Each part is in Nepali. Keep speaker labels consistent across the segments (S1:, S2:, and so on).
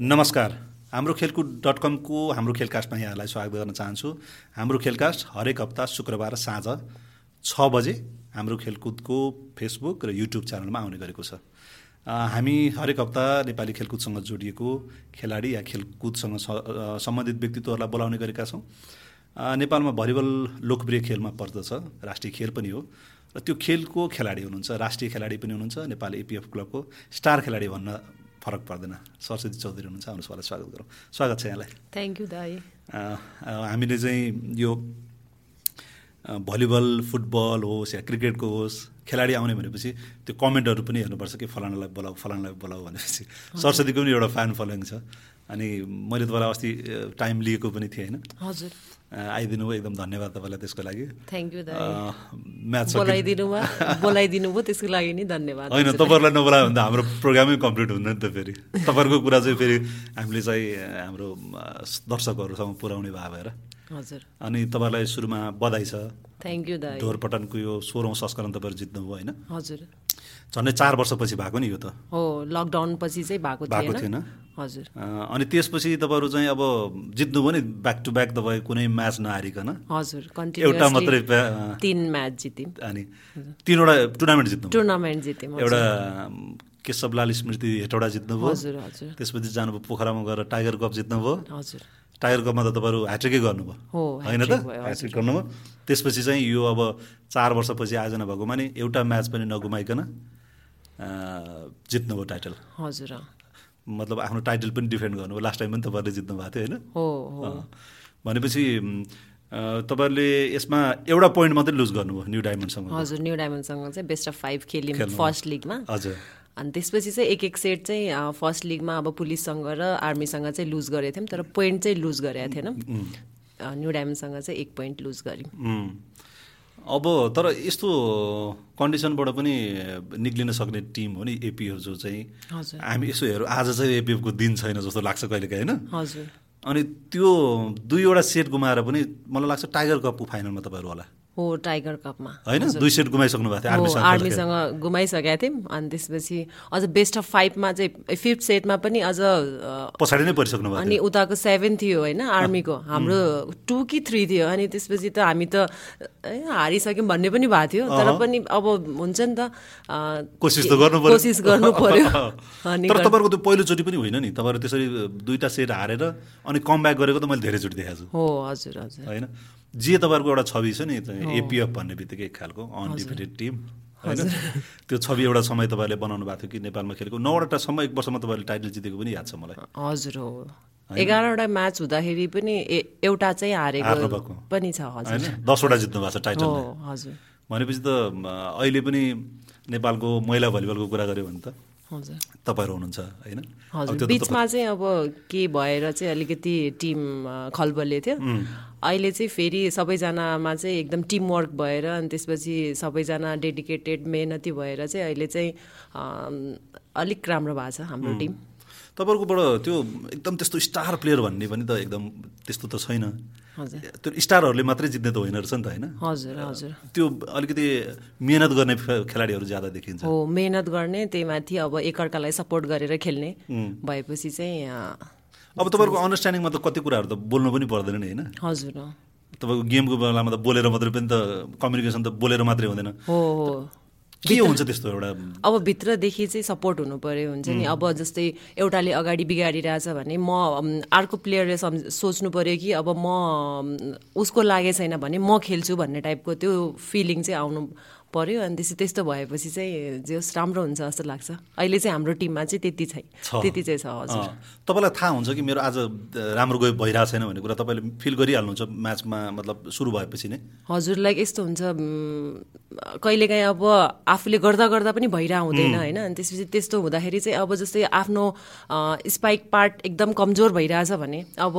S1: नमस्कार हाम्रो खेलकुद डट कमको हाम्रो खेलकास्टमा यहाँहरूलाई स्वागत गर्न चाहन्छु हाम्रो खेलकास्ट हरेक हप्ता शुक्रबार साँझ छ बजे हाम्रो खेलकुदको फेसबुक र युट्युब च्यानलमा आउने गरेको छ अ, हामी हरेक हप्ता नेपाली खेलकुदसँग जोडिएको खेलाडी या खेलकुदसँग स- अ, सम्बन्धित व्यक्तित्वहरूलाई बोलाउने गरेका छौँ अ, नेपालमा भलिबल लोकप्रिय खेलमा पर्दछ राष्ट्रिय खेल पनि हो र त्यो खेलको खेलाडी हुनुहुन्छ राष्ट्रिय खेलाडी पनि हुनुहुन्छ नेपाल एपिएफ क्लबको स्टार खेलाडी भन्न फरक पर्दैन सरस्वती चौधरी हुनुहुन्छ आउनुहोस् उहाँलाई स्वागत गरौँ स्वागत छ यहाँलाई
S2: थ्याङ्क यू दाई
S1: अ, अ, हामीले चाहिँ यो अ, भलिबल फुटबल होस् या क्रिकेटको होस् खेलाडी आउने भनेपछि त्यो कमेन्टहरू पनि हेर्नुपर्छ कि फलानालाई बोलाऊ फलानालाई बोलाऊ भनेपछि सरस्वतीको पनि एउटा फ्यान फलोइङ छ अनि मैले तपाईँलाई अस्ति अ, टाइम लिएको पनि थिएँ होइन
S2: हजुर
S1: अ, आइदिनु भयो एकदम धन्यवाद तपाईँलाई त्यसको लागि
S2: थ्याङ्क यू दाई
S1: अ, म्याच सकिन-
S2: बोलाइदिनुमा बोलाइदिनुभयो त्यसको लागि नि धन्यवाद
S1: होइन तपाईँहरूलाई नबोलायो भने त हाम्रो प्रोग्रामै कम्प्लिट हुँदैन नि त फेरि तपाईँहरूको कुरा चाहिँ फेरि हामीले चाहिँ अ, हाम्रो अ, दर्शकहरूसम्म पुर्याउने भए भएर
S2: हजुर
S1: अनि तपाईँलाई सुरुमा बधाई छ
S2: थ्याङ्क यू दाई
S1: ढोरपटनको यो सोह्रौँ संस्करण तपाईँहरू जित्नुभयो होइन
S2: हजुर
S1: झन्डै चार वर्षपछि भएको नि यो त
S2: हो लकडाउन पछि चाहिँ भएको
S1: भएको
S2: थिएन
S1: थिएन
S2: हजुर
S1: अ, अनि त्यसपछि तपाईँहरू चाहिँ अब जित्नुभयो नि ब्याक टु ब्याक तपाईँ कुनै म्याच नहारिकन
S2: हजुर
S1: एउटा
S2: कन्टिन्युसली
S1: मात्रै प्या- अ,
S2: तिन म्याच जित्यौँ
S1: अनि तिनवटा टुर्नामेन्ट जित्नुभयो
S2: टुर्नामेन्ट जित्यौँ हजुर।
S1: एउटा अम, केशवलाल स्मृति हेटौडा जित्नुभयो
S2: हजुर हजुर
S1: त्यसपछि जानुभयो पोखरामा गएर टाइगर कप जित्नुभयो
S2: हजुर
S1: टाइगर कपमा त तपाईँहरू ह्याट्रिकै गर्नुभयो
S2: हो
S1: होइन त
S2: ह्याट्रिक भयो, हजुर।
S1: ह्याट्रिक गर्नुभयो त्यसपछि चाहिँ यो अब चार वर्षपछि आयोजना भएकोमा नि एउटा म्याच पनि नगुमाइकन अ, जित्नुभयो टाइटल
S2: हजुर अँ।
S1: मतलब आफ्नो टाइटल पनि डिफेन्ड गर्नुभयो लास्ट टाइम पनि तपाईँहरूले जित्नु भएको थियो होइन
S2: हो हो
S1: अँ। भनेपछि म, अ, तपाईँहरूले यसमा एउटा पोइन्ट मात्रै लुज गर्नुभयो न्यु डायमन्डसँग
S2: हजुर न्यु डायमन्डसँग चाहिँ बेस्ट अफ फाइभ खेल्यौँ
S1: खेल्नुभयो।
S2: फर्स्ट लिगमा
S1: हजुर
S2: अनि त्यसपछि चाहिँ एक एक सेट चाहिँ अ, फर्स्ट लिगमा अब पुलिससँग र आर्मीसँग चाहिँ लुज गरेको थियौँ तर पोइन्ट चाहिँ लुज गरेका थिएनौँ अ, न्यू डायमन्डसँग चाहिँ एक पोइन्ट लुज गऱ्यौँ
S1: उम्। अब तर यस्तो कन्डिसनबाट पनि निक्लिन सक्ने टिम हो नि एपिएफ जो चाहिँ
S2: हजुर
S1: हामी यसो हेरौँ आज चाहिँ एपिएफको दिन छैन जस्तो लाग्छ कहिलेकाहीँ होइन
S2: हजुर
S1: अनि त्यो दुईवटा सेट गुमाएर पनि मलाई लाग्छ टाइगर कपको फाइनलमा तपाईँहरू होला
S2: हो टाइगर कपमा
S1: होइन दुई सेट गुमाइसक्नु भएको थियो
S2: हो
S1: आर्मीसँग खेलेर।
S2: आर्मीसँग गुमाइसकेका थियौँ अनि त्यसपछि अझ बेस्ट अफ फाइभमा चाहिँ फिफ्थ सेटमा पनि अझ अ,
S1: पछाडि नै परिसक्नु भएको
S2: अनि उताको सेभेन थियो होइन आर्मीको हाम्रो टू कि थ्री थियो अनि त्यसपछि त हामी त ए, हारिसक्यौँ भन्ने पनि भएको थियो तर पनि अब हुन्छ नि त अ,
S1: थियो कोसिस त गर्नु पर्यो
S2: कोसिस गर्नु पर्यो अनि
S1: तर तपाईँहरूको त्यो पहिलोचोटि पनि होइन नि तपाईँहरू त्यसरी दुईवटा सेट हारेर अनि कम ब्याक गरेको त मैले धेरैचोटि देखाएको छु
S2: हो हजुर हजुर
S1: होइन जे तपाईँहरूको एउटा छवि छ नि एपिएफ भन्ने बित्तिकै एक खालको अनडिफिटेड टिम होइन त्यो छवि एउटा समय तपाईँहरूले बनाउनु भएको थियो कि नेपालमा खेलेको नौवटासम्म एक वर्षमा तपाईँहरूले टाइटल जितेको पनि याद छ मलाई
S2: हजुर हो एघारवटा म्याच हुँदाखेरि पनि ए- एउटा चाहिँ
S1: हार्नु
S2: हारेको
S1: भएको।
S2: पनि छ हजुर
S1: होइन दसवटा जित्नु भएको छ टाइटल
S2: हो हजुर
S1: भनेपछि त म, अहिले पनि नेपालको महिला भलिबलको कुरा गऱ्यो भने त
S2: हजुर
S1: तपाईँहरू हुनुहुन्छ होइन अब
S2: हजुर
S1: त्यो त
S2: बिचमा चाहिँ अब के भएर चाहिँ अलिकति टिम अ, खलबले थियो अहिले चाहिँ फेरि सबैजनामा चाहिँ एकदम टिमवर्क भएर अनि त्यसपछि सबैजना डेडिकेटेड मेहनती भएर चाहिँ अहिले चाहिँ अम, अलिक राम्रो भएको छ हाम्रो टिम
S1: तपाईँहरूकोबाट त्यो एकदम त्यस्तो स्टार प्लेयर भन्ने पनि त एकदम त्यस्तो त छैन
S2: हजुर
S1: त्यो स्टारहरूले मात्रै जित्ने त होइन रहेछ नि त होइन
S2: हजुर हजुर
S1: त्यो अलिकति मिहिनेत गर्ने फ- खेलाडीहरू ज्यादा देखिन्छ
S2: हो मेहनत गर्ने त्यही माथि अब एकअर्कालाई सपोर्ट गरेर खेल्ने भएपछि चाहिँ अ,
S1: अब तपाईँहरूको अन्डरस्ट्यान्डिङमा त कति कुराहरू त बोल्नु पनि पर्दैन नि होइन
S2: हजुर अँ।
S1: तपाईँको गेमको बेलामा त बोलेर मात्रै पनि त कम्युनिकेसन त बोलेर मात्रै हुँदैन
S2: हो हो
S1: के हुन्छ त्यस्तो एउटा
S2: अब भित्रदेखि चाहिँ सपोर्ट हुनु पर्यो हुन्छ नि अब जस्तै एउटाले अगाडि बिगारिरहेछ भने म अम, अर्को प्लेयरले सम्झ सोच्नु पर्यो कि अब म अम, उसको लागे छैन भने म खेल्छु भन्ने टाइपको त्यो फिलिङ चाहिँ आउनु पर्यो अनि त्यसै त्यस्तो भएपछि चाहिँ जे होस् राम्रो हुन्छ जस्तो लाग्छ अहिले चाहिँ हाम्रो टिममा चाहिँ त्यति छै
S1: छ।
S2: त्यति चाहिँ छ हजुर
S1: अँ, तपाईँलाई थाहा हुन्छ कि मेरो आज अ, राम्रो गयो भइरहेको छैन भन्ने कुरा तपाईँले फिल गरिहाल्नुहुन्छ म्याचमा मतलब सुरु भएपछि नै
S2: हजुर लाइक यस्तो हुन्छ कहिलेकाहीँ अब आफूले गर्दा गर्दा पनि भइरह हुँदैन होइन अनि त्यसपछि त्यस्तो हुँदाखेरि चाहिँ अब जस्तै आफ्नो अ, स्पाइक पार्ट एकदम कमजोर भइरहेछ भने अब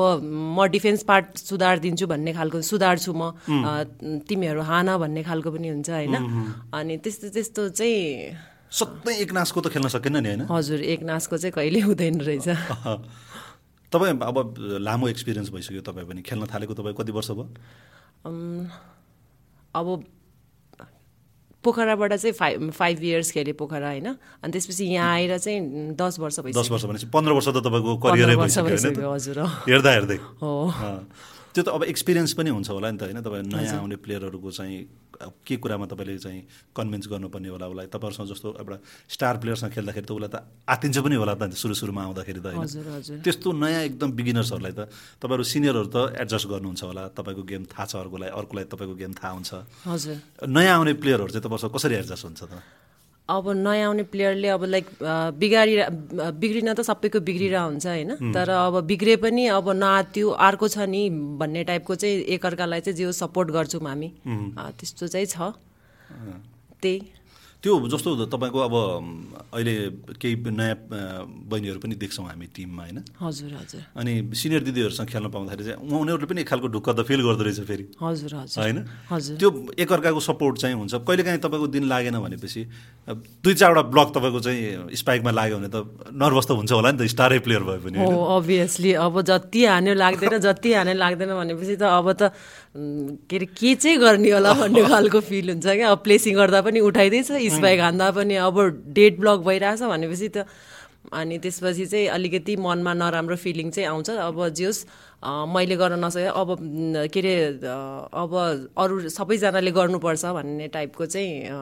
S2: म डिफेन्स पार्ट सुधार दिन्छु भन्ने खालको सुधार्छु म अ, तिमीहरू हान भन्ने खालको पनि हुन्छ होइन अनि त्यस्तो त्यस्तो चाहिँ
S1: सधैँ एकनासको त खेल्न सकेन नि होइन
S2: हजुर एक नासको चाहिँ कहिले हुँदैन रहेछ
S1: तपाईँ अब लामो एक्सपिरियन्स भइसक्यो तपाईँ पनि खेल्न थालेको तपाईँ कति वर्ष भयो
S2: अम्, अब पोखराबाट चाहिँ फाइभ फाइभ इयर्स खेलेँ पोखरा होइन अनि त्यसपछि यहाँ आएर चाहिँ दस वर्ष भइसक्यो
S1: दस वर्ष भनेपछि पन्ध्र वर्ष त तपाईँको करियरै
S2: वर्ष
S1: भइसक्यो होइन
S2: भइसक्यो, हजुर,
S1: त?
S2: अँ।
S1: हेर्दा हेर्दै
S2: हो।
S1: अँ। त्यो त अब एक्सपिरियन्स पनि हुन्छ होला नि त होइन तपाईँ नयाँ आउने प्लेयरहरूको चाहिँ अब के कुरामा तपाईँले चाहिँ कन्भिन्स गर्नुपर्ने होला उसलाई तपाईँहरूसँग जस्तो एउटा स्टार प्लेयरसँग खेल्दाखेरि त उसलाई त आतिन्छ पनि होला त सुरु सुरुमा आउँदाखेरि त
S2: हजुर,
S1: होइन त्यस्तो नयाँ एकदम बिगिनर्सहरूलाई त तपाईँहरू सिनियरहरू त एडजस्ट गर्नुहुन्छ होला तपाईँको गेम थाहा छ अर्कोलाई अर्कोलाई तपाईँको गेम थाहा हुन्छ
S2: हजुर
S1: नयाँ आउने प्लेयरहरू चाहिँ तपाईँसँग कसरी एडजस्ट हुन्छ त
S2: अब नयाँ आउने प्लेयरले अब लाइक अ, बिगारिरा अ, बिग्रिन त सबैको बिग्रिरह हुन्छ होइन तर अब बिग्रे पनि अब नआत्यो अर्को छ नि भन्ने टाइपको चाहिँ एकअर्कालाई चाहिँ जे सपोर्ट गर्छौँ हामी अ, त्यस्तो चाहिँ छ त्यही
S1: त्यो जस्तो तपाईँको अब अहिले केही नयाँ अ, बहिनीहरू पनि देख्छौँ हामी टिममा होइन
S2: हजुर हजुर
S1: अनि सिनियर दिदीहरूसँग खेल्न पाउँदाखेरि चाहिँ उहाँ- उनीहरूले पनि एक खालको ढुक्क त फिल गर्दो रहेछ फेरि
S2: हजुर हजुर
S1: होइन
S2: हजुर
S1: त्यो एकअर्काको सपोर्ट चाहिँ हुन्छ कहिलेकाहीँ तपाईँको दिन लागेन भनेपछि अब दुई चारवटा ब्लक तपाईँको चाहिँ स्पाइकमा लाग्यो भने त नर्भस त हुन्छ होला नि त स्टारै प्लेयर भए पनि
S2: हो अभियसली अब जति हान्यो लाग्दैन जति हान्यो लाग्दैन भनेपछि त अब त उम्, के अरे के चाहिँ गर्ने होला भन्ने खालको फिल हुन्छ क्या अब प्लेसिङ गर्दा पनि उठाइँदैछ स्पाइक हान्दा पनि अब डेट ब्लक भइरहेछ भनेपछि त अनि त्यसपछि चाहिँ अलिकति मनमा नराम्रो फिलिङ चाहिँ आउँछ अब जे होस् अ, मैले गर्न नसके अब उम्, के अरे अ, अब अरू सबैजनाले गर्नुपर्छ भन्ने टाइपको चाहिँ अ,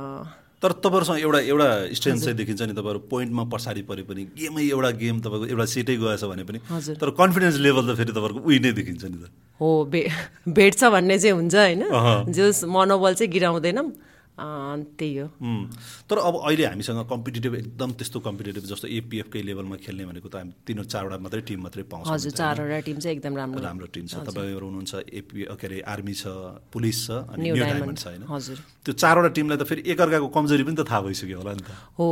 S1: तर तपाईँहरूसँग एउटा एउटा स्ट्रेन्थ चाहिँ देखिन्छ नि तपाईँहरू पोइन्टमा पछाडि परे पनि गेमै एउटा गेम तपाईँको एउटा सेटै गएछ भने पनि
S2: हजुर।
S1: तर कन्फिडेन्स लेभल त फेरि तपाईँहरूको उही नै देखिन्छ नि त
S2: हो भे भेट्छ भन्ने चाहिँ हुन्छ होइन
S1: अहँ।
S2: जो मनोबल चाहिँ गिराउँदैनौँ अँ, त्यही हो
S1: उम्, तर अब अहिले हामीसँग कम्पिटेटिभ एकदम त्यस्तो कम्पिटेटिभ जस्तो एपिएफकै लेभलमा खेल्ने भनेको त हामी तिन चारवटा मात्रै टिम मात्रै पाउँछ
S2: हजुर चारवटा टिम चाहिँ एकदम राम्रो
S1: राम्रो टिम छ तपाईँहरू हुनुहुन्छ एपी के अरे आर्मी छ पुलिस छ अनि
S2: New
S1: न्यु डायमन्ड
S2: Diamond,
S1: छ होइन
S2: हजुर।
S1: त्यो चारवटा टिमलाई त फेरि एकअर्काको कमजोरी पनि त थाहा भइसक्यो होला नि त
S2: हो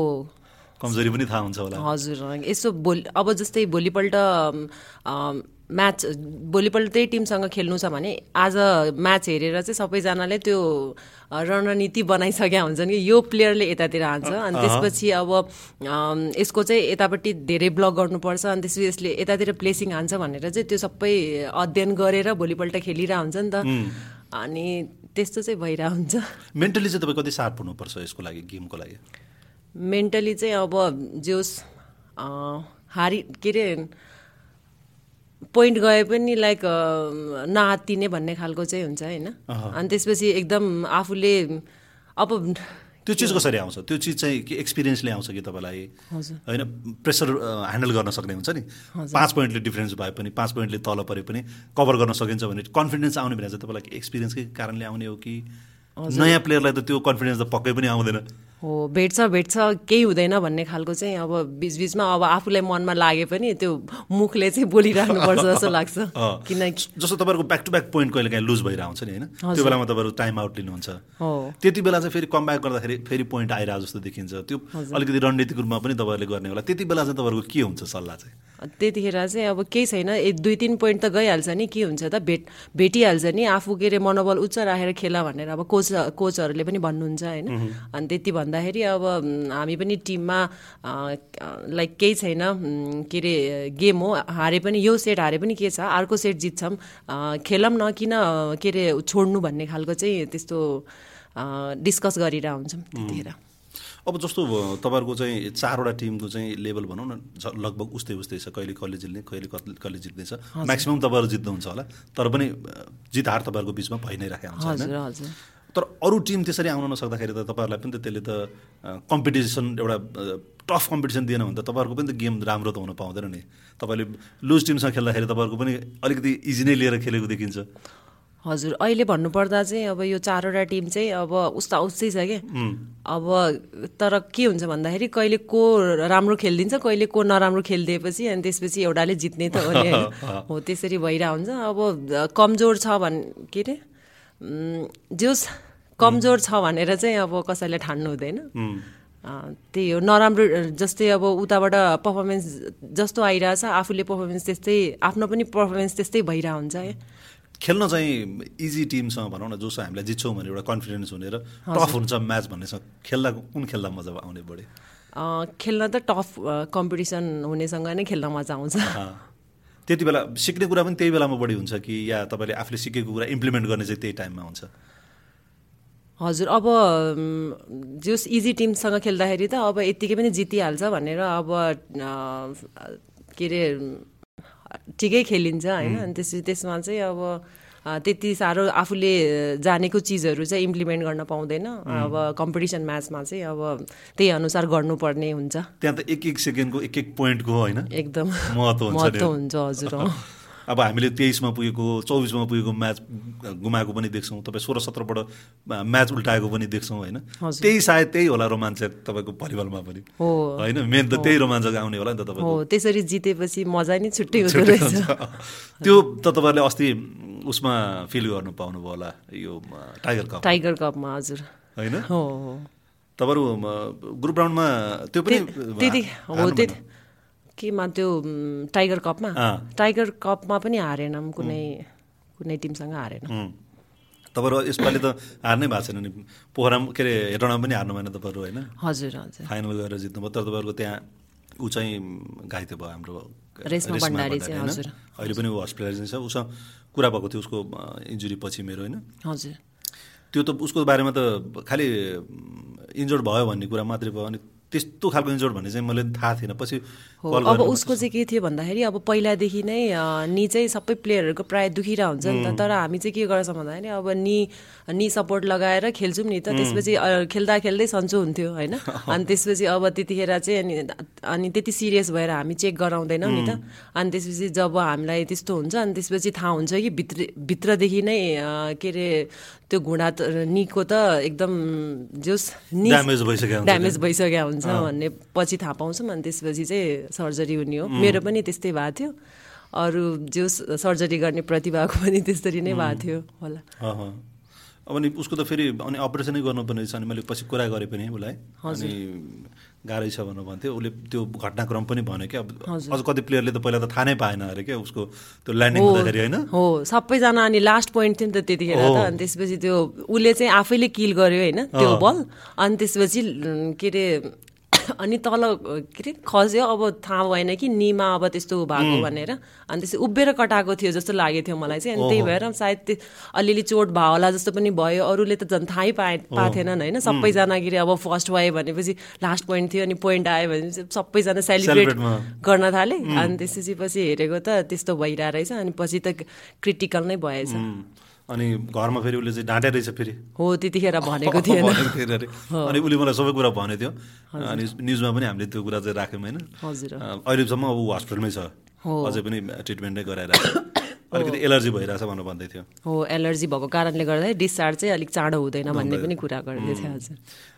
S1: कमजोरी पनि थाहा हुन्छ होला
S2: हजुर यसो भोलि अब जस्तै भोलिपल्ट अम, म्याच भोलिपल्ट त्यही टिमसँग खेल्नु छ भने आज म्याच हेरेर चाहिँ सबैजनाले त्यो अ, रणनीति बनाइसकेका हुन्छन् कि यो प्लेयरले यतातिर हान्छ अनि त्यसपछि अब अम, यसको चाहिँ यतापट्टि धेरै ब्लक गर्नुपर्छ अनि त्यसपछि यसले यतातिर प्लेसिङ हान्छ भनेर चाहिँ त्यो सबै अध्ययन गरेर भोलिपल्ट खेलिरह हुन्छ नि त अनि त्यस्तो चाहिँ भइरह हुन्छ
S1: मेन्टली चाहिँ तपाईँ कति सार्प हुनुपर्छ यसको लागि गेमको लागि
S2: मेन्टली चाहिँ अब जे होस् अँ, हारि के अरे पोइन्ट गए पनि लाइक अँ, नआत्तिने भन्ने खालको चाहिँ हुन्छ होइन अनि त्यसपछि एकदम आफूले अब
S1: त्यो चिज कसरी आउँछ त्यो चिज चाहिँ के एक्सपिरियन्सले आउँछ कि तपाईँलाई होइन प्रेसर ह्यान्डल गर्न सक्ने हुन्छ नि पाँच पोइन्टले डिफ्रेन्स भए पनि पाँच पोइन्टले तल परे पनि कभर गर्न सकिन्छ भने कन्फिडेन्स आउने भने चाहिँ तपाईँलाई एक्सपिरियन्सकै कारणले आउने हो कि नयाँ प्लेयरलाई त त्यो कन्फिडेन्स त पक्कै पनि आउँदैन
S2: हो भेट्छ भेट्छ केही हुँदैन भन्ने खालको चाहिँ अब बिचबिचमा अब आफूलाई मनमा लागे पनि त्यो मुखले चाहिँ बोलिराख्नुपर्छ जस्तो लाग्छ
S1: अँ।
S2: किनकि
S1: जस्तो तपाईँहरूको ब्याक टु ब्याक पोइन्ट कहिले काहीँ लुज भइरहेको हुन्छ नि होइन त्यो बेलामा तपाईँहरू टाइम आउट लिनुहुन्छ
S2: हो
S1: त्यति बेला चाहिँ फेरि कम ब्याक गर्दाखेरि फेरि पोइन्ट आइरहेको जस्तो देखिन्छ त्यो अलिकति रणनीतिक रूपमा पनि तपाईँहरूले गर्ने होला त्यति बेला चाहिँ तपाईँहरूको के हुन्छ सल्लाह चाहिँ
S2: त्यतिखेर चाहिँ अब केही छैन ए दुई तिन पोइन्ट त गइहाल्छ नि के हुन्छ त भेट भेटिहाल्छ नि आफू के अरे मनोबल उच्च राखेर खेला भनेर अब कोच कोचहरूले पनि भन्नुहुन्छ होइन अनि त्यति भन्दाखेरि अब म, हामी पनि टिममा अ, अ, लाइक केही छैन म, के अरे गेम हो हारे पनि यो सेट हारे पनि के छ अर्को सेट जित्छौँ अ, खेलौँ न किन अ, के अरे छोड्नु भन्ने खालको चाहिँ त्यस्तो डिस्कस गरेर हुन्छौँ त्यतिखेर
S1: अब जस्तो अ, तपाईँहरूको चाहिँ चारवटा टिमको चाहिँ लेभल भनौँ न झ- लगभग उस्तै उस्तै छ कहिले कसले जित्ने कहिले कत- कसले जित्नेछ म्याक्सिमम् तपाईँहरू जित्नुहुन्छ होला तर पनि अ, जित हार तपाईँहरूको बिचमा भइ नै राखेको हुन्छ
S2: हजुर
S1: होइन
S2: हजुर
S1: तर अरू टिम त्यसरी आउन नसक्दाखेरि त तपाईँहरूलाई पनि त त्यसले त कम्पिटिसन एउटा टफ कम्पिटिसन दिएन भने त तपाईँहरूको पनि त गेम राम्रो त हुन पाउँदैन नि तपाईँले लुज टिमसँग खेल्दाखेरि तपाईँहरूको पनि अलिकति इजी नै लिएर खेलेको देखिन्छ
S2: हजुर अहिले भन्नुपर्दा चाहिँ अब यो चारवटा टिम चाहिँ अब उस्ता उस्तै छ कि अब तर के हुन्छ भन्दाखेरि कहिले को राम्रो खेलिदिन्छ कहिले को नराम्रो खेलिदिएपछि अनि त्यसपछि एउटाले जित्ने त हो नि होइन हो त्यसरी भइरहेको हुन्छ अब अ, कमजोर छ भन् के अरे उम्, जे होस् कमजोर छ भनेर चाहिँ अब कसैले ठान्नु हुँदैन अँ, त्यही हो नराम्रो अ, जस्तै अब उताबाट पर्फर्मेन्स जस्तो आइरहेछ आफूले पर्फर्मेन्स त्यस्तै आफ्नो पनि पर्फर्मेन्स त्यस्तै भइरहेको हुन्छ है
S1: खेल्न चाहिँ इजी टिमसँग भनौँ न जोसँग हामीलाई जित्छौँ भने एउटा कन्फिडेन्स हुने र टफ हुन्छ म्याच भन्नेसँग खेल्दा कुन खेल्दा मजा आउने बढी
S2: अ, खेल्न त टफ अ, कम्पिटिसन हुनेसँग नै खेल्न मजा आउँछ
S1: अँ। त्यति बेला सिक्ने कुरा पनि त्यही बेलामा बढी हुन्छ कि या तपाईँले आफूले सिकेको कुरा इम्प्लिमेन्ट गर्ने चाहिँ त्यही टाइममा हुन्छ
S2: हजुर अब म, जोस इजी टिमसँग खेल्दाखेरि त अब यत्तिकै पनि जितिहाल्छ भनेर अब अ, के अरे ठिकै खेलिन्छ होइन अनि त्यस त्यसमा चाहिँ अब अ, त्यति साह्रो आफूले जानेको चिजहरू चाहिँ इम्प्लिमेन्ट गर्न पाउँदैन अब कम्पिटिसन म्याचमा चाहिँ अब त्यही अनुसार गर्नुपर्ने हुन्छ
S1: त्यहाँ त एक एक सेकेन्डको एक एक पोइन्टको होइन
S2: एकदम
S1: महत्त्व हुन्छ नि।
S2: महत्त्व हुन्छ हजुर अँ।
S1: अब हामीले तेइसमा पुगेको चौबिसमा पुगेको म्याच गुमाएको पनि देख्छौँ तपाईँ सोह्र सत्रबाट म्याच उल्टाएको पनि देख्छौँ होइन
S2: हजुर।
S1: त्यही सायद त्यही होला रोमाञ्चक तपाईँको भलिबलमा पनि
S2: हो।
S1: होइन मेन त त्यही रोमाञ्चक आउने होला नि त
S2: हो
S1: तपाईँको
S2: त्यसरी जितेपछि मजा नै छुट्टै हुँदो
S1: छुट्टै
S2: रहेछ
S1: हुन्छ। त्यो त तपाईँहरूले अस्ति उसमा फिल गर्नु पाउनुभयो होला यो म, टाइगर कप
S2: टाइगर कपमा हजुर
S1: होइन
S2: हो हो
S1: तपाईँहरू म, ग्रुप राउन्डमा त्यो पनि
S2: त्यति त्यति हो
S1: हार्नुभएन?
S2: त्यति केमा त्यो म, टाइगर कपमा
S1: अँ।
S2: टाइगर कपमा पनि हारेनौँ कुनै कुनै टिमसँग हारेन
S1: उम्। तपाईँहरू यसपालि त हार्नै भएको छैन नि पोखरा के अरे हेटौँडा पनि हार्नु भएन तपाईँहरू होइन
S2: हजुर हजुर
S1: फाइनल गएर जित्नुभयो तर तपाईँहरूको त्यहाँ ऊ चाहिँ घाइते भयो हाम्रो
S2: रेश्मा भण्डारी चाहिँ,
S1: होइन?
S2: हजुर।
S1: अहिले पनि ऊ हस्पिटलाइजेसन छ उसँग कुरा भएको थियो उसको इन्जुरी पछि मेरो होइन
S2: हजुर
S1: त्यो त उसको बारेमा त खालि इन्जोर्ड भयो भन्ने कुरा मात्रै भयो अनि त्यस्तो खालको इन्जोर्ड भन्ने चाहिँ मैले थाहा थिएन पछि
S2: हो
S1: कल
S2: अब
S1: गरेर
S2: उसको चाहिँ के थियो भन्दाखेरि अब पहिलादेखि नै अ, नि चाहिँ सबै प्लेयरहरूको प्रायः दुखिरह हुन्छ नि त तर हामी चाहिँ के गर्छौँ भन्दाखेरि अब नि नि सपोर्ट लगाएर खेल्छौँ नि त त्यसपछि अ, खेल्दा खेल्दै सन्चो हुन्थ्यो होइन अनि त्यसपछि अब त्यतिखेर चाहिँ अनि अनि त्यति सिरियस भएर हामी चेक गराउँदैनौँ नि त अनि त्यसपछि जब हामीलाई त्यस्तो हुन्छ अनि त्यसपछि थाहा हुन्छ कि भित्र भित्रदेखि नै अ, के अरे त्यो घुँडा त निको त एकदम जोस नि
S1: Damage भइसकेको हुन्छ
S2: ड्यामेज भइसकेको हुन्छ भन्ने पछि थाहा पाउँछौँ अनि त्यसपछि चाहिँ सर्जरी हुने हो मेरो पनि त्यस्तै भएको थियो अरू जो सर्जरी गर्ने प्रतिभाको पनि त्यसरी नै भएको थियो होला
S1: अहँ। अब नि उसको त फेरि अनि अपरेसनै गर्नुपर्ने रहेछ अनि मैले पछि कुरा गरेँ पनि उसलाई अनि गाह्रै छ भनेर भन्थ्यो उसले त्यो घटनाक्रम पनि भन्यो क्या अब अझ कति प्लेयरले त पहिला त थाहा नै पाएन अरे क्या उसको त्यो ल्यान्डिङ हुँदाखेरि होइन
S2: हो सबैजना अनि लास्ट पोइन्ट थियो नि त त्यतिखेर त अनि त्यसपछि त्यो उसले चाहिँ आफैले किल गर्यो होइन त्यो बल अनि त्यसपछि उम्, के अरे अनि तल के अरे खस्यो अब थाहा भएन कि निमा अब त्यस्तो भएको भनेर अनि त्यसै उभिएर कटाएको थियो जस्तो लागेको थियो मलाई चाहिँ अनि त्यही भएर सायद त्यो अलिअलि चोट भयो होला जस्तो पनि भयो अरूले त झन् थाहै पाए पाएको थिएनन् होइन सबैजना के अरे अब फर्स्ट भयो भनेपछि लास्ट पोइन्ट थियो अनि पोइन्ट आयो भनेपछि सबैजना
S1: सेलिब्रेटमा।
S2: सेलिब्रेट गर्न थालेँ अनि त्यसपछि पछि हेरेको त त्यस्तो भइरहेको रहेछ अनि पछि त क्रिटिकल नै भएछ
S1: उम्, अनि घरमा फेरि उसले चाहिँ डाँटे रहेछ फेरि
S2: हो त्यतिखेर भनेको थिएन
S1: भनेको थिएन अरे अनि उसले मलाई सबै कुरा भनेको थियो अनि न्युजमा पनि हामीले त्यो कुरा चाहिँ राख्यौँ होइन
S2: हजुर
S1: अ, अहिलेसम्म अब ऊ हस्पिटलमै छ
S2: हो।
S1: अझै पनि ट्रिटमेन्ट नै गराइरहेको छ अलिकति एलर्जी भइरहेछ भनेर भन्दै थियो
S2: हो एलर्जी भएको कारणले गर्दा डिस्चार्ज चाहिँ अलिक चाँडो हुँदैन भन्ने पनि कुरा गर्दै थियो हजुर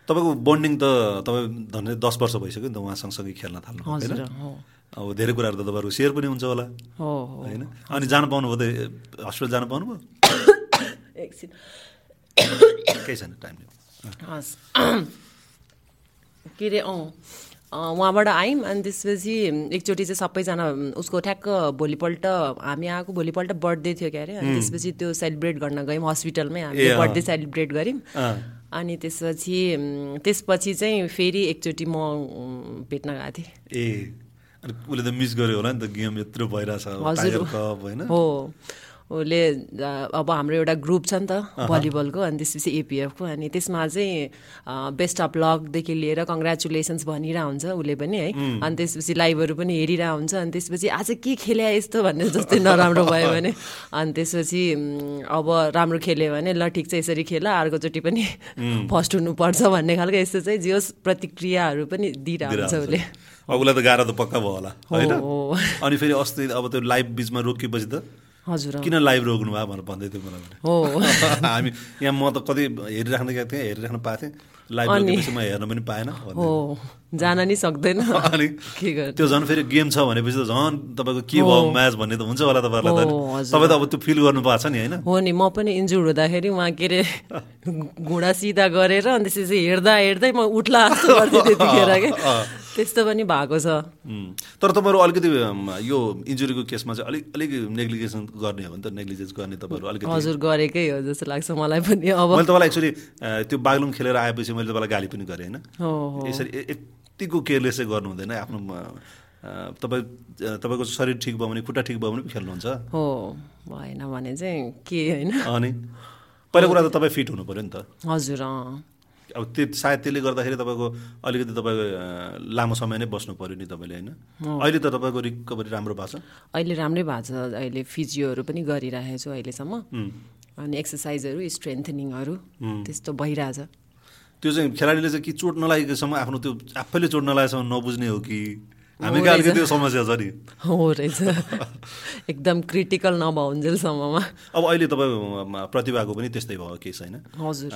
S1: तपाईँको बन्डिङ त तपाईँ झन्डै दस वर्ष भइसक्यो नि त उहाँ सँगसँगै खेल्न थाल्नु होइन
S2: हजुर हो
S1: अब धेरै कुराहरू त तपाईँहरूको सेयर पनि हुन्छ होला
S2: हो हो
S1: होइन अनि जान पाउनुभयो त ए, हस्पिटल जान पाउनुभयो
S2: एकछिन
S1: केही छैन टाइम लिनु।
S2: हस् के अरे अँ अँ, उहाँबाट oh. Uh, आयौँ अनि त्यसपछि um, एकचोटि चाहिँ सबैजना um, उसको ठ्याक्क भोलिपल्ट हामी आएको भोलिपल्ट बर्थडे थियो क्यारे अनि त्यसपछि त्यो सेलिब्रेट गर्न गयौँ हस्पिटलमै
S1: ए,
S2: हामीले
S1: अँ।
S2: बर्थडे सेलिब्रेट गऱ्यौँ
S1: अँ।
S2: अनि त्यसपछि उम्, त्यसपछि चाहिँ फेरि एकचोटि म उम्, भेट्न गएको थिएँ
S1: ए अनि उसले त मिस गर्यो होला नि त गेम यत्रो भइरहेछ अब
S2: हजुर।
S1: टाइगर कप होइन
S2: हो उसले अ, अब हाम्रो एउटा ग्रुप छ नि त भलिबलको अनि त्यसपछि एपिएफको अनि त्यसमा चाहिँ अ, बेस्ट अफ लकदेखि लिएर कङ्ग्रेचुलेसन्स भनिरहेको हुन्छ उसले पनि है अनि त्यसपछि लाइभहरू पनि हेरिरहेको हुन्छ अनि त्यसपछि आज के खेल्या यस्तो भन्ने जस्तै नराम्रो भयो भने अनि त्यसपछि उम्, अब राम्रो खेल्यो भने ल ठिक छ यसरी खेल अर्कोचोटि पनि फर्स्ट हुनुपर्छ भन्ने खालको यस्तो चाहिँ जियोस् प्रतिक्रियाहरू पनि दिइरहेको हुन्छ उसले
S1: अब उसलाई त गाह्रो त पक्का भयो होला होइन
S2: हो।
S1: अनि फेरि अस्ति अब त्यो लाइभ बिचमा रोकिएपछि त
S2: हजुर अँ।
S1: किन लाइभ रोक्नु भयो भनेर भन्दै थियो मलाई भने।
S2: हो
S1: हामी यहाँ म त कति हेरिराख्न गएको थिएँ हेरिराख्न पाएको थिएँ लाइभ
S2: अनि?
S1: रोकेपछि म हेर्न पनि पाएन भन्दै
S2: हो जान नि सक्दैन
S1: अनि
S2: के गर्ने
S1: त्यो झन् फेरि गेम छ भनेपछि त झन् तपाईँको के भयो म्याच भन्ने त हुन्छ होला तपाईँहरूलाई
S2: हो,
S1: त
S2: हजुर।
S1: तपाईँ त अब त्यो फिल गर्नु भएको छ नि होइन
S2: हो नि म पनि इन्जुर हुँदाखेरि उहाँ के अरे घुँडा सिधा गरेर अनि त्यसपछि हिँड्दा हिँड्दै म उठ्ला जस्तो गर्थेँ त्यतिखेर के त्यस्तो पनि भएको छ
S1: उम्, तर तपाईँहरू अलिकति अम, यो इन्जुरीको केसमा चाहिँ अलिक अलिक नेग्लिजेन्स गर्ने हो भने त नेग्लिजेन्स गर्ने तपाईँहरू अलिकति
S2: हजुर गरेकै हो जस्तो लाग्छ मलाई पनि अब
S1: मैले तपाईँलाई एक्चुली त्यो बागलुङ खेलेर आएपछि मैले तपाईँलाई गाली पनि गरेँ होइन
S2: हो हो
S1: यसरी ए- यत्तिको केयरलेस चाहिँ गर्नु हुँदैन आफ्नो अ, अ, तपाईँ अ, तपाईँको शरीर ठिक भयो भने खुट्टा ठिक भयो भने पो खेल्नुहुन्छ
S2: हो भएन भने चाहिँ के होइन
S1: अनि पहिलो कुरा त तपाईँ फिट हुनु पऱ्यो नि त
S2: हजुर अँ
S1: अब त्यो सायद त्यसले गर्दाखेरि तपाईँको अलिकति तपाईँको अँ, लामो समय नै बस्नु पऱ्यो नि तपाईँले होइन अहिले त तपाईँको रिकभरी राम्रो भएको छ
S2: अहिले राम्रै भएको छ अहिले फिजियोहरू पनि गरिराखेको छु अहिलेसम्म अनि एक्सर्साइजहरू स्ट्रेन्थनिङहरू त्यस्तो भइरहेछ
S1: त्यो चाहिँ खेलाडीले चाहिँ कि चोट नलागेकोसम्म आफ्नो त्यो आफैले चोट नलागेसम्म नबुझ्ने हो कि हामी कहाँ अलिकति त्यो समस्या छ नि
S2: हो रहेछ एकदम क्रिटिकल नभउन्जेलसम्ममा
S1: अब अहिले तपाईँ प्रतिभाको पनि त्यस्तै भयो केस होइन
S2: हजुर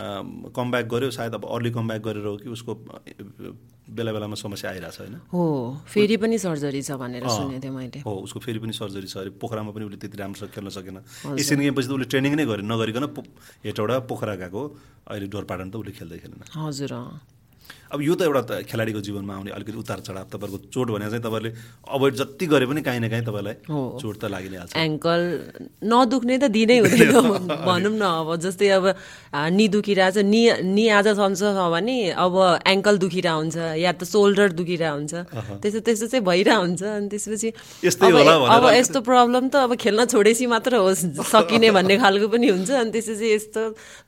S1: कमब्याक गर्यो सायद अब अर्ली कमब्याक गरेर हो कि उसको बेला बेलामा समस्या आइरहेछ होइन
S2: हो फेरि पनि सर्जरी छ भनेर सुनेको थिएँ मैले
S1: हो उसको फेरि पनि सर्जरी छ अरे पोखरामा पनि उसले त्यति राम्रोसँग खेल्न सकेन एसियन गेमपछि त उसले ट्रेनिङ नै गरे नगरिकन पो हेटौँडा पोखरा गएको अहिले डोरपाटन त उसले खेल्दै खेलेन
S2: हजुर अँ
S1: अब यो त एउटा त खेलाडीको जीवनमा आउने अलिकति उतार चढाव तपाईँहरूको चोट भनेर चाहिँ तपाईँले अभोइड जति गरे पनि काहीँ न काहीँ तपाईँलाई
S2: हो।
S1: चोट त लागि नै हाल्छ
S2: एङ्कल नदुख्ने त दिनै हुँदैन भनौँ न अब जस्तै अब आ, नि दुखिरहेछ नि नि आज सन्चो छ भने अब एङ्कल दुखिरह हुन्छ या त सोल्डर दुखिरह हुन्छ त्यस्तो त्यस्तो चाहिँ भइरह हुन्छ अनि त्यसपछि
S1: यस्तै
S2: अब-
S1: होला भनेर
S2: अब यस्तो प्रब्लम त अब खेल्न छोडेपछि मात्र होस् सकिने भन्ने खालको पनि हुन्छ अनि त्यसपछि यस्तो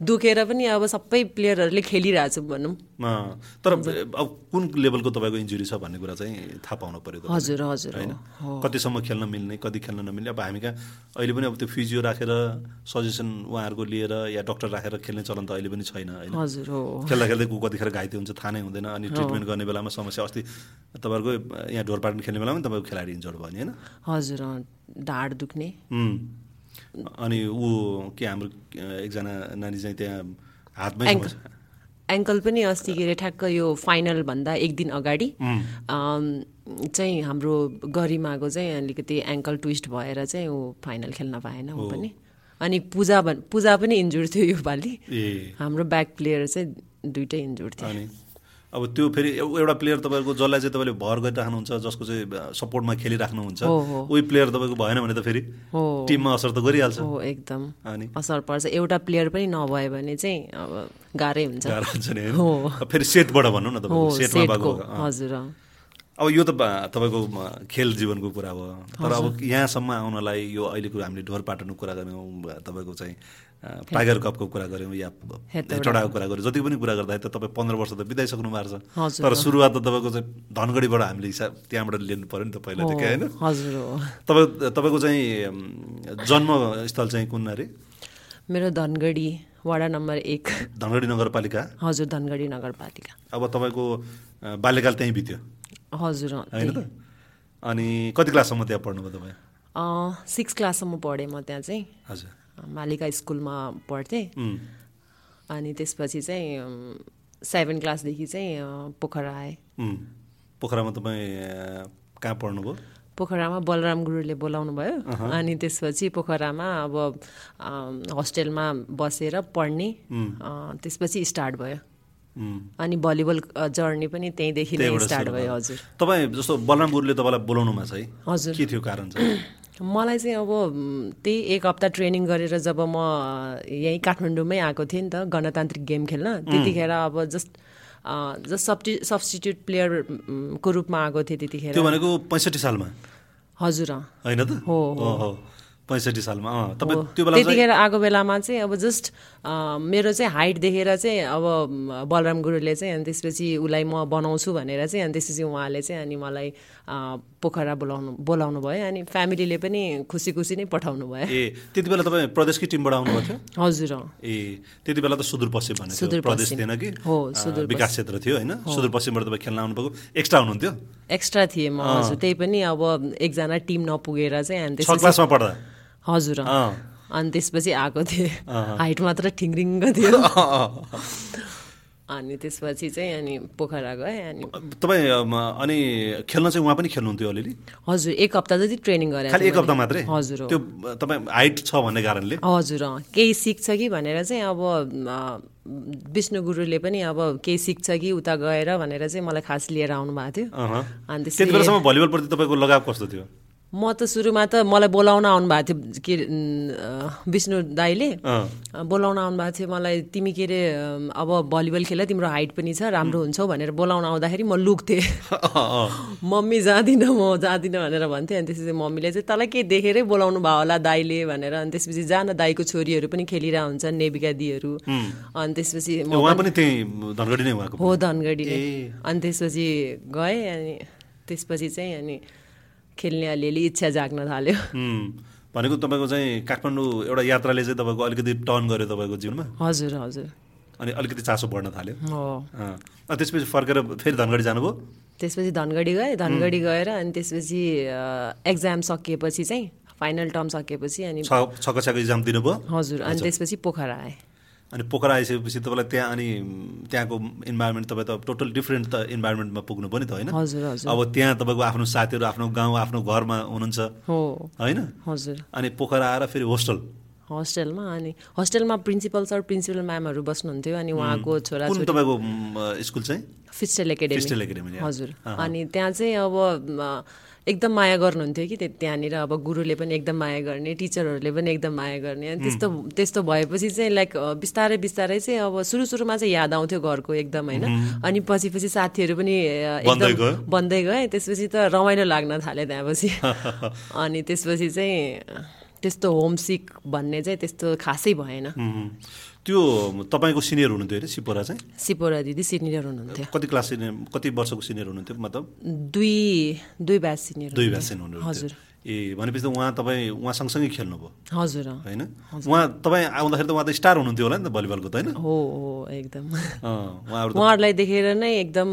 S2: दुखेर पनि अब सबै प्लेयरहरूले खेलिरहेछौँ भनौँ
S1: अँ, तर अब कुन लेभलको तपाईँको इन्जुरी छ भन्ने कुरा चाहिँ थाहा पाउनु पऱ्यो तपाईँले।
S2: हजुर हजुर
S1: होइन कतिसम्म खेल्न मिल्ने कति खेल्न नमिल्ने अब हामी कहाँ अहिले पनि अब त्यो फिजियो राखेर सजेसन उहाँहरूको लिएर या डक्टर राखेर खेल्ने चलन त अहिले पनि छैन होइन
S2: हजुर हो
S1: खेल्दा खेल्दै को कतिखेर घाइते हुन्छ थाहा नै हुँदैन अनि ट्रिटमेन्ट गर्ने बेलामा समस्या अस्ति तपाईँहरूको यहाँ ढोरपाटन खेल्ने बेलामा पनि तपाईँको खेलाडी इन्जोर्ड भयो नि होइन
S2: हजुर अँ, ढाड दुख्ने
S1: उम्, अनि ऊ के हाम्रो अँ, एकजना नानी चाहिँ त्यहाँ हातमै
S2: एङ्कल
S1: समस्या-
S2: एङ्कल पनि अस्ति के अरे ठ्याक्क यो फाइनल भन्दा एक दिन अगाडि अम, चाहिँ हाम्रो गरिमाको चाहिँ अलिकति एङ्कल ट्विस्ट भएर चाहिँ ऊ फाइनल खेल्न भएन ऊ पनि अनि पूजा भन् पूजा पनि इन्जुर थियो योपालि
S1: ए
S2: हाम्रो ब्याक प्लेयर चाहिँ दुइटै इन्जुर थियो
S1: अनि अब त्यो फेरि एउ- एउटा प्लेयर तपाईँको जसलाई चाहिँ तपाईँले भर गरिराख्नुहुन्छ जसको चाहिँ सपोर्टमा खेलिराख्नुहुन्छ
S2: हो, हो।
S1: उही प्लेयर तपाईँको भएन भने त फेरि
S2: हो
S1: टिममा असर त गरिहाल्छ
S2: हो एकदम
S1: अनि
S2: असर पर्छ एउटा प्लेयर पनि नभयो भने चाहिँ अब गाह्रै हुन्छ
S1: गाह्रो हुन्छ नि
S2: हो।
S1: होइन फेरि सेटबाट भनौँ न
S2: हो
S1: तपाईँको सेटमा भएको
S2: सेटको
S1: अँ।
S2: हजुर अँ।
S1: अब यो त बा- तपाईँको म- खेल जीवनको कुरा भयो तर अब यहाँसम्म आउनलाई यो अहिलेको हामीले ढोर पाटनको कुरा गऱ्यौँ तपाईँको चाहिँ अँ, टाइगर कपको कुरा गऱ्यौँ या हेटौडाको कुरा गऱ्यौँ जति पनि कुरा गर्दाखेरि त तपाईँ पन्ध्र वर्ष त बिताइसक्नु भएको छ
S2: हजुर।
S1: तर सुरुवात त तपाईँको चाहिँ धनगढीबाट हामीले हिसाब त्यहाँबाट लिनु पऱ्यो नि त पहिला
S2: हो,
S1: चाहिँ होइन
S2: हजुर हो
S1: तपाईँ तपाईँको चाहिँ अम्, जन्मस्थल चाहिँ कुन अरे
S2: मेरो धनगढी वडा नम्बर एक
S1: धनगढी नगरपालिका
S2: हजुर धनगढी नगरपालिका
S1: अब तपाईँको अँ, बाल्यकाल त्यहीँ बित्यो
S2: हजुर अँ,
S1: होइन त अनि कति क्लाससम्म त्यहाँ पढ्नुभयो तपाईँ
S2: अँ, सिक्स क्लाससम्म पढेँ म त्यहाँ चाहिँ
S1: हजुर
S2: मालिका स्कुलमा पढ्थेँ
S1: उम्,
S2: अनि त्यसपछि चाहिँ अम्, सेभेन क्लासदेखि चाहिँ अँ, पोखरा आएँ
S1: उम्। पोखरामा तपाईँ अँ, कहाँ पढ्नुभयो
S2: पोखरामा बलराम गुरुले बोलाउनु भयो अनि त्यसपछि पोखरामा अब अम्, होस्टेलमा बसेर पढ्ने अँ, त्यसपछि स्टार्ट भयो
S1: उम्,
S2: अनि भलिबल अ, जर्नी पनि त्यहीँदेखि नै
S1: त्यहाँबाट
S2: स्टार्ट
S1: सुरु
S2: भयो
S1: भयो।
S2: हजुर
S1: तपाईँ जस्तो बलराम गुरुले तपाईँलाई बोलाउनुमा चाहिँ
S2: हजुर
S1: के थियो कारण चाहिँ
S2: मलाई चाहिँ अब म, त्यही एक हप्ता ट्रेनिङ गरेर जब म अ, यहीँ काठमाडौँमै आएको थिएँ नि त गणतान्त्रिक गेम खेल्न त्यतिखेर अब जस्ट अ, जस्ट सब्टि सब्सटिट्युट प्लेयर म, को रूपमा आएको थिएँ त्यतिखेर
S1: त्यो भनेको पैँसठी सालमा
S2: हजुर अँ
S1: होइन त
S2: हो,
S1: पैँसठी सालमा अँ तपाईँ
S2: हो।
S1: त्यो बेला चाहिँ
S2: त्यतिखेर आएको बेलामा चाहिँ अब जस्ट अ, मेरो चाहिँ हाइट देखेर चाहिँ अब म, बलराम गुरुले चाहिँ अनि त्यसपछि उसलाई म बनाउँछु भनेर चाहिँ अनि त्यसपछि उहाँले चाहिँ अनि मलाई अ, पोखरा बोलाउनु बोलाउनु भयो अनि फ्यामिलीले पनि खुसी खुसी नै पठाउनु भयो
S1: ए त्यति बेला तपाईँ प्रदेशकै टिमबाट आउनुभएको थियो
S2: हजुर अँ
S1: ए त्यति बेला त सुदूरपश्चिम भन्ने थियो
S2: सुदूरपश्चिम।
S1: प्रदेश थिएन कि
S2: हो,
S1: अँ,
S2: सुदूरपश्चिम।
S1: विकास क्षेत्र थियो होइन सुदूरपश्चिमबाट तपाईँ खेल्न आउनुभएको एक्स्ट्रा हुनुहुन्थ्यो
S2: एक्स्ट्रा थिएँ म हजुर त्यही पनि अब एकजना टिम नपुगेर चाहिँ अनि
S1: छ
S2: त्यसपछि
S1: क्लासमा पढ्दा
S2: हजुर अँ।
S1: अँ।
S2: अनि त्यसपछि आएको थिएँ हाइट मात्र ठिङरिङ्ग थियो अनि त्यसपछि चाहिँ अनि पोखरा गएँ अनि
S1: तपाईँ अम, अनि खेल्न चाहिँ उहाँ पनि खेल्नुहुन्थ्यो अलिअलि
S2: हजुर एक हप्ता जति ट्रेनिङ गरेँ
S1: खालि एक हप्ता मात्रै
S2: हजुर हो
S1: त्यो अ, तपाईँ हाइट छ भन्ने कारणले
S2: हजुर अँ केही सिक्छ कि भनेर चाहिँ अब अ, विष्णु गुरुले पनि अब केही सिक्छ कि उता गएर भनेर चाहिँ मलाई खास लिएर आउनु भएको थियो
S1: अहँ।
S2: अनि
S1: त्यति
S2: त्यसपछि
S1: बेलासम्म भलिबलप्रति तपाईँको लगाव कस्तो थियो
S2: म त सुरुमा त मलाई बोलाउन आउनुभएको थियो के अ, विष्णु दाईले
S1: अँ।
S2: बोलाउन आउनुभएको थियो मलाई तिमी के अरे अम, अब भलिबल खेल तिम्रो हाइट पनि छ राम्रो हुन्छौ भनेर बोलाउन आउँदाखेरि म लुक्थेँ
S1: अँ, अँ।
S2: मम्मी जाँदिनँ म जाँदिनँ भनेर भन्थेँ अनि त्यसपछि मम्मीले चाहिँ तँलाई के देखेरै बोलाउनु भयो होला दाईले भनेर अनि त्यसपछि जान दाईको छोरीहरू पनि खेलिरह हुन्छन् नेविका दीहरू अनि त्यसपछि म
S1: उहाँ पनि त्यही धनगढी नै उहाँको
S2: हो धनगढीले
S1: ए।
S2: अनि त्यसपछि गएँ अनि त्यसपछि चाहिँ अनि खेल्ने अलिअलि इच्छा जाग्न थाल्यो
S1: उम्, भनेको तपाईँको चाहिँ काठमाडौँ एउटा यात्राले चाहिँ तपाईँको अलिकति टर्न गर्यो तपाईँको जीवनमा
S2: हजुर हजुर
S1: अनि अलिकति चासो बढ्न थाल्यो
S2: हो
S1: अँ। अनि त्यसपछि फर्केर फेरि धनगढी जानुभयो
S2: त्यसपछि धनगढी गएँ धनगढी गएर अनि त्यसपछि अ, एक्जाम सकिएपछि चाहिँ फाइनल टर्म सकिएपछि अनि
S1: छ छ कक्षाको इक्जाम दिनुभयो
S2: हजुर अनि त्यसपछि पोखरा आएँ
S1: अनि पोखरा आइसकेपछि तपाईँलाई त्यहाँ अनि त्यहाँको इन्भाइरोमेन्ट तपाईँ त टोटल डिफ्रेन्ट त इन्भाइरोमेन्टमा पुग्नु पनि त होइन
S2: हजुर हजुर
S1: अब त्यहाँ तपाईँको आफ्नो साथीहरू आफ्नो गाउँ आफ्नो घरमा हुनुहुन्छ
S2: हो
S1: होइन
S2: हजुर
S1: अनि पोखरा आएर फेरि होस्टल
S2: हस्टेलमा अनि हस्टेलमा प्रिन्सिपल सर प्रिन्सिपल म्यामहरू बस्नुहुन्थ्यो अनि उहाँको छोरा
S1: कुन तपाईँको म, स्कुल चाहिँ
S2: फिस्टेल एकाडेमी
S1: क्रिस्टल एकाडेमी यहाँ।
S2: हजुर अनि त्यहाँ चाहिँ अब म, एकदम माया गर्नुहुन्थ्यो कि त्यो- त्यहाँनिर अब गुरुले पनि एकदम माया गर्ने टिचरहरूले पनि एकदम माया गर्ने अनि त्यस्तो त्यस्तो भएपछि चाहिँ लाइक अ, बिस्तारै बिस्तारै चाहिँ अब सुरु सुरुमा चाहिँ याद आउँथ्यो घरको एकदम होइन अनि पछि पछि साथीहरू पनि अ,
S1: बन्दै
S2: एकदम
S1: गयो?
S2: बन्दै गए त्यसपछि त रमाइलो लाग्न थाल्यो त्यहाँपछि अनि त्यसपछि चाहिँ त्यस्तो होमसिक भन्ने चाहिँ त्यस्तो खासै भएन
S1: उम्, त्यो तपाईँको सिनियर हुनुहुन्थ्यो अरे सिपोरा चाहिँ
S2: सिपोरा दिदी सिनियर हुनुहुन्थ्यो
S1: कति क्लास सिनियर कति वर्षको सिनियर हुनुहुन्थ्यो मतलब
S2: दुई दुई ब्याच सिनियर
S1: दुई भाषण हुनुहुन्थ्यो
S2: हजुर।
S1: ए भनेपछि त उहाँ तपाईँ उहाँ सँगसँगै खेल्नुभयो
S2: हजुर अँ।
S1: होइन उहाँ तपाईँ आउँदाखेरि त उहाँ त स्टार हुनुहुन्थ्यो होला नि त भलिबलको त होइन
S2: हो हो एकदम
S1: अँ, उहाँहरू त
S2: उहाँहरूलाई देखेर नै एकदम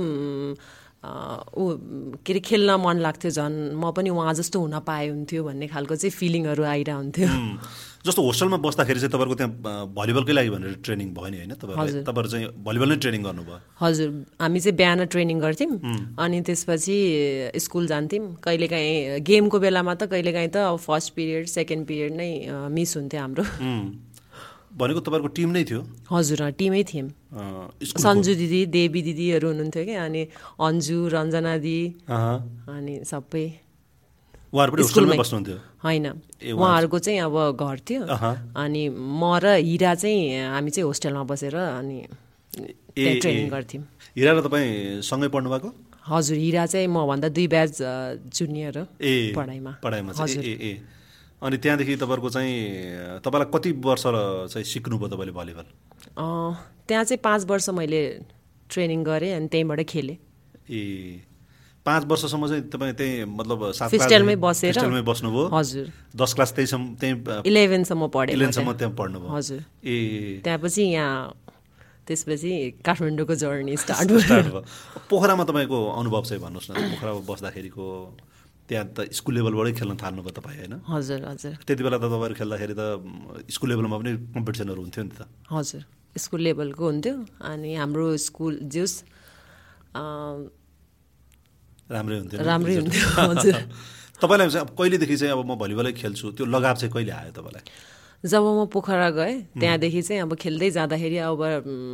S2: अ, ऊ के अरे खेल्न मन लाग्थ्यो झन् म पनि उहाँ जस्तो हुन पाए हुन्थ्यो भन्ने खालको चाहिँ फिलिङहरू आइरहन्थ्यो
S1: उम्, जस्तो होस्टलमा बस्दाखेरि चाहिँ तपाईँहरूको त्यहाँ अँ, भलिबलकै लागि भनेर ट्रेनिङ भयो नि होइन तपाईँहरू तपाईँहरू चाहिँ भलिबल नै ट्रेनिङ गर्नुभयो
S2: हजुर हामी चाहिँ बिहान ट्रेनिङ गर्थ्यौँ अनि त्यसपछि स्कुल जान्थ्यौँ कहिलेकाहीँ गेमको बेलामा त कहिलेकाहीँ त अब फर्स्ट पिरियड सेकेन्ड पिरियड नै मिस हुन्थ्यो हाम्रो
S1: उम्, भनेको तपाईँहरूको टिम नै थियो
S2: हजुर अँ, टिमै थियौँ
S1: अँ, स्कुल
S2: सन्जु दिदी देवी दिदीहरू हुनुहुन्थ्यो कि अनि अन्जु रञ्जना दिदी
S1: अँ,
S2: अनि सबै
S1: उहाँहरू पनि होस्टलमै बस्नुहुन्थ्यो
S2: होइन
S1: ए, उहाँ-
S2: उहाँहरूको चाहिँ अब घर थियो
S1: अहँ।
S2: अनि म र हिरा चाहिँ हामी चाहिँ होस्टेलमा बसेर अनि त्यहाँ
S1: ए,
S2: ट्रेनिङ
S1: ए।
S2: गर्थ्यौँ
S1: हिरा र तपाईँ सँगै पढ्नु भएको
S2: हजुर हिरा चाहिँ मभन्दा दुई ब्याच अ, जुनियर हो
S1: ए
S2: पढाइमा
S1: पढाइमा चाहिँ
S2: हजुर।
S1: ए ए ए। अनि त्यहाँदेखि तपाईँहरूको चाहिँ तपाईँलाई कति वर्ष चाहिँ सिक्नुभयो तपाईँले भलिबल
S2: अ, त्यहाँ चाहिँ पाँच वर्ष मैले ट्रेनिङ गरेँ अनि त्यहीँबाट खेलेँ
S1: ए पाँच वर्षसम्म चाहिँ तपाईँ त्यही मतलब सात
S2: फिस्टेलमै
S1: क्लासदेखि-
S2: बसेर
S1: फिस्टेलमै बस्नुभयो
S2: हजुर
S1: दस क्लास त्यहीसम्म त्यहीँ
S2: इलेभेनसम्म पढेँ म
S1: इलेभेनसम्म
S2: त्यहाँ।
S1: त्यहाँ पढ्नुभयो
S2: हजुर
S1: ए
S2: त्यहाँपछि यहाँ त्यसपछि काठमाडौँको जर्नी स्टार्ट
S1: स्टार्ट
S2: भयो
S1: भयो पोखरामा तपाईँको अनुभव चाहिँ भन्नुहोस् न पोखरामा बस्दाखेरिको त्यहाँ त स्कुल लेभलबाटै खेल्न थाल्नुभयो तपाईँ होइन
S2: हजुर हजुर
S1: त्यति बेला त तपाईँहरू खेल्दाखेरि त स्कुल लेभलमा पनि कम्पिटिसनहरू हुन्थ्यो नि त
S2: हजुर स्कुल लेभलको हुन्थ्यो अनि हाम्रो स्कुल जुस अम,
S1: राम्रै हुन्थ्यो नि?
S2: राम्रै हुन्थ्यो हजुर
S1: तपाईँलाई चाहिँ अब कहिलेदेखि चाहिँ अब म भलिबलै खेल्छु त्यो लगाव चाहिँ कहिले आयो तपाईँलाई
S2: जब म पोखरा गएँ त्यहाँदेखि चाहिँ अब खेल्दै जाँदाखेरि अब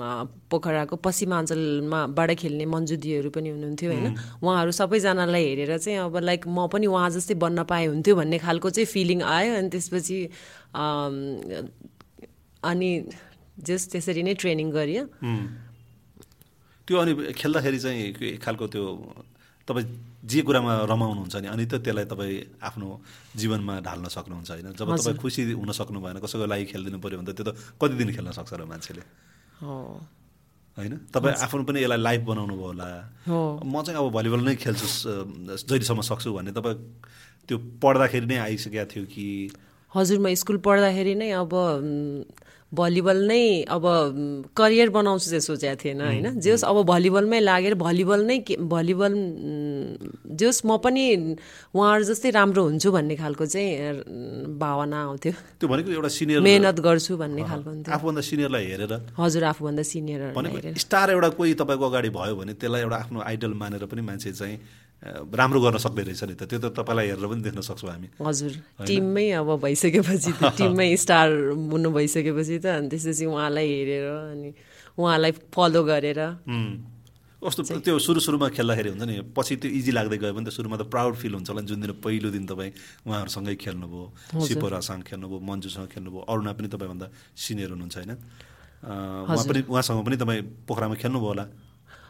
S2: म, पोखराको पश्चिमाञ्चलमाबाट खेल्ने मन्जुदीहरू पनि हुनुहुन्थ्यो होइन उहाँहरू सबैजनालाई हेरेर चाहिँ अब लाइक म पनि उहाँ जस्तै बन्न पाए हुन्थ्यो भन्ने खालको चाहिँ फिलिङ आयो अनि त्यसपछि अम, अनि जस त्यसरी नै ट्रेनिङ गरियो
S1: त्यो अनि खेल्दाखेरि चाहिँ के खालको त्यो तपाईँ जे कुरामा रमाउनुहुन्छ नि अनि त त्यसलाई तपाईँ आफ्नो जीवनमा ढाल्न सक्नुहुन्छ होइन जब तपाईँ खुसी हुन सक्नु भएन कसैको लागि खेलिदिनु पऱ्यो भने त त्यो त कति दिन खेल्न सक्छ र मान्छेले
S2: हो
S1: होइन तपाईँ आफ्नो पनि यसलाई लाइफ बनाउनु भयो होला
S2: हो
S1: म चाहिँ अब भलिबल नै खेल्छु अ, जहिलेसम्म सक्छु भन्ने तपाईँ त्यो पढ्दाखेरि नै आइसकेको थियो कि
S2: हजुर म स्कुल पढ्दाखेरि नै अब म, भलिबल नै अब म, करियर बनाउँछु चाहिँ सोचेको थिएन होइन जोस् अब भलिबलमै लागेर भलिबल नै के- भलिबल जोस् म पनि उहाँहरू जस्तै राम्रो हुन्छु भन्ने खालको चाहिँ म, भावना आउँथ्यो
S1: त्यो भनेको एउटा सिनियर
S2: मेहनत गर्छु भन्ने खालको हुन्थ्यो
S1: आफूभन्दा सिनियरलाई हेरेर
S2: हजुर आफूभन्दा सिनियरहरूलाई हेरेर
S1: भनेको स्टार एउटा कोही तपाईँको अगाडि भयो भने त्यसलाई एउटा आफ्नो आइडल मानेर पनि मान्छे चाहिँ अ, राम्रो गर्न सक्ने रहेछ नि त त्यो त तपाईँलाई हेरेर पनि देख्न सक्छौँ हामी
S2: हजुर टिममै अब भइसकेपछि त टिममै स्टार हुनु भइसकेपछि त अनि त्यसपछि उहाँलाई हेरेर अनि उहाँलाई फलो गरेर
S1: उम्, कस्तो त्यो सुरु सुरुमा खेल्दाखेरि हुन्छ नि पछि त्यो इजी लाग्दै गयो भने त सुरुमा त प्राउड फिल हुन्छ होला नि जुन दिन पहिलो दिन तपाईँ उहाँहरूसँगै खेल्नुभयो सिपरासँग खेल्नुभयो मन्जुसँग खेल्नुभयो अरुणा पनि तपाईँभन्दा सिनियर हुनुहुन्छ होइन उहाँ पनि उहाँसँग पनि तपाईँ पोखरामा खेल्नुभयो होला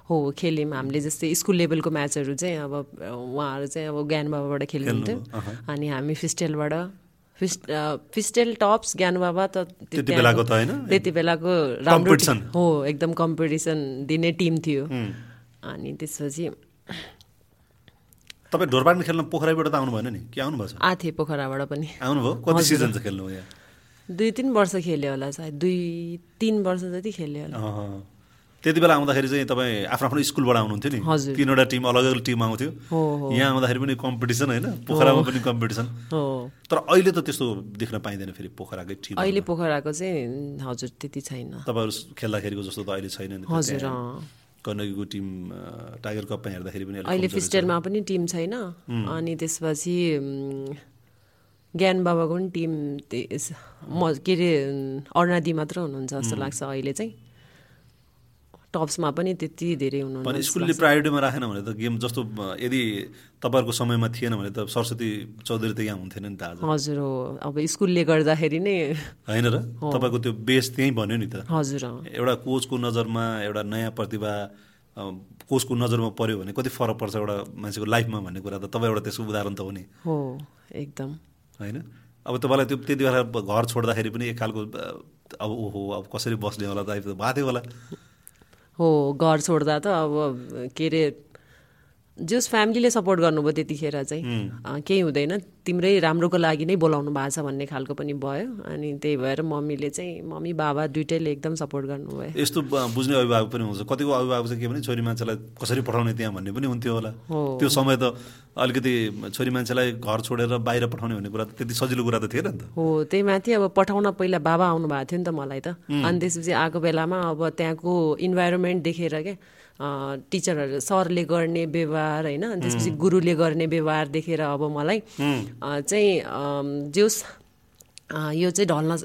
S2: हो खेल्यौँ हामीले जस्तै स्कुल लेभलको म्याचहरू चाहिँ अब उहाँहरू चाहिँ अब ज्ञानबाबाबाट खेल्नुहुन्थ्यो अनि हामी फिस्टेलबाट फिस्ट फिस्टेल टप्स ज्ञानबाबा त
S1: त्यति बेलाको त होइन
S2: त्यति बेलाको राम्रो हो एकदम कम्पिटिसन दिने टिम थियो अनि त्यसपछि
S1: तपाईँ ढोरबाटमा खेल्न पोखराबाट त आउनु भएन नि कि आउनु भएछ
S2: आएको थिएँ पोखराबाट पनि
S1: आउनुभयो कति सिजन चाहिँ खेल्नु यहाँ
S2: दुई तिन वर्ष खेल्यो होला सायद दुई तिन वर्ष जति खेल्यो होला
S1: त्यति बेला आउँदाखेरि चाहिँ तपाईँ आफ्नो आफ्नो स्कुलबाट आउनुहुन्थ्यो नि तिनवटा टिम अलग अलग टिम आउँथ्यो यहाँ आउँदाखेरि पनि कम्पिटिसन होइन पोखरामा पनि कम्पिटिसन तर अहिले त त्यस्तो देख्न पाइँदैन फेरि पोखराकै टिम
S2: अहिले पोखराको चाहिँ हजुर त्यति छैन
S1: तपाईँहरू खेल्दाखेरिको जस्तो त अहिले छैन
S2: हजुर
S1: कर्णकीको टिम टाइगर कपमा हेर्दाखेरि पनि
S2: अहिले फिस्टेलमा पनि टिम छैन अनि त्यसपछि ज्ञान बाबाको पनि टिम म के अरे अर्णादी मात्र हुनुहुन्छ जस्तो लाग्छ अहिले चाहिँ टप्समा पनि त्यति धेरै हुनुहुन्छ
S1: भने स्कुलले प्रायोरिटीमा राखेन भने त गेम जस्तो यदि तपाईँहरूको समयमा थिएन भने त सरस्वती चौधरी त यहाँ हुन्थेन नि त आज
S2: हजुर हो अब स्कुलले गर्दाखेरि नै
S1: होइन र तपाईँको त्यो बेस त्यहीँ भन्यो नि त
S2: हजुर
S1: एउटा कोचको नजरमा एउटा नयाँ प्रतिभा कोचको नजरमा पर्यो भने कति फरक पर्छ एउटा मान्छेको लाइफमा भन्ने कुरा त तपाईँ एउटा त्यसको उदाहरण त हो नि
S2: हो एकदम
S1: होइन अब तपाईँलाई त्यो त्यति बेला घर छोड्दाखेरि पनि एक खालको अब ओहो अब कसरी बस्ने होला त भएको थियो होला
S2: हो घर छोड्दा त अब के अरे जस फ्यामिलीले सपोर्ट गर्नुभयो त्यतिखेर चाहिँ केही हुँदैन तिम्रै राम्रोको लागि नै बोलाउनु भएको छ भन्ने खालको पनि भयो अनि त्यही भएर मम्मीले चाहिँ मम्मी बाबा दुइटैले एकदम सपोर्ट गर्नुभयो
S1: यस्तो बुझ्ने अभिभावक पनि हुन्छ कतिको अभिभावक चाहिँ के भने छोरी मान्छेलाई कसरी पठाउने त्यहाँ भन्ने पनि हुन्थ्यो होला त्यो समय त अलिकति छोरी मान्छेलाई घर छोडेर बाहिर पठाउने भन्ने कुरा त त्यति सजिलो कुरा त थिएन नि त
S2: हो त्यही माथि अब पठाउन पहिला बाबा आउनु भएको थियो नि त मलाई त अनि त्यसपछि आएको बेलामा अब त्यहाँको इन्भाइरोमेन्ट देखेर क्या टिचरहरू सरले गर्ने व्यवहार होइन त्यसपछि गुरुले गर्ने व्यवहार देखेर अब मलाई चाहिँ जोस यो चाहिँ ढल्न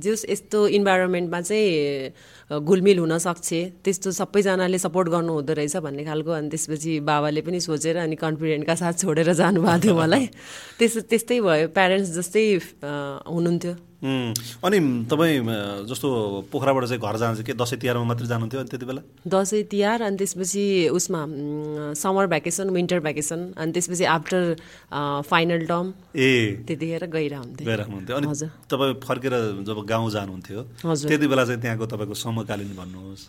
S2: जोस यस्तो इन्भाइरोमेन्टमा चाहिँ घुलमिल हुनसक्छ त्यस्तो सबैजनाले सपोर्ट गर्नु हुँदो रहेछ भन्ने खालको अनि त्यसपछि बाबाले पनि सोचेर अनि कन्फिडेन्टका साथ छोडेर जानुभएको थियो मलाई त्यस्तो त्यस्तै भयो प्यारेन्ट्स जस्तै हुनुहुन्थ्यो
S1: अनि तपाईँ जस्तो पोखराबाट चाहिँ घर जान्छ के दसैँ तिहारमा मात्रै जानुहुन्थ्यो अनि त्यति बेला
S2: दसैँ तिहार अनि त्यसपछि उसमा समर भ्याकेसन विन्टर भ्याकेसन अनि त्यसपछि आफ्टर फाइनल टर्म
S1: ए
S2: त्यतिखेर गइरहन्थ्यो
S1: गइराख्नुहुन्थ्यो अनि तपाईँ फर्केर जब गाउँ जानुहुन्थ्यो त्यति बेला चाहिँ त्यहाँको तपाईँको समकालीन भन्नुहोस्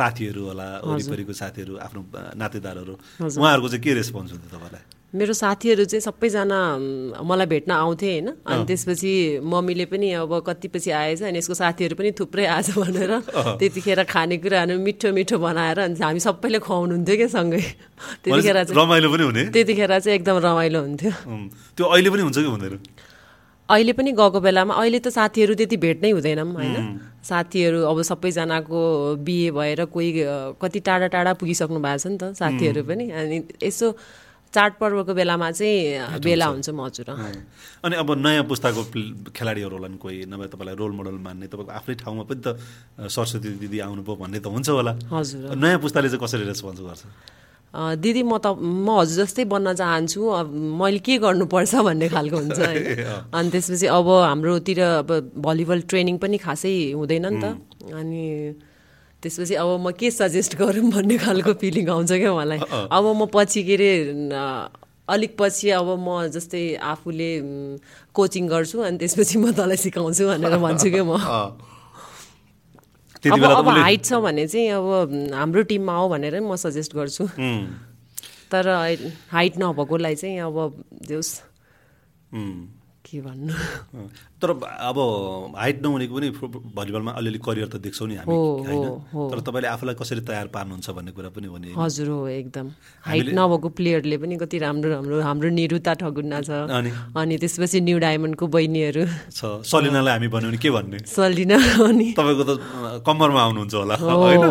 S1: साथीहरू होला वरिपरिको साथीहरू आफ्नो नातेदारहरू उहाँहरूको चाहिँ के रेस्पोन्स हुन्थ्यो तपाईँलाई
S2: मेरो साथीहरू चाहिँ सबैजना मलाई भेट्न आउँथे होइन अनि त्यसपछि मम्मीले पनि अब कति पछि आएछ अनि यसको साथीहरू पनि थुप्रै आएछ भनेर त्यतिखेर खानेकुराहरू मिठो मिठो बनाएर अनि हामी सबैले खुवाउनुहुन्थ्यो क्या सँगै त्यतिखेर
S1: चाहिँ रमाइलो पनि हुने
S2: त्यतिखेर चाहिँ एकदम रमाइलो हुन्थ्यो
S1: त्यो अहिले पनि हुन्छ कि हुँदैन
S2: अहिले पनि गएको बेलामा अहिले त साथीहरू त्यति भेट्नै हुँदैनौँ होइन साथीहरू अब सबैजनाको बिहे भएर कोही कति टाढा टाढा पुगिसक्नु भएको छ नि त साथीहरू पनि अनि यसो चाडपर्वको बेलामा चाहिँ भेला हुन्छौँ हजुर
S1: अनि अब नयाँ पुस्ताको खेलाडीहरू होला नि कोही नभए तपाईँलाई रोल मोडल मान्ने तपाईँको आफ्नै ठाउँमा पनि त सरस्वती दिदी आउनुभयो भन्ने त हुन्छ होला
S2: हजुर
S1: नयाँ पुस्ताले चाहिँ कसरी रेस्पोन्स गर्छ
S2: दिदी म त म हजुर जस्तै बन्न चाहन्छु अब मैले के गर्नुपर्छ भन्ने खालको हुन्छ होइन अनि त्यसपछि अब हाम्रोतिर अब भलिबल ट्रेनिङ पनि खासै हुँदैन नि त अनि त्यसपछि अब म के सजेस्ट गरौँ भन्ने खालको फिलिङ आउँछ क्या मलाई अब म पछि के अरे अलिक पछि अब म जस्तै आफूले कोचिङ गर्छु अनि त्यसपछि म तँलाई सिकाउँछु भनेर भन्छु क्या म अब अब हाइट छ भने चाहिँ अब हाम्रो टिममा आऊ भनेर म सजेस्ट गर्छु तर हाइट नभएकोलाई चाहिँ अब जोस् के भन्नु
S1: तर अब हाइट नहुनेको पनि भलिबलमा अलिअलि करियर त देख्छौँ नि हामी होइन तर तपाईँले आफूलाई कसरी तयार पार्नुहुन्छ भन्ने कुरा पनि हो नि
S2: हजुर हो एकदम हाइट नभएको प्लेयरले पनि कति राम्रो राम्रो हाम्रो निरुता ठगुन्ना छ अनि त्यसपछि न्यु डायमन्डको बहिनीहरू
S1: छ सलिनालाई हामी भन्यो भने के भन्ने
S2: सलिना अनि
S1: तपाईँको त कम्मरमा आउनुहुन्छ होला होइन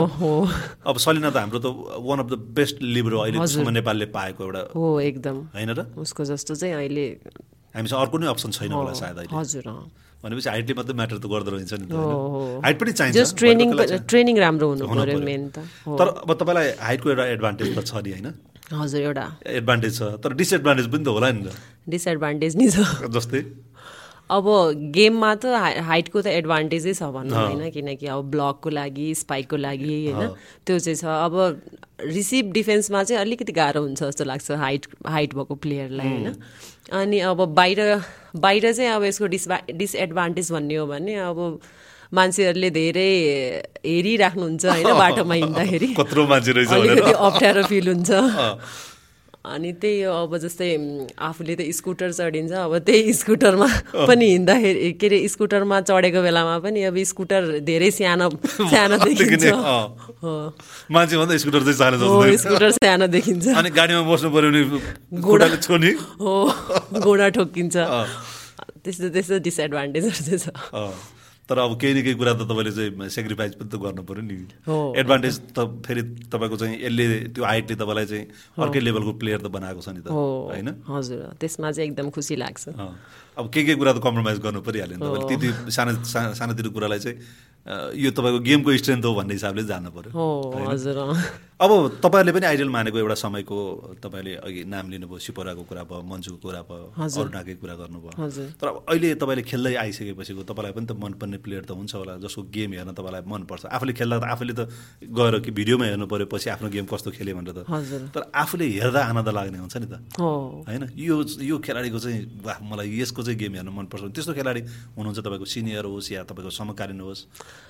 S1: अब सलिना त हाम्रो त one of the best libero अहिले नेपालले पाएको एउटा
S2: हो एकदम
S1: होइन र
S2: उसको जस्तो चाहिँ अहिले
S1: हामीसँग अर्को नै अप्सन छैन होला सायद अहिले
S2: हजुर अँ।
S1: भनेपछि हाइटले मात्रै म्याटर त गर्दो रहेछ नि त
S2: हो,
S1: होइन?
S2: हो।
S1: हाइट पनि चाहिन्छ
S2: जस्ट ट्रेनिङ
S1: भर्खरको लागि
S2: ट्रेनिङ राम्रो हुनु
S1: हुनु
S2: पर्यो
S1: पर्यो।
S2: मेन त हो।
S1: तर अब तपाईँलाई हाइटको एउटा एडभान्टेज त छ नि होइन
S2: हजुर एउटा
S1: एडभान्टेज छ तर डिसएडभान्टेज पनि त होला नि
S2: डिसएडभान्टेज नि छ
S1: त जस्तै
S2: अब गेममा त हाइ- हाइटको त एडभान्टेजै छ भनौँ होइन किनकि अब ब्लकको लागि स्पाइकको लागि होइन त्यो चाहिँ छ अब रिसिभ डिफेन्समा चाहिँ अलिकति गाह्रो हुन्छ जस्तो लाग्छ हाइट हाइट भएको प्लेयरलाई होइन अनि अब बाहिर बाहिर चाहिँ अब यसको डिसभा डिसएडभान्टेज भन्ने हो भने अब मान्छेहरूले धेरै हेरिराख्नुहुन्छ होइन बाटोमा हिँड्दाखेरि
S1: कत्रो मान्छे रहेछ भनेर
S2: अलिकति अप्ठ्यारो फिल हुन्छ
S1: अँ।
S2: अनि त्यही हो अब जस्तै म, आफूले त स्कुटर चढिन्छ अब त्यही स्कुटरमा पनि हिँड्दाखेरि के अरे स्कुटरमा चढेको बेलामा पनि अब स्कुटर धेरै सानो सानो देखिन्छ
S1: देखिने, अँ।
S2: हो
S1: मान्छे भन्दा स्कुटर चाहिँ सानो
S2: हो,
S1: जस्तो देखिन्छ।
S2: स्कुटर सानो देखिन्छ
S1: अनि गाडीमा बस्नु पर्यो भने गोडाले छोड्ने
S2: हो घोडा ठोक्किन्छ त्यस्तो त्यस्तो डिसएडभान्टेजहरू चाहिँ छ
S1: अँ। तर अब केही न केही कुरा त तपाईँले चाहिँ सेक्रिफाइस पनि त गर्नु पर्यो नि
S2: हो।
S1: एडभान्टेज त फेरि तपाईँको चाहिँ यसले त्यो हाइटले तपाईँलाई चाहिँ अर्कै लेभलको प्लेयर त बनाएको छ नि त
S2: हो
S1: होइन
S2: हजुर त्यसमा चाहिँ एकदम खुसी लाग्छ
S1: अँ। अब के के कुरा त कम्प्रोमाइज गर्नु परिहाल्यो नि तपाईँले त्यति सानो सा- सानोतिनो कुरालाई चाहिँ अँ, यो तपाईँको गेमको स्ट्रेन्थ हो भन्ने हिसाबले जानु पर्यो
S2: हो हजुर अँ।
S1: अब तपाईँहरूले पनि आइडल मानेको एउटा समयको तपाईँले अघि नाम लिनुभयो सिपराको कुरा भयो मन्जुको कुरा भयो अरुणाकै कुरा गर्नुभयो
S2: हजुर
S1: तर अब अहिले तपाईँले खेल्दै आइसकेपछिको तपाईँलाई पनि त मनपर्ने प्लेयर त हुन्छ होला जसको गेम हेर्न तपाईँलाई मनपर्छ आफूले खेल्दा त आफूले त गएर कि भिडियोमा हेर्नु पऱ्यो पछि आफ्नो गेम कस्तो खेल्यो भनेर त
S2: हजुर
S1: तर आफूले हेर्दा आनन्द लाग्ने हुन्छ नि त
S2: हो
S1: होइन यो यो खेलाडीको चाहिँ वाह मलाई यसको चाहिँ गेम हेर्न मनपर्छ त्यस्तो खेलाडी हुनुहुन्छ तपाईँको सिनियर होस् या तपाईँको समकालीन होस्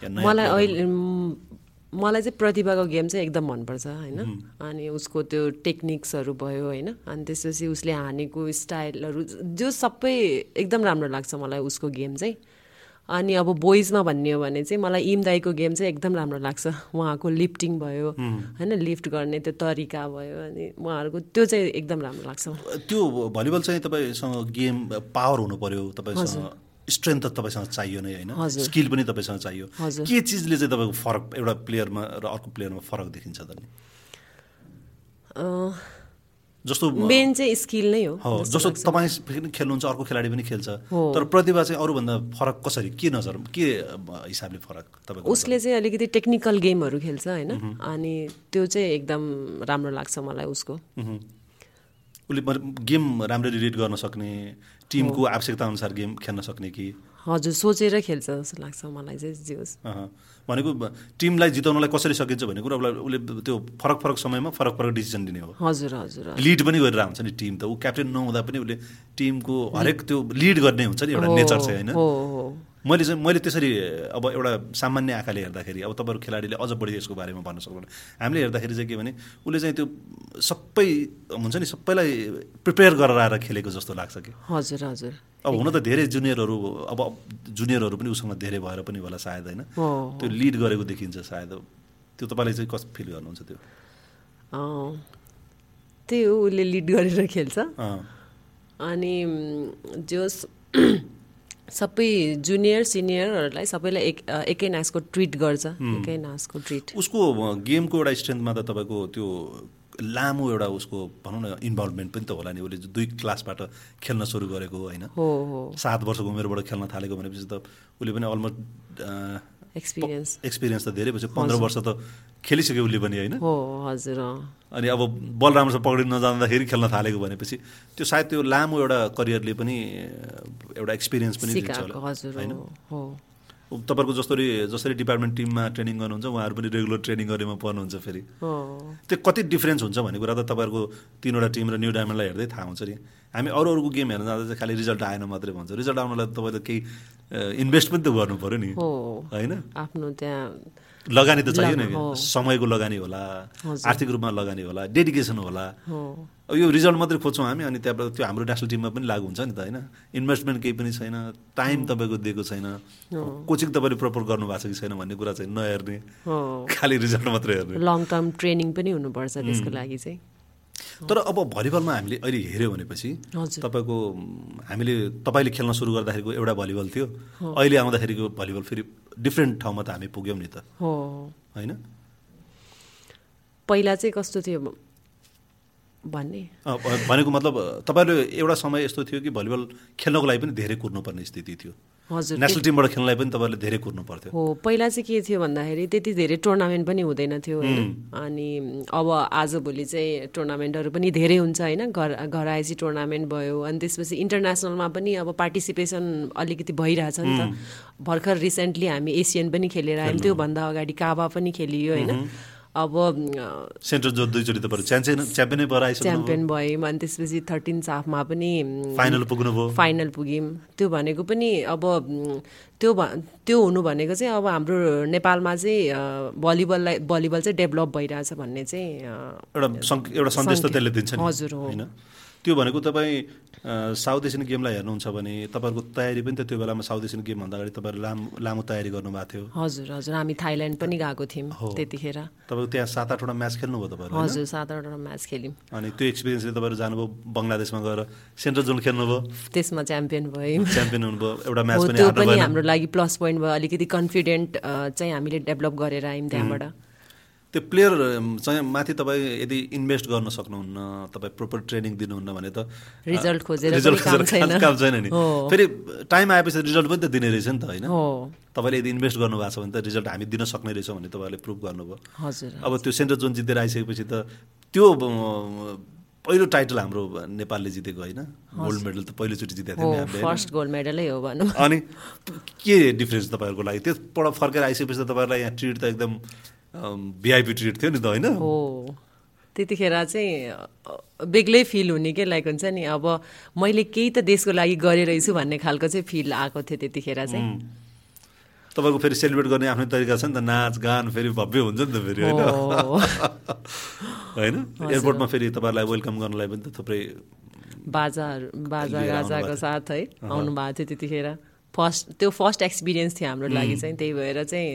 S1: या नयाँ
S2: मलाई अहिले म- मलाई चाहिँ प्रतिभाको गेम चाहिँ एकदम मनपर्छ होइन अनि उसको त्यो टेक्निक्सहरू भयो होइन अनि त्यसपछि उसले हानेको स्टाइलहरू जो सबै एकदम राम्रो लाग्छ मलाई उसको गेम चाहिँ अनि अब बोइजमा भन्ने हो भने चाहिँ मलाई इम दाईको गेम चाहिँ एकदम राम्रो लाग्छ उहाँको लिफ्टिङ भयो होइन लिफ्ट गर्ने त्यो तरिका भयो अनि उहाँहरूको त्यो चाहिँ एकदम राम्रो लाग्छ
S1: त्यो भलिबल चाहिँ तपाईँसँग गेम पावर हुनु पर्यो तपाईँसँग स्ट्रेन्थ त तपाईँसँग चाहियो नै होइन स्किल पनि तपाईँसँग चाहियो
S2: हजुर।
S1: के चिजले चाहिँ तपाईँको फरक एउटा प्लेयरमा र अर्को प्लेयरमा फरक देखिन्छ त नि? जस्तो
S2: मेन चाहिँ स्किल नै हो
S1: हो जस्तो तपाईँ पनि खेल्नुहुन्छ अर्को खेलाडी पनि खेल्छ तर प्रतिभा चाहिँ अरूभन्दा फरक कसरी के नजर के अ, हिसाबले फरक तपाईँको
S2: उसले चाहिँ अलिकति टेक्निकल गेमहरू खेल्छ होइन अनि त्यो चाहिँ एकदम राम्रो लाग्छ मलाई उसको
S1: मह्म। उसले मतलब गेम राम्ररी रिड गर्न सक्ने टिमको आवश्यकता अनुसार गेम खेल्न सक्ने कि
S2: हजुर सोचेर खेल्छ जस्तो लाग्छ मलाई चाहिँ जे होस्
S1: अहँ। भनेको ब- टिमलाई जिताउनलाई कसरी सकिन्छ भन्ने कुरा उसलाई उसले त्यो फरक फरक समयमा फरक फरक डिसिजन लिने हो
S2: हजुर हजुर
S1: लिड पनि गरेर हुन्छ नि टिम त ऊ क्याप्टेन नहुँदा पनि उसले टिमको हरेक त्यो लिड गर्ने हुन्छ नि एउटा नेचर चाहिँ होइन
S2: हो हो
S1: मैले चाहिँ मैले त्यसरी अब एउटा सामान्य आँखाले हेर्दाखेरि अब तपाईँहरू खेलाडीले अझ बढी यसको बारेमा भन्न सक्नुहुन्छ हामीले हेर्दाखेरि चाहिँ के भने उसले चाहिँ त्यो सबै हुन्छ नि सबैलाई प्रिपेयर गरेर आएर खेलेको जस्तो लाग्छ कि
S2: हजुर हजुर
S1: अब हुन त धेरै जुनियरहरू अब जुनियरहरू पनि उसँग धेरै भएर पनि होला सायद होइन
S2: हो
S1: त्यो लिड गरेको देखिन्छ सायद त्यो तपाईँले चाहिँ कस्तो फिल गर्नुहुन्छ त्यो
S2: अँ। त्यही हो उसले लिड गरेर खेल्छ
S1: अँ,
S2: अनि म, जो स- सबै जुनियर सिनियरहरूलाई सबैलाई एक अ, एकै नासको ट्रिट गर्छ एकै नासको ट्रिट
S1: उसको अँ, गेमको एउटा स्ट्रेन्थमा त तपाईँको त्यो लामो एउटा उसको भनौँ न इन्भल्भमेन्ट पनि त होला नि उसले दुई क्लासबाट खेल्न सुरु गरेको होइन
S2: हो हो
S1: सात वर्षको उमेरबाट खेल्न थालेको भनेपछि त उसले पनि अलमोस्ट
S2: एक्सपिरियन्स
S1: एक्सपिरियन्स त धेरै भएपछि पन्ध्र वर्ष त खेलिसक्यो उसले पनि होइन
S2: हो हजुर अँ।
S1: अनि अब बल राम्रोसँग पक्रिन नजाँदाखेरि खेल्न थालेको भनेपछि त्यो सायद त्यो लामो एउटा करियरले पनि अ, एउटा एक्सपिरियन्स पनि दिन्छ
S2: सिकाएको
S1: होला
S2: हजुर
S1: होइन
S2: हो हो
S1: अब तपाईँहरूको जसरी जसरी डिपार्टमेन्ट टिममा ट्रेनिङ गर्नुहुन्छ उहाँहरू पनि रेगुलर ट्रेनिङ गरेमा पर्नुहुन्छ फेरि
S2: हो
S1: त्यो कति डिफ्रेन्स हुन्छ भन्ने कुरा त तपाईँहरूको तिनवटा टिम र न्यु डायमन्डलाई हेर्दै थाहा हुन्छ नि हामी अरू अरूको गेम हेर्न जाँदा चाहिँ खालि रिजल्ट आएन मात्रै भन्छ रिजल्ट आउनलाई त तपाईँ त केही इन्भेस्ट पनि त गर्नु पऱ्यो नि
S2: हो
S1: होइन
S2: आफ्नो त्यहाँ
S1: लगानी त चाहियो नि समयको लगानी होला आर्थिक रूपमा लगानी होला डेडिकेसन होला
S2: हो
S1: अब यो रिजल्ट मात्रै खोज्छौँ हामी अनि त्यहाँबाट त्यो हाम्रो नेसनल टिममा पनि लागु हुन्छ नि त होइन इन्भेस्टमेन्ट केही पनि छैन टाइम तपाईँको दिएको छैन कोचिङ तपाईँले प्रपर गर्नुभएको छ कि छैन भन्ने कुरा चाहिँ नहेर्ने
S2: हो
S1: खालि रिजल्ट मात्रै हेर्ने
S2: लङ टर्म ट्रेनिङ पनि हुनुपर्छ त्यसको लागि चाहिँ
S1: तर अब भलिबलमा हामीले अहिले हेऱ्यौँ भनेपछि
S2: हजुर
S1: तपाईँको म, हामीले तपाईँले खेल्न सुरु गर्दाखेरिको एउटा भलिबल थियो अहिले आउँदाखेरिको भलिबल फेरि डिफ्रेन्ट ठाउँमा त हामी पुग्यौँ नि त
S2: हो
S1: होइन
S2: पहिला चाहिँ कस्तो थियो भन्ने
S1: अ, भ- भनेको मतलब अ, तपाईँहरू एउटा समय यस्तो थियो कि भलिबल खेल्नको लागि पनि धेरै कुर्नुपर्ने स्थिति थियो
S2: हजुर
S1: नेसनल टिमबाट खेल्नलाई पनि तपाईँहरूले धेरै कुर्नु पर्थ्यो
S2: हो पहिला चाहिँ के थियो भन्दाखेरि त्यति धेरै टुर्नामेन्ट पनि हुँदैन थियो होइन अनि अब आजभोलि चाहिँ टुर्नामेन्टहरू पनि धेरै हुन्छ होइन घर घर आएपछि टुर्नामेन्ट भयो अनि त्यसपछि इन्टरनेसनलमा पनि अब पार्टिसिपेसन अलिकति भइरहेछ नि त भर्खर रिसेन्टली हामी एसियन पनि खेलेर आयौँ त्योभन्दा अगाडि काबा पनि खेलियो होइन अब अ,
S1: सेन्टर जो दुईचोटि तपाईँहरू च्याम्पियन च्याम्पियनै भएर आइसक्नु
S2: च्याम्पियन भयौँ अनि त्यसपछि थर्टिन हाफमा पनि म,
S1: फाइनल पुग्नुभयो
S2: फाइनल पुग्यौँ त्यो भनेको पनि अब म, त्यो भ- त्यो हुनु भनेको चाहिँ अब हाम्रो नेपालमा चाहिँ अ, भलिबललाई भलिबल चाहिँ डेभलप भइरहेछ भन्ने चाहिँ अ,
S1: एउटा सङ्क एउटा सन्देश त त्यसले दिन्छ नि
S2: हजुर, हो।
S1: होइन त्यो भनेको तपाईँ अ, साउथ एसियन गेमलाई हेर्नुहुन्छ भने तपाईँहरूको तयारी पनि त त्यो बेलामा साउथ एसियन गेमभन्दा अगाडि तपाईँहरू लामो लामो तयारी गर्नुभएको थियो
S2: हजुर हजुर हामी थाइल्यान्ड पनि गएको थियौँ
S1: हो।
S2: त्यतिखेर
S1: तपाईँको त्यहाँ सात आठवटा म्याच खेल्नुभयो तपाईँहरू होइन?
S2: हजुर सात आठवटा म्याच खेल्यौँ
S1: अनि त्यो एक्सपिरियन्सले तपाईँहरू जानुभयो बङ्गलादेशमा गएर सेन्ट्रल जोन खेल्नुभयो
S2: त्यसमा च्याम्पियन भयौँ
S1: च्याम्पियन हुनुभयो एउटा म्याच
S2: हो
S1: पनि
S2: त्यो
S1: हार्नु
S2: पनि
S1: भएन
S2: हाम्रो लागि प्लस पोइन्ट भयो अलिकति कन्फिडेन्ट चाहिँ हामीले डेभलप गरेर आयौँ त्यहाँबाट
S1: त्यो प्लेयर अम, चाहिँ माथि तपाईँ यदि इन्भेस्ट गर्न सक्नुहुन्न तपाईँ प्रोपर ट्रेनिङ दिनुहुन्न भने त
S2: रिजल्ट खोजेर
S1: रिजल्ट
S2: पनि काम
S1: खोजेर काम-
S2: छैन।
S1: काम छैन नि
S2: हो।
S1: फेरि टाइम आएपछि रिजल्ट पनि त दिने रहेछ नि त होइन
S2: हो
S1: तपाईँले यदि इन्भेस्ट गर्नुभएको छ भने त रिजल्ट हामी दिन सक्ने रहेछौँ भन्ने तपाईँहरूले प्रुभ गर्नुभयो
S2: हजुर
S1: अब त्यो सेन्ट्रल जोन जितेर आइसकेपछि त त्यो अम, पहिलो टाइटल हाम्रो नेपालले जितेको होइन गोल्ड मेडल त पहिलोचोटि जितेको
S2: हो
S1: थियो नि हामीले होइन?
S2: फर्स्ट गोल्ड मेडलै हो भनौँ
S1: अनि के डिफ्रेन्स तपाईँहरूको लागि त्यसबाट फर्केर आइसकेपछि त तपाईँहरूलाई यहाँ ट्रिट त एकदम भिआइपी ट्रिट थियो नि त होइन
S2: हो त्यतिखेर चाहिँ अ, बेग्लै फिल हुने के लाइक हुन्छ नि अब मैले केही त देशको लागि गरिरहेछु भन्ने खालको चाहिँ फिल आएको थियो त्यतिखेर चाहिँ
S1: तपाईँको फेरि सेलिब्रेट गर्ने आफ्नो तरिका छ नि त नाच गान फेरि भव्य हुन्छ नि त फेरि होइन
S2: हो।
S1: होइन एयरपोर्टमा फेरि तपाईँहरूलाई वेलकम गर्नलाई पनि त थुप्रै
S2: बाजाहरू बाजा
S1: लिएर
S2: गाजाको
S1: आउनुभएको
S2: साथ है आउनुभएको थियो त्यतिखेर फर्स्ट त्यो फर्स्ट एक्सपिरियन्स थियो हाम्रो लागि चाहिँ त्यही भएर चाहिँ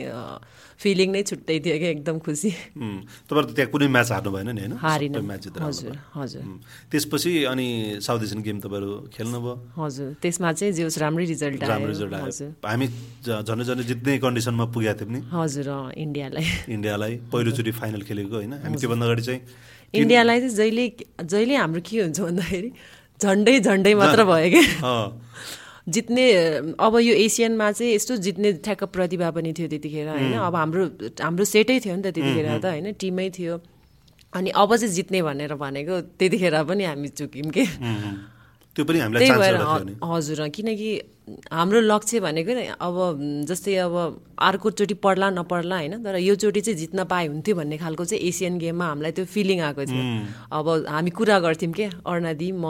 S2: फिलिङ नै छुट्टै थियो कि एकदम खुसी
S1: उम्, तपाईँहरू त त्यहाँ कुनै म्याच हार्नु भएन नि होइन
S2: हारिन
S1: सबै म्याच जितेर
S2: हजुर हजुर
S1: आउनुभयो। उम्, त्यसपछि अनि साउथ एसियन गेम तपाईँहरू खेल्नुभयो
S2: हजुर त्यसमा चाहिँ जे होस् राम्रै रिजल्ट आयो
S1: राम्रो रिजल्ट आयो
S2: हजुर
S1: हामी ज- झन्डै झन्डै जित्ने कन्डिसनमा पुगेका थियौँ नि
S2: हजुर अँ, इन्डियालाई
S1: इन्डियालाई पहिलोचोटि फाइनल खेलेको होइन हामी त्योभन्दा अगाडि चाहिँ
S2: इन्डियालाई चाहिँ जहिले जहिले हाम्रो के हुन्छ भन्दाखेरि झन्डै झन्डै मात्र भयो कि
S1: अँ,
S2: जित्ने अब यो एसियनमा चाहिँ यस्तो जित्ने ठ्याक्क प्रतिभा पनि थियो त्यतिखेर होइन अब हाम्रो हाम्रो सेटै थियो नि त त्यतिखेर त होइन टिमै थियो अनि अब चाहिँ जित्ने भनेर भनेको त्यतिखेर पनि हामी चुक्यौँ कि
S1: उम्, उम्। त्यो पनि हामीलाई
S2: त्यही
S1: चान्स
S2: भएर
S1: एउटा थियो नि
S2: ह- हजुर अँ, किनकि हाम्रो लक्ष्य भनेको नै अब म, जस्तै अब अर्कोचोटि पढ्ला नपढ्ला होइन तर योचोटि चाहिँ जित्न पाए हुन्थ्यो भन्ने खालको चाहिँ एसियन गेममा हामीलाई त्यो फिलिङ आएको थियो अब हामी कुरा गर्थ्यौँ के अर्णादी म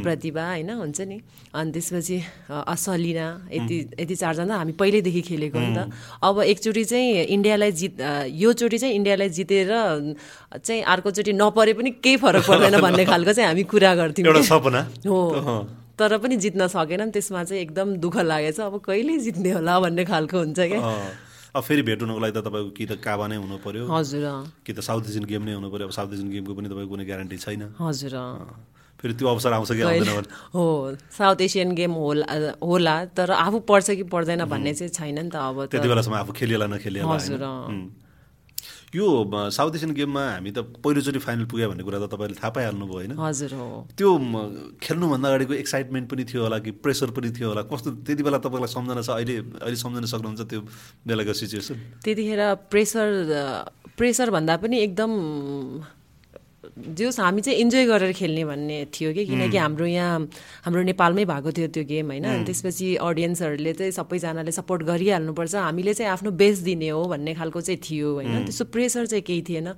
S2: प्रतिभा होइन हुन्छ नि अनि त्यसपछि अ, असलिना यति यति चारजना हामी पहिल्यैदेखि खेलेको हो नि त अब एकचोटि चाहिँ इन्डियालाई जित अ, योचोटि चाहिँ इन्डियालाई जितेर अ, चाहिँ अर्कोचोटि नपरे पनि केही फरक पर्दैन भन्ने खालको चाहिँ हामी कुरा गर्थ्यौँ
S1: एउटा
S2: के।
S1: सपना
S2: हो तर पनि जित्न सकेनन् त्यसमा चाहिँ एकदम दुःख लागेछ अब कहिले जित्ने होला भन्ने खालको हुन्छ क्या
S1: अँ, अब फेरि भेट हुनको लागि त तपाईँको कि त काबा नै हुनु पर्यो
S2: हजुर अँ,
S1: कि त साउथ एसियन गेम नै हुनु पर्यो अब साउथ एसियन गेमको पनि तपाईँको कुनै ग्यारेन्टी छैन
S2: हजुर अँ।
S1: फेरि त्यो अवसर आउँछ कि आउँदैन भने
S2: हो साउथ एसियन गेम होला होला तर आफू पढ्छ कि पढ्दैन भन्ने चाहिँ छैन नि त अब त
S1: त्यति बेलासम्म आफू खेलिएला नखेलिएला
S2: हजुर अँ।
S1: होइन? उम्। यो म, साउथ एसियन गेममा हामी त पहिलोचोटि फाइनल पुग्यो भन्ने कुरा त तपाईँले थाहा पाइहाल्नुभयो होइन
S2: हजुर हो
S1: त्यो म, खेल्नुभन्दा अगाडिको एक्साइटमेन्ट पनि थियो होला कि प्रेसर पनि थियो होला कस्तो त्यति बेला तपाईँलाई सम्झना छ अहिले अहिले सम्झन सक्नुहुन्छ त्यो बेलाको सिचुएसन
S2: त्यतिखेर प्रेसर अ, प्रेसर भन्दा पनि एकदम जे होस् हामी चाहिँ इन्जोय गरेर खेल्ने भन्ने थियो कि किनकि हाम्रो यहाँ हाम्रो नेपालमै भएको थियो त्यो गेम होइन अनि त्यसपछि अडियन्सहरूले चाहिँ सबैजनाले सपोर्ट गरिहाल्नुपर्छ हामीले चाहिँ आफ्नो बेस्ट दिने हो भन्ने खालको चाहिँ थियो होइन त्यस्तो प्रेसर चाहिँ केही थिएन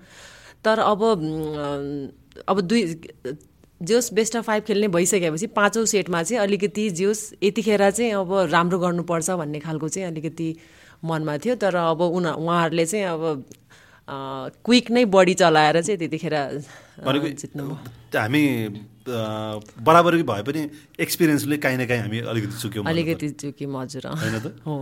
S2: तर अब म, अब दुई जोस् बेस्ट अफ फाइभ खेल्ने भइसकेपछि पाँचौँ सेटमा चाहिँ अलिकति जोस् यतिखेर चाहिँ अब राम्रो गर्नुपर्छ भन्ने खालको चाहिँ अलिकति मनमा थियो तर अब उनी उहाँहरूले चाहिँ अब अ, क्विक नै बढी चलाएर चाहिँ त्यतिखेर अ,
S1: भनेको
S2: जित्नु
S1: त्यो हामी अ, बराबरी भए पनि एक्सपिरियन्सले काहीँ न काहीँ हामी अलिकति चुक्यौँ
S2: अलिकति चुकी हजुर अँ।
S1: होइन त
S2: हो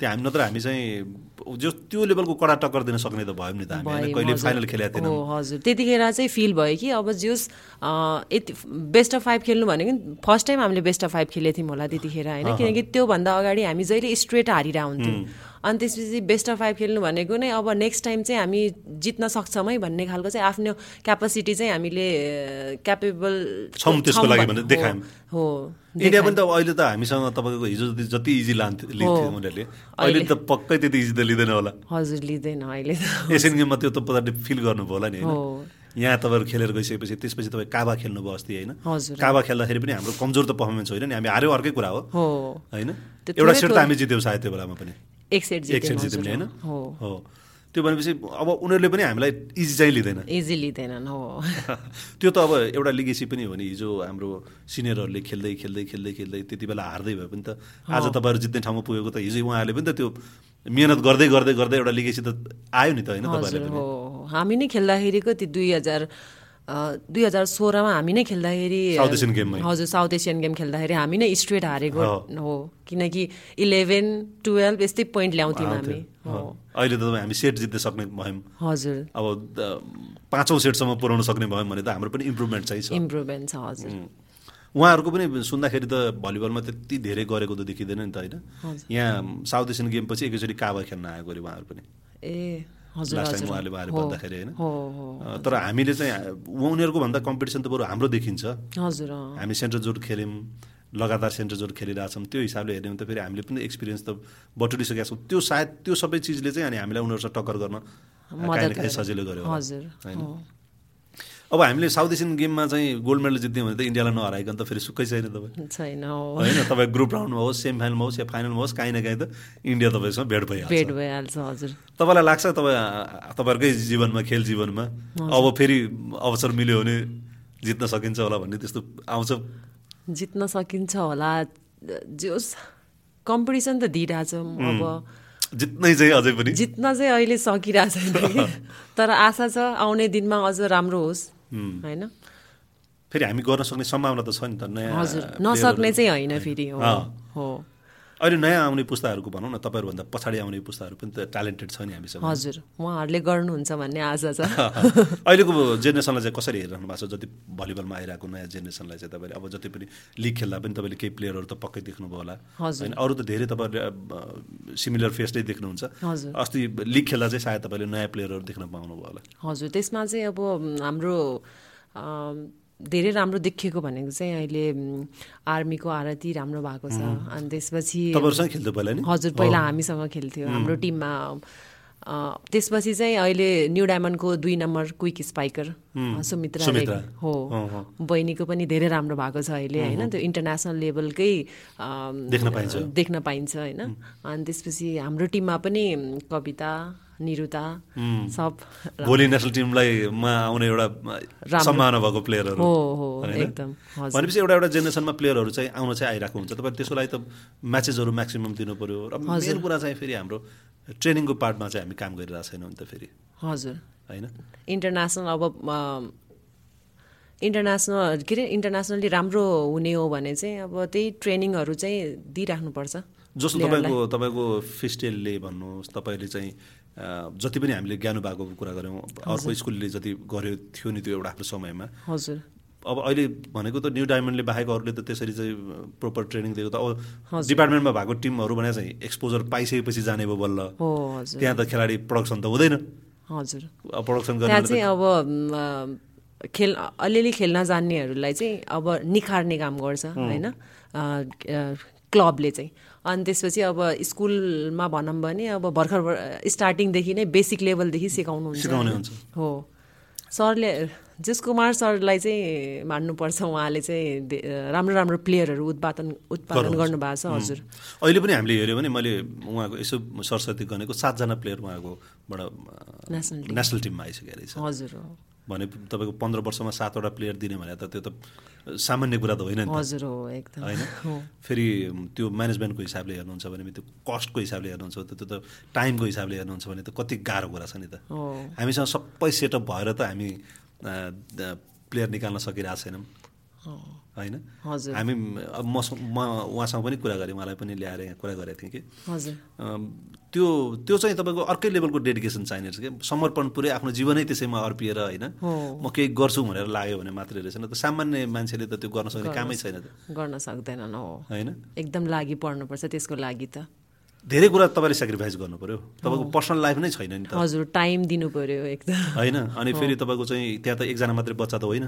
S1: त्यो हामी नत्र हामी चाहिँ जो त्यो लेभलको कडा टक्कर दिन सक्ने त भयौँ नि त हामी होइन
S2: भयो,
S1: कहिले
S2: हजुर।
S1: फाइनल खेलेका थिएनौँ
S2: हो हजुर त्यतिखेर चाहिँ फिल भयो कि अब जोस् अ, यति बेस्ट अफ फाइभ खेल्नु भनेको फर्स्ट टाइम हामीले बेस्ट अफ फाइभ खेलेको थियौँ होला त्यतिखेर होइन किनकि त्योभन्दा अगाडि हामी जहिले स्ट्रेट हारिरह हुन्थ्यौँ अनि त्यसपछि बेस्ट अफ फाइभ खेल्नु भनेको नै अब नेक्स्ट टाइम चाहिँ हामी जित्न सक्छौँ है भन्ने खालको चाहिँ आफ्नो क्यापासिटी चाहिँ हामीले क्यापेबल
S1: छौँ त्यसको लागि भनेर देखायौँ
S2: हो
S1: इन्डिया पनि त अब अहिले त हामीसँग तपाईँको हिजो जति जति इजी लान्थ्यो लिन्थ्यो उनीहरूले अहिले त पक्कै त्यति इजी त लिँदैन होला
S2: हजुर लिँदैन अहिले त
S1: एसियन गेममा त्यो त पछाडि फिल गर्नुभयो होला नि
S2: हो
S1: होइन यहाँ तपाईँहरू खेलेर गइसकेपछि त्यसपछि तपाईँ काबा खेल्नुभयो अस्ति होइन
S2: हजुर।
S1: काबा खेल्दाखेरि पनि हाम्रो कमजोर त पर्फर्मेन्स होइन नि हामी हार्यो अर्कै कुरा हो
S2: हो
S1: होइन
S2: त्यो
S1: एउटा
S2: थोरै
S1: सेट त
S2: थोरै-
S1: हामी जित्यौँ सायद त्यो बेलामा पनि
S2: एक सेट
S1: एक सेट जित्यौँ नि
S2: जित्यो
S1: होइन
S2: हो
S1: हो त्यो भनेपछि अब उनीहरूले पनि हामीलाई इजी चाहिँ लिँदैन
S2: इजी लिँदैनन् हो
S1: त्यो त अब एउटा लिगेसी पनि हो नि हिजो हाम्रो सिनियरहरूले खेल्दै खेल्दै खेल्दै खेल्दै त्यति बेला हार्दै भए पनि त आज तपाईँहरू जित्ने ठाउँमा पुगेको त हिजो उहाँहरूले पनि त त्यो मिहिनेत गर्दै गर्दै गर्दै एउटा लिगेसी त आयो नि त होइन तपाईँहरूले
S2: हजुर
S1: पनि
S2: हो हामी नै खेल्दाखेरिको त्यो दुई हजार अ, दुई हजार सोह्रमा हामी नै खेल्दाखेरि
S1: साउथ एसियन गेममै।
S2: हजुर साउथ एसियन गेम खेल्दाखेरि हामी नै स्ट्रेट हारेको
S1: हो।
S2: हो किनकि इलेभेन टुवेल्भ यस्तै पोइन्ट ल्याउँथ्यौँ हामी
S1: हो। अहिले त तपाईँ हामी सेट जित्न सक्ने भयौँ
S2: हजुर
S1: अब द- पाँचौँ सेटसम्म पुऱ्याउन सक्ने भयौँ भने त हाम्रो पनि इम्प्रुभमेन्ट चाहिँ छ
S2: इम्प्रुभमेन्ट छ हजुर
S1: उम्. उहाँहरूको पनि सुन्दाखेरि त भलिबलमा त्यति धेरै गरेको त देखिँदैन नि त होइन यहाँ साउथ एसियन गेम पछि एकैचोटि काबा खेल्न आएको अरे उहाँहरू पनि
S2: ए हजुर
S1: लास्ट
S2: हजुर
S1: टाइम उहाँले उहाँले
S2: हो,
S1: भन्दाखेरि होइन
S2: हो हो
S1: अ, तर हामीले चाहिँ उहाँ- उनीहरूको भन्दा कम्पिटिसन त बरु हाम्रो देखिन्छ
S2: हजुर अँ।
S1: हामी सेन्ट्रल जोड खेल्यौँ लगातार सेन्ट्रल जोड खेलिरहेछौँ त्यो हिसाबले हेऱ्यौँ भने त फेरि हामीले पनि एक्सपिरियन्स त बटुलिसकेका छौँ त्यो सायद त्यो सबै चिजले चाहिँ अनि हामीलाई उनीहरूसँग टक्कर गर्न काहीँ न
S2: मद्दत
S1: काहीँ
S2: गर्यो।
S1: सजिलो गर्यो होला।
S2: हजुर
S1: होइन
S2: हो।
S1: अब हामीले साउथ एसियन गेममा चाहिँ गोल्ड मेडल जित्यौँ भने त इन्डियालाई नहराइकन त फेरि सुक्कै छैन तपाईँ
S2: छैन हो
S1: होइन तपाईँ ग्रुप राउन्डमा होस् सेमी फाइनलमा होस् या फाइनलमा होस् काहीँ न काहीँ त इन्डिया तपाईँसँग भेट भइहाल्छ
S2: भेट भइहाल्छ हजुर
S1: तपाईँलाई लाग्छ तपाईँ आ- तपाईँहरूकै जीवनमा खेल जीवनमा अब फेरि अवसर मिल्यो भने जित्न सकिन्छ होला भन्ने त्यस्तो आउँछ
S2: जित्न सकिन्छ होला जे होस् कम्पिटिसन त दिइरहेछ अब
S1: जित्नै चाहिँ अझै पनि
S2: जित्न चाहिँ अहिले सकिरहेको छैन तर आशा छ आउने दिनमा अझ राम्रो होस् होइन
S1: फेरि हामी गर्न सक्ने सम्भावना त छ नि त नयाँ
S2: हजुर
S1: प्लेयरहरू-
S2: नसक्ने चाहिँ होइन फेरि हो
S1: अँ।
S2: हो
S1: अहिले नयाँ आउने पुस्ताहरूको भनौँ न तपाईँहरूभन्दा पछाडि आउने पुस्ताहरू पनि त ट्यालेन्टेड छ नि हामीसँग
S2: हजुर उहाँहरूले गर्नुहुन्छ भन्ने आशा छ
S1: अहिलेको जेनेरेसनलाई चाहिँ कसरी हेरिरहनु भएको छ जति भलिबलमा आइरहेको नयाँ जेनेरेसनलाई चाहिँ तपाईँले अब जति पनि लिग खेल्दा पनि तपाईँले केही प्लेयरहरू त पक्कै देख्नुभयो होला
S2: हजुर।
S1: अरू त धेरै तपाईँहरूले अब, सिमिलर फेस नै देख्नुहुन्छ
S2: हजुर।
S1: अस्ति लिग खेल्दा चाहिँ सायद तपाईँले नयाँ प्लेयरहरू देख्न पाउनुभयो होला
S2: हजुर त्यसमा चाहिँ अब म, हाम्रो अम, धेरै राम्रो देखिएको भनेको चाहिँ अहिले म, आर्मीको आरती राम्रो भएको छ अनि त्यसपछि
S1: तपाईँहरूसँग खेल्थ्यो पहिला नि
S2: हजुर पहिला हामीसँग खेल्थ्यो हाम्रो टिममा अ, त्यसपछि चाहिँ अहिले न्यु डायमन्डको दुई number quick spiker Sumitra
S1: Sumitra.
S2: Regmi- हो
S1: अँ, अँ।
S2: बहिनीको पनि धेरै राम्रो भएको छ अहिले होइन त्यो इन्टरनेसनल लेभलकै अम,
S1: देख्न पाइन्छ।
S2: देख्न पाइन्छ होइन अनि त्यसपछि हाम्रो टिममा पनि म, कविता निरुता सब
S1: भोलि नेसनल टिमलाई मा आउने एउटा अ,
S2: राम्रो।
S1: सम्भावना भएको प्लेयरहरू
S2: हो, हो,
S1: होइन?
S2: एकदम, हजुर।
S1: भनेपछि एउटा एउटा जेनेरेसनमा प्लेयरहरू चाहिँ आउन चाहिँ आइरहेको हुन्छ तपाईँ त्यसको लागि त म्याचेसहरू म्याक्सिमम दिनु पर्यो र मेन कुरा चाहिँ फेरि हाम्रो ट्रेनिङको पार्टमा चाहिँ हामी काम गरिरहेको छैनौँ नि त फेरि
S2: हजुर
S1: होइन
S2: इन्टरनेसनल अब अम, इन्टरनेसनल के अरे इन्टरनेसनली राम्रो हुने हो भने चाहिँ अब त्यही ट्रेनिङहरू चाहिँ दिइराख्नुपर्छ
S1: जस्तो तपाईँको तपाईँको फिस्टेलले भन्नुहोस् तपाईँले चाहिँ अ, जति पनि हामीले ज्ञानु भएको कुरा गऱ्यौँ अर्को स्कुलले जति गर्यो थियो नि त्यो एउटा आफ्नो समयमा
S2: हजुर
S1: अब अहिले भनेको त न्यू डायमन्डले बाहेक अरूले त त्यसरी चाहिँ प्रोपर ट्रेनिङ दिएको त अब डिपार्टमेन्टमा भएको टिमहरू भने चाहिँ एक्सपोजर पाइसकेपछि जाने भयो बल्ल
S2: हो हजुर
S1: त्यहाँ त खेलाडी प्रडक्सन त हुँदैन
S2: हजुर
S1: अब प्रडक्सन
S2: त्यहाँ
S1: गर्ने
S2: चाहिँ अब म, खेल अलिअलि खेल्न जान्नेहरूलाई चाहिँ अब निखार्ने काम गर्छ होइन अ, अ, क्लबले चाहिँ अनि त्यसपछि अब स्कुलमा भनौँ भने अब भर्खर भर- स्टार्टिङदेखि नै बेसिक लेभलदेखि सिकाउनुहुन्छ
S1: सिकाउने हुन्छ
S2: हो सरले जेस कुमार सरलाई चाहिँ मान्नुपर्छ उहाँले चाहिँ दे- राम्रो राम्रो प्लेयरहरू उत्पादन उत्पादन गर्नुभएको छ हजुर
S1: अहिले पनि हामीले हेऱ्यौँ भने मैले उहाँको यसो सरस्वती गनेको सातजना प्लेयर उहाँकोबाट अ,
S2: नेसनल
S1: नेसनल टिममा आइसकेको रहेछ
S2: हजुर हो
S1: भने तपाईँको पन्ध्र वर्षमा सातवटा प्लेयर दिने भने त त्यो त सामान्य कुरा त होइन नि त
S2: हजुर हो एकदम हो
S1: होइन फेरि त्यो म्यानेजमेन्टको हिसाबले हेर्नुहुन्छ भने त्यो कस्टको हिसाबले हेर्नुहुन्छ भने त्यो त टाइमको हिसाबले हेर्नुहुन्छ भने त कति गाह्रो कुरा छ नि त
S2: हो
S1: हामीसँग सबै सेटअप भएर त हामी अ, द- प्लेयर निकाल्न सकिरहेको छैनौँ
S2: हो,
S1: होइन
S2: हजुर
S1: हामी अब मसँग म उहाँसँग पनि कुरा गरेँ उहाँलाई पनि ल्याएर यहाँ कुरा गरेको थिएँ कि
S2: हजुर
S1: अम, त्यो त्यो चाहिँ तपाईँको अर्कै लेभलको डेडिकेसन चाहिने रहेछ कि समर्पण पुरै आफ्नो जीवनै त्यसैमा अर्पिएर होइन
S2: हो
S1: म केही गर्छु भनेर लाग्यो भने मात्रै रहेछ न त सामान्य मान्छेले त त्यो गर्न सक्ने कामै छैन त
S2: गर्न सक्दैनन् हो
S1: होइन
S2: एकदम लागि पर्नुपर्छ त्यसको लागि त
S1: धेरै कुरा तपाईँले सेक्रिफाइस गर्नु पर्यो तपाईँको पर्सनल लाइफ नै छैन नि त
S2: हजुर टाइम दिनु पर्यो एकदम
S1: होइन अनि फेरि तपाईँको चाहिँ त्यहाँ त एकजना मात्रै बच्चा त होइन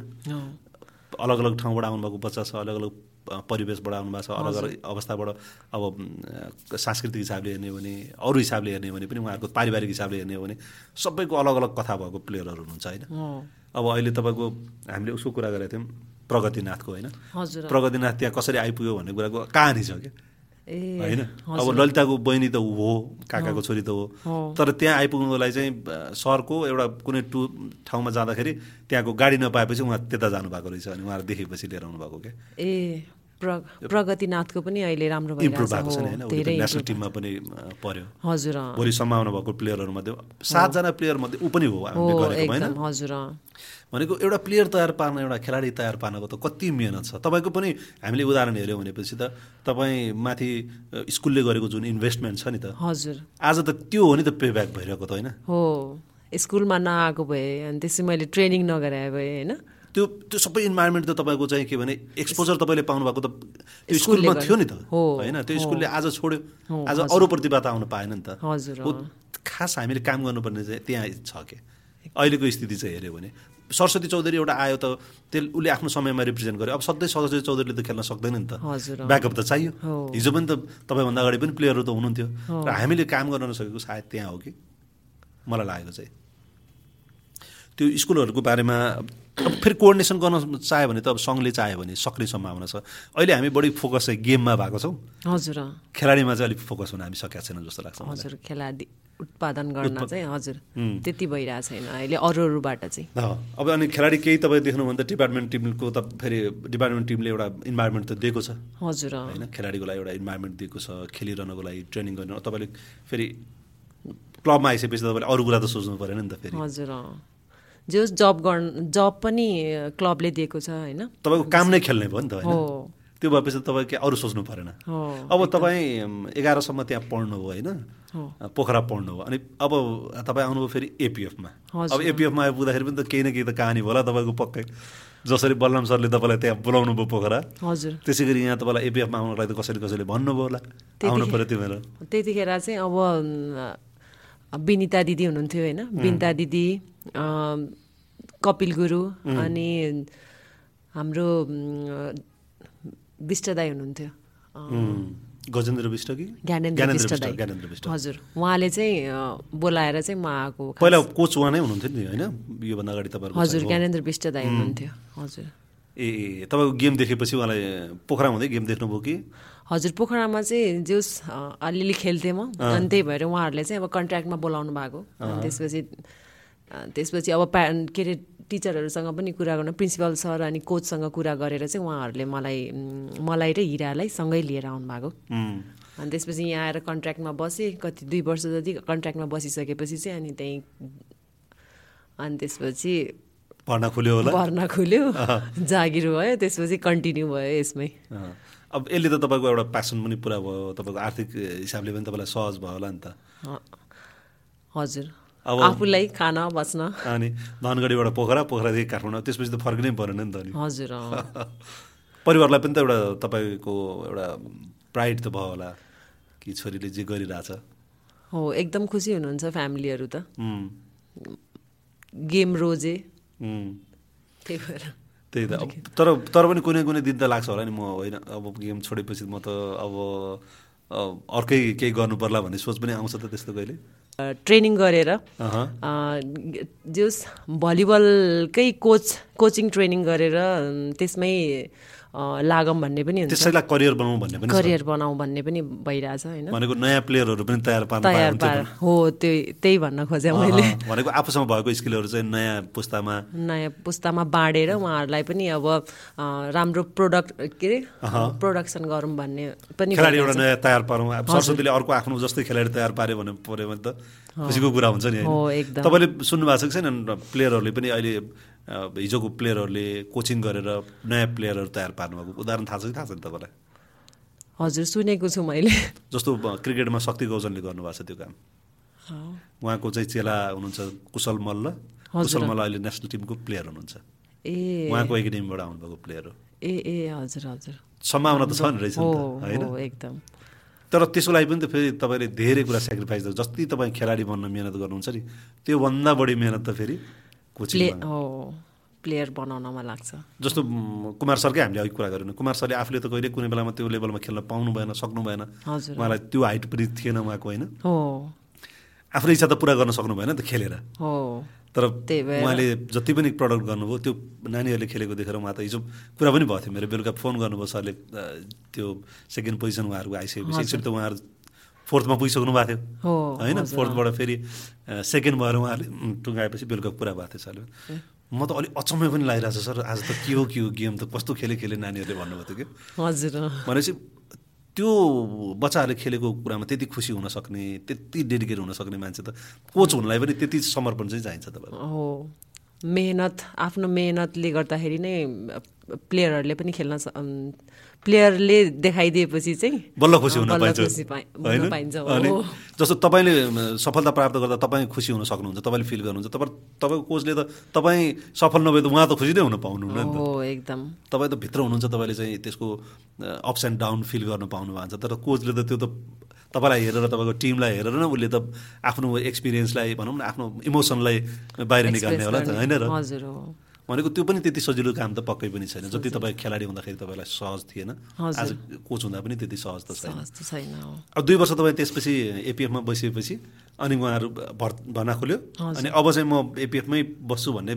S1: अलग अलग ठाउँबाट आउनुभएको बच्चा छ अलग अलग अ, परिवेशबाट आउनुभएको छ अलग अलग अवस्थाबाट अब अ, सांस्कृतिक हिसाबले हेर्ने हो भने अरू हिसाबले हेर्ने हो भने पनि उहाँहरूको पारिवारिक हिसाबले हेर्ने हो भने सबैको अलग अलग कथा भएको प्लेयरहरू हुनुहुन्छ होइन अब अहिले तपाईँको हामीले उसको कुरा गरेका थियौँ प्रगतिनाथको होइन
S2: हजुर
S1: प्रगतिनाथ त्यहाँ कसरी आइपुग्यो भन्ने कुराको कहानी छ क्या
S2: ए
S1: होइन अब ललिताको बहिनी त ऊ हो काकाको छोरी त
S2: हो।
S1: हो तर त्यहाँ आइपुग्नुको लागि चाहिँ अ, सरको एउटा कुनै टु ठाउँमा जाँदाखेरि त्यहाँको गाडी नपाएपछि उहाँ त्यता जानुभएको रहेछ अनि उहाँलाई देखेपछि लिएर आउनुभएको क्या
S2: ए प्र प्रगतिनाथको पनि अहिले राम्रो
S1: इम्प्रुभ भएको छ नि होइन उसले
S2: भइरहेको हो
S1: त
S2: धेरै
S1: नेसनल टिममा पनि अ, पर्यो
S2: हजुर अँ।
S1: भोलि सम्भावना भएको प्लेयरहरूमध्ये सातजना प्लेयरमध्ये ऊ पनि हो हामीले
S2: हो
S1: गरेको होइन
S2: एकदम हजुर अँ।
S1: भनेको एउटा प्लेयर तयार पार्न एउटा खेलाडी तयार पार्नको त कति मिहिनेत छ तपाईँको पनि हामीले उदाहरण हेऱ्यौँ भनेपछि त तपाईँ माथि अ, स्कुलले गरेको जुन इन्भेस्टमेन्ट छ नि त
S2: हजुर
S1: आज त त्यो हो नि त पे ब्याक भइरहेको त होइन
S2: हो स्कुलमा नआएको भए अनि त्यसै मैले ट्रेनिङ नगराए भए होइन
S1: त्यो त्यो सबै इन्भाइरोमेन्ट त तपाईँको चाहिँ के भने एक्सपोजर तपाईँले पाउनुभएको त त्यो
S2: स्कुलले
S1: स्कुलमा
S2: गर्यो।
S1: थियो नि त
S2: हो,
S1: होइन त्यो स्कुलले आज छोड्यो
S2: हो,
S1: आज अरू प्रतिभा त आउन पाएन नि त
S2: हजुर
S1: हो, खास हामीले काम गर्नुपर्ने चाहिँ त्यहाँ छ के अहिलेको स्थिति चाहिँ हेऱ्यो भने सरस्वती चौधरी एउटा आयो त त्यसले उसले आफ्नो समयमा रिप्रेजेन्ट गर्यो अब सधैँ सरस्वती चौधरीले त खेल्न सक्दैन नि त
S2: हजुर अँ।
S1: ब्याकअप त चाहियो
S2: हो।
S1: हिजो पनि त तपाईँभन्दा अगाडि पनि प्लेयरहरू त हुनुहुन्थ्यो र हामीले काम गर्न नसकेको सायद त्यहाँ हो कि मलाई लागेको चाहिँ त्यो स्कुलहरूको बारेमा अब फेरि कोअर्डिनेसन गर्न चाह्यो भने त अब सङ्घले चाह्यो भने सक्ने सम्भावना छ अहिले हामी बढी फोकस चाहिँ गेममा भएको छौँ
S2: हजुर अँ।
S1: खेलाडीमा चाहिँ अलिक फोकस हुन हामी सकेका छैनौँ जस्तो लाग्छ मलाई
S2: हजुर खेलाडी उत्पादन गर्न चाहिँ हजुर त्यति भइरहेको छैन अहिले अरूहरूबाट चाहिँ
S1: ल, अब अनि खेलाडी केही तपाईँ देख्नुभयो भने त डिपार्टमेन्ट टिमको त फेरि डिपार्टमेन्ट टिमले एउटा इन्भाइरोमेन्ट त दिएको छ
S2: हजुर अँ।
S1: होइन खेलाडीको लागि एउटा इन्भाइरोमेन्ट दिएको छ खेलिरहनको लागि ट्रेनिङ गर्नु तपाईँले फेरि क्लबमा आइसकेपछि त तपाईँले अरू कुरा त सोच्नु परेन नि त फेरि
S2: हजुर अँ। जो जब गर्नु जब पनि क्लबले दिएको छ होइन
S1: तपाईँको काम नै खेल्ने भयो नि त
S2: हो
S1: होइन त्यो भएपछि त तपाईँ के अरू सोच्नु परेन
S2: हो
S1: अब तपाईँ एघारसम्म त्यहाँ पढ्नुभयो होइन पोखरा पढ्नुभयो अनि अब तपाईँ आउनुभयो फेरि एपिएफमा अब एपिएफमा आइपुग्दाखेरि पनि त केही न केही त कहानी भयो होला तपाईँको पक्कै जसरी बलराम सरले तपाईँलाई त्यहाँ बोलाउनु भयो पोखरा
S2: हजुर
S1: त्यसै गरी यहाँ तपाईँलाई एपिएफमा आउनको लागि त कसैले कसैले भन्नुभयो होला आउनु पऱ्यो तिमीहरू
S2: त्यतिखेर चाहिँ अब अम, विनिता दिदी हुनुहुन्थ्यो होइन विनिता दिदी अम, कपिल गुरु अनि हाम्रो अम, विष्ट दाई हुनुहुन्थ्यो अ,
S1: उम्, गजेन्द्र विष्ट कि
S2: ज्ञानेन्द्र विष्ट दाई
S1: ज्ञानेन्द्र विष्ट
S2: हजुर उहाँले चाहिँ अ, बोलाएर चाहिँ म आएको हो।
S1: पहिला कोच उहाँ नै हुनुहुन्थ्यो नि होइन योभन्दा अगाडि तपाईँहरूको
S2: हजुर ज्ञानेन्द्र विष्ट दाई हुनुहुन्थ्यो हजुर
S1: ए ए, तपाईँको गेम देखेपछि उहाँलाई पोखरा हुँदै गेम देख्नुभयो कि
S2: हजुर पोखरामा चाहिँ जोस अ, अलिअलि खेल्थेँ म अनि त्यही भएर उहाँहरूले चाहिँ अब कन्ट्र्याक्टमा बोलाउनु भएको अनि त्यसपछि अ, त्यसपछि अब प्या के अरे टिचरहरूसँग पनि कुरा गर्नु प्रिन्सिपल सर अनि कोचसँग कुरा गरेर चाहिँ उहाँहरूले मलाई म, मलाई र हिरालाई सँगै लिएर आउनु भएको
S1: उम्,
S2: अनि त्यसपछि यहाँ आएर कन्ट्र्याक्टमा बसेँ कति दुई वर्ष जति कन्ट्र्याक्टमा बसिसकेपछि चाहिँ अनि त्यहीँ अनि त्यसपछि
S1: भर्ना खुल्यो होला
S2: भर्ना खुल्यो जागिर भयो त्यसपछि कन्टिन्यू भयो यसमै
S1: अँ। अब यसले त तपाईँको एउटा प्यासन पनि पुरा भयो तपाईँको आर्थिक हिसाबले पनि तपाईँलाई सहज भयो होला नि त
S2: ह- हजुर
S1: अब-
S2: आफूलाई खान बस्न
S1: अनि धनगढीबाट पोखरा पोखरादेखि काठमाडौँ त्यसपछि त फर्किनै परेन नि त अनि
S2: हजुर अँ।
S1: परिवारलाई पनि त एउटा तपाईँको एउटा प्राइड त भयो होला कि छोरीले जे गरिरहेछ
S2: हो एकदम खुसी हुनुहुन्छ फ्यामिलीहरू त
S1: उम्,
S2: गेम रोजे
S1: उम्,
S2: त्यही भएर
S1: त्यही त अब तर तर पनि कुनै कुनै दिन त लाग्छ होला नि म होइन अब गेम छोडेपछि म त अब अब अर्कै केही गर्नु पर्ला भन्ने सोच पनि आउँछ त त्यस्तो कहिले
S2: अ, ट्रेनिङ गरेर
S1: अहँ।
S2: अ, जोस् भलिबलकै कोच कोचिङ ट्रेनिङ गरेर अम, त्यसमै अ, लागौँ भन्ने पनि हुन्छ
S1: त्यसैलाई करियर बनाउँ भन्ने पनि
S2: करियर बनाऊ भन्ने पनि भइरहेछ होइन
S1: भनेको नयाँ प्लेयरहरू पनि तयार पार्न पाए
S2: तयार
S1: हुन्थ्यो
S2: पार हो त्यही त्यही भन्न खोजेँ मैले
S1: अँ, भनेको आफूसँग भएको स्किलहरू चाहिँ नयाँ पुस्तामा
S2: नयाँ पुस्तामा बाँडेर उहाँहरूलाई पनि अब अ, राम्रो प्रोडक्ट के अरे प्रोडक्सन गरौँ भन्ने पनि
S1: खेलाडी एउटा नयाँ तयार पारौँ अब सरस्वतीले अर्को आफ्नो जस्तै खेलाडी तयार पार्यो भने पऱ्यो भने त खुसीको कुरा हुन्छ नि
S2: हो,
S1: होइन
S2: एकदम।
S1: तपाईँले सुन्नु भएको छ कि छैन प्लेयरहरूले पनि अहिले अ, हिजोको प्लेयरहरूले कोचिङ गरेर नयाँ प्लेयरहरू तयार पार्नुभएको उदाहरण थाहा छ कि थाहा छैन तपाईँलाई
S2: हजुर सुनेको छु मैले
S1: जस्तो अ, क्रिकेटमा शक्ति गौजनले गर्नुभएको छ त्यो काम उहाँको चाहिँ चेला हुनुहुन्छ कुशल मल्ल कुशल मल्ल अहिले नेसनल टिमको प्लेयर हुनुहुन्छ
S2: ए
S1: उहाँको एकाडेमीबाट आउनुभएको प्लेयर हो
S2: ए ए हजुर हजुर
S1: सम्भावना त छ नि रहेछ नि त
S2: हो
S1: होइन
S2: हो एकदम
S1: तर तर त्यसको लागि पनि त फेरि तपाईँले धेरै कुरा सेक्रिफाइस गर्छ जति तपाईँ खेलाडी बन्न मिहिनेत गर्नुहुन्छ नि त्योभन्दा बढी मिहिनेत त फेरि
S2: प्ले
S1: कोचिङ
S2: हो प्लेयर बनाउनमा लाग्छ
S1: जस्तो म, कुमार सरकै हामीले अघि कुरा गरेनौँ कुमार सरले आफूले त कहिले कुनै बेलामा त्यो लेभलमा खेल्न पाउनु भएन सक्नु भएन
S2: हजुर
S1: उहाँलाई त्यो हाइट पनि थिएन उहाँको होइन
S2: हो
S1: आफ्नो इच्छा त पुरा गर्न सक्नु भएन त खेलेर
S2: हो
S1: तर
S2: त्यही भएर।
S1: उहाँले जति पनि प्रडक्ट गर्नुभयो त्यो नानीहरूले खेलेको देखेर उहाँ त हिजो कुरा पनि भएको थियो मेरो बेलुका फोन गर्नुभयो सरले अ, त्यो सेकेन्ड पोजिसन उहाँहरूको आइसकेपछि एकचोटि त उहाँहरू फोर्थमा पुगिसक्नु भएको थियो
S2: हो
S1: होइन फोर्थबाट फेरि सेकेन्ड भएर उहाँले उम्, टुङ्गाएपछि बेलुका कुरा भएको थियो सरले म त अलिक अचम्मै पनि लागिरहेको छ सर आज त के हो के हो गेम त कस्तो खेले खेले नानीहरूले भन्नुभएको थियो कि
S2: हजुर अँ।
S1: भनेपछि त्यो बच्चाहरूले खेलेको कुरामा त्यति खुसी हुन सक्ने त्यति डेडिकेट हुन सक्ने मान्छे त कोच हुनलाई पनि त्यति समर्पण चाहिँ चाहिन्छ तपाईँलाई
S2: हो मेहनत आफ्नो मेहनतले गर्दाखेरि नै प्लेयरहरूले पनि खेल्न स- अम्, प्लेयरले देखाइदिएपछि चाहिँ
S1: बल्ल खुसी हुन
S2: बल्ल
S1: पाइन्छ
S2: खुसी पाइ- हुन
S1: होइन?
S2: पाइन्छ, हो।
S1: अनि जस्तो तपाईँले म, सफलता प्राप्त गर्दा तपाईँ खुसी हुन सक्नुहुन्छ तपाईँले फिल गर्नुहुन्छ तपाईँ तपाईँको कोचले त तपाईँ सफल नभए त उहाँ त खुसी नै हुन पाउनुहुन्न नि त
S2: हो एकदम
S1: तपाईँ त भित्र हुनुहुन्छ तपाईँले चाहिँ त्यसको अप्स एन्ड डाउन फिल गर्नु पाउनु भएको छ तर कोचले त त्यो त तपाईँलाई हेरेर तपाईँको टिमलाई हेरेर न उसले त आफ्नो एक्सपिरियन्सलाई भनौँ न आफ्नो इमोसनलाई बाहिर निकाल्ने होला त होइन र
S2: हजुर हो
S1: भनेको त्यो पनि त्यति सजिलो काम त पक्कै पनि छैन जति तपाईँ खेलाडी हुँदाखेरि तपाईँलाई सहज थिएन
S2: हजुर।
S1: आज कोच हुँदा पनि त्यति सहज त छैन
S2: सहज त छैन हो
S1: अब दुई वर्ष तपाईँ त्यसपछि एपिएफमा बसिएपछि अनि उहाँहरू भर भर्ना खोल्यो अनि अब चाहिँ म एपिएफमै बस्छु भन्ने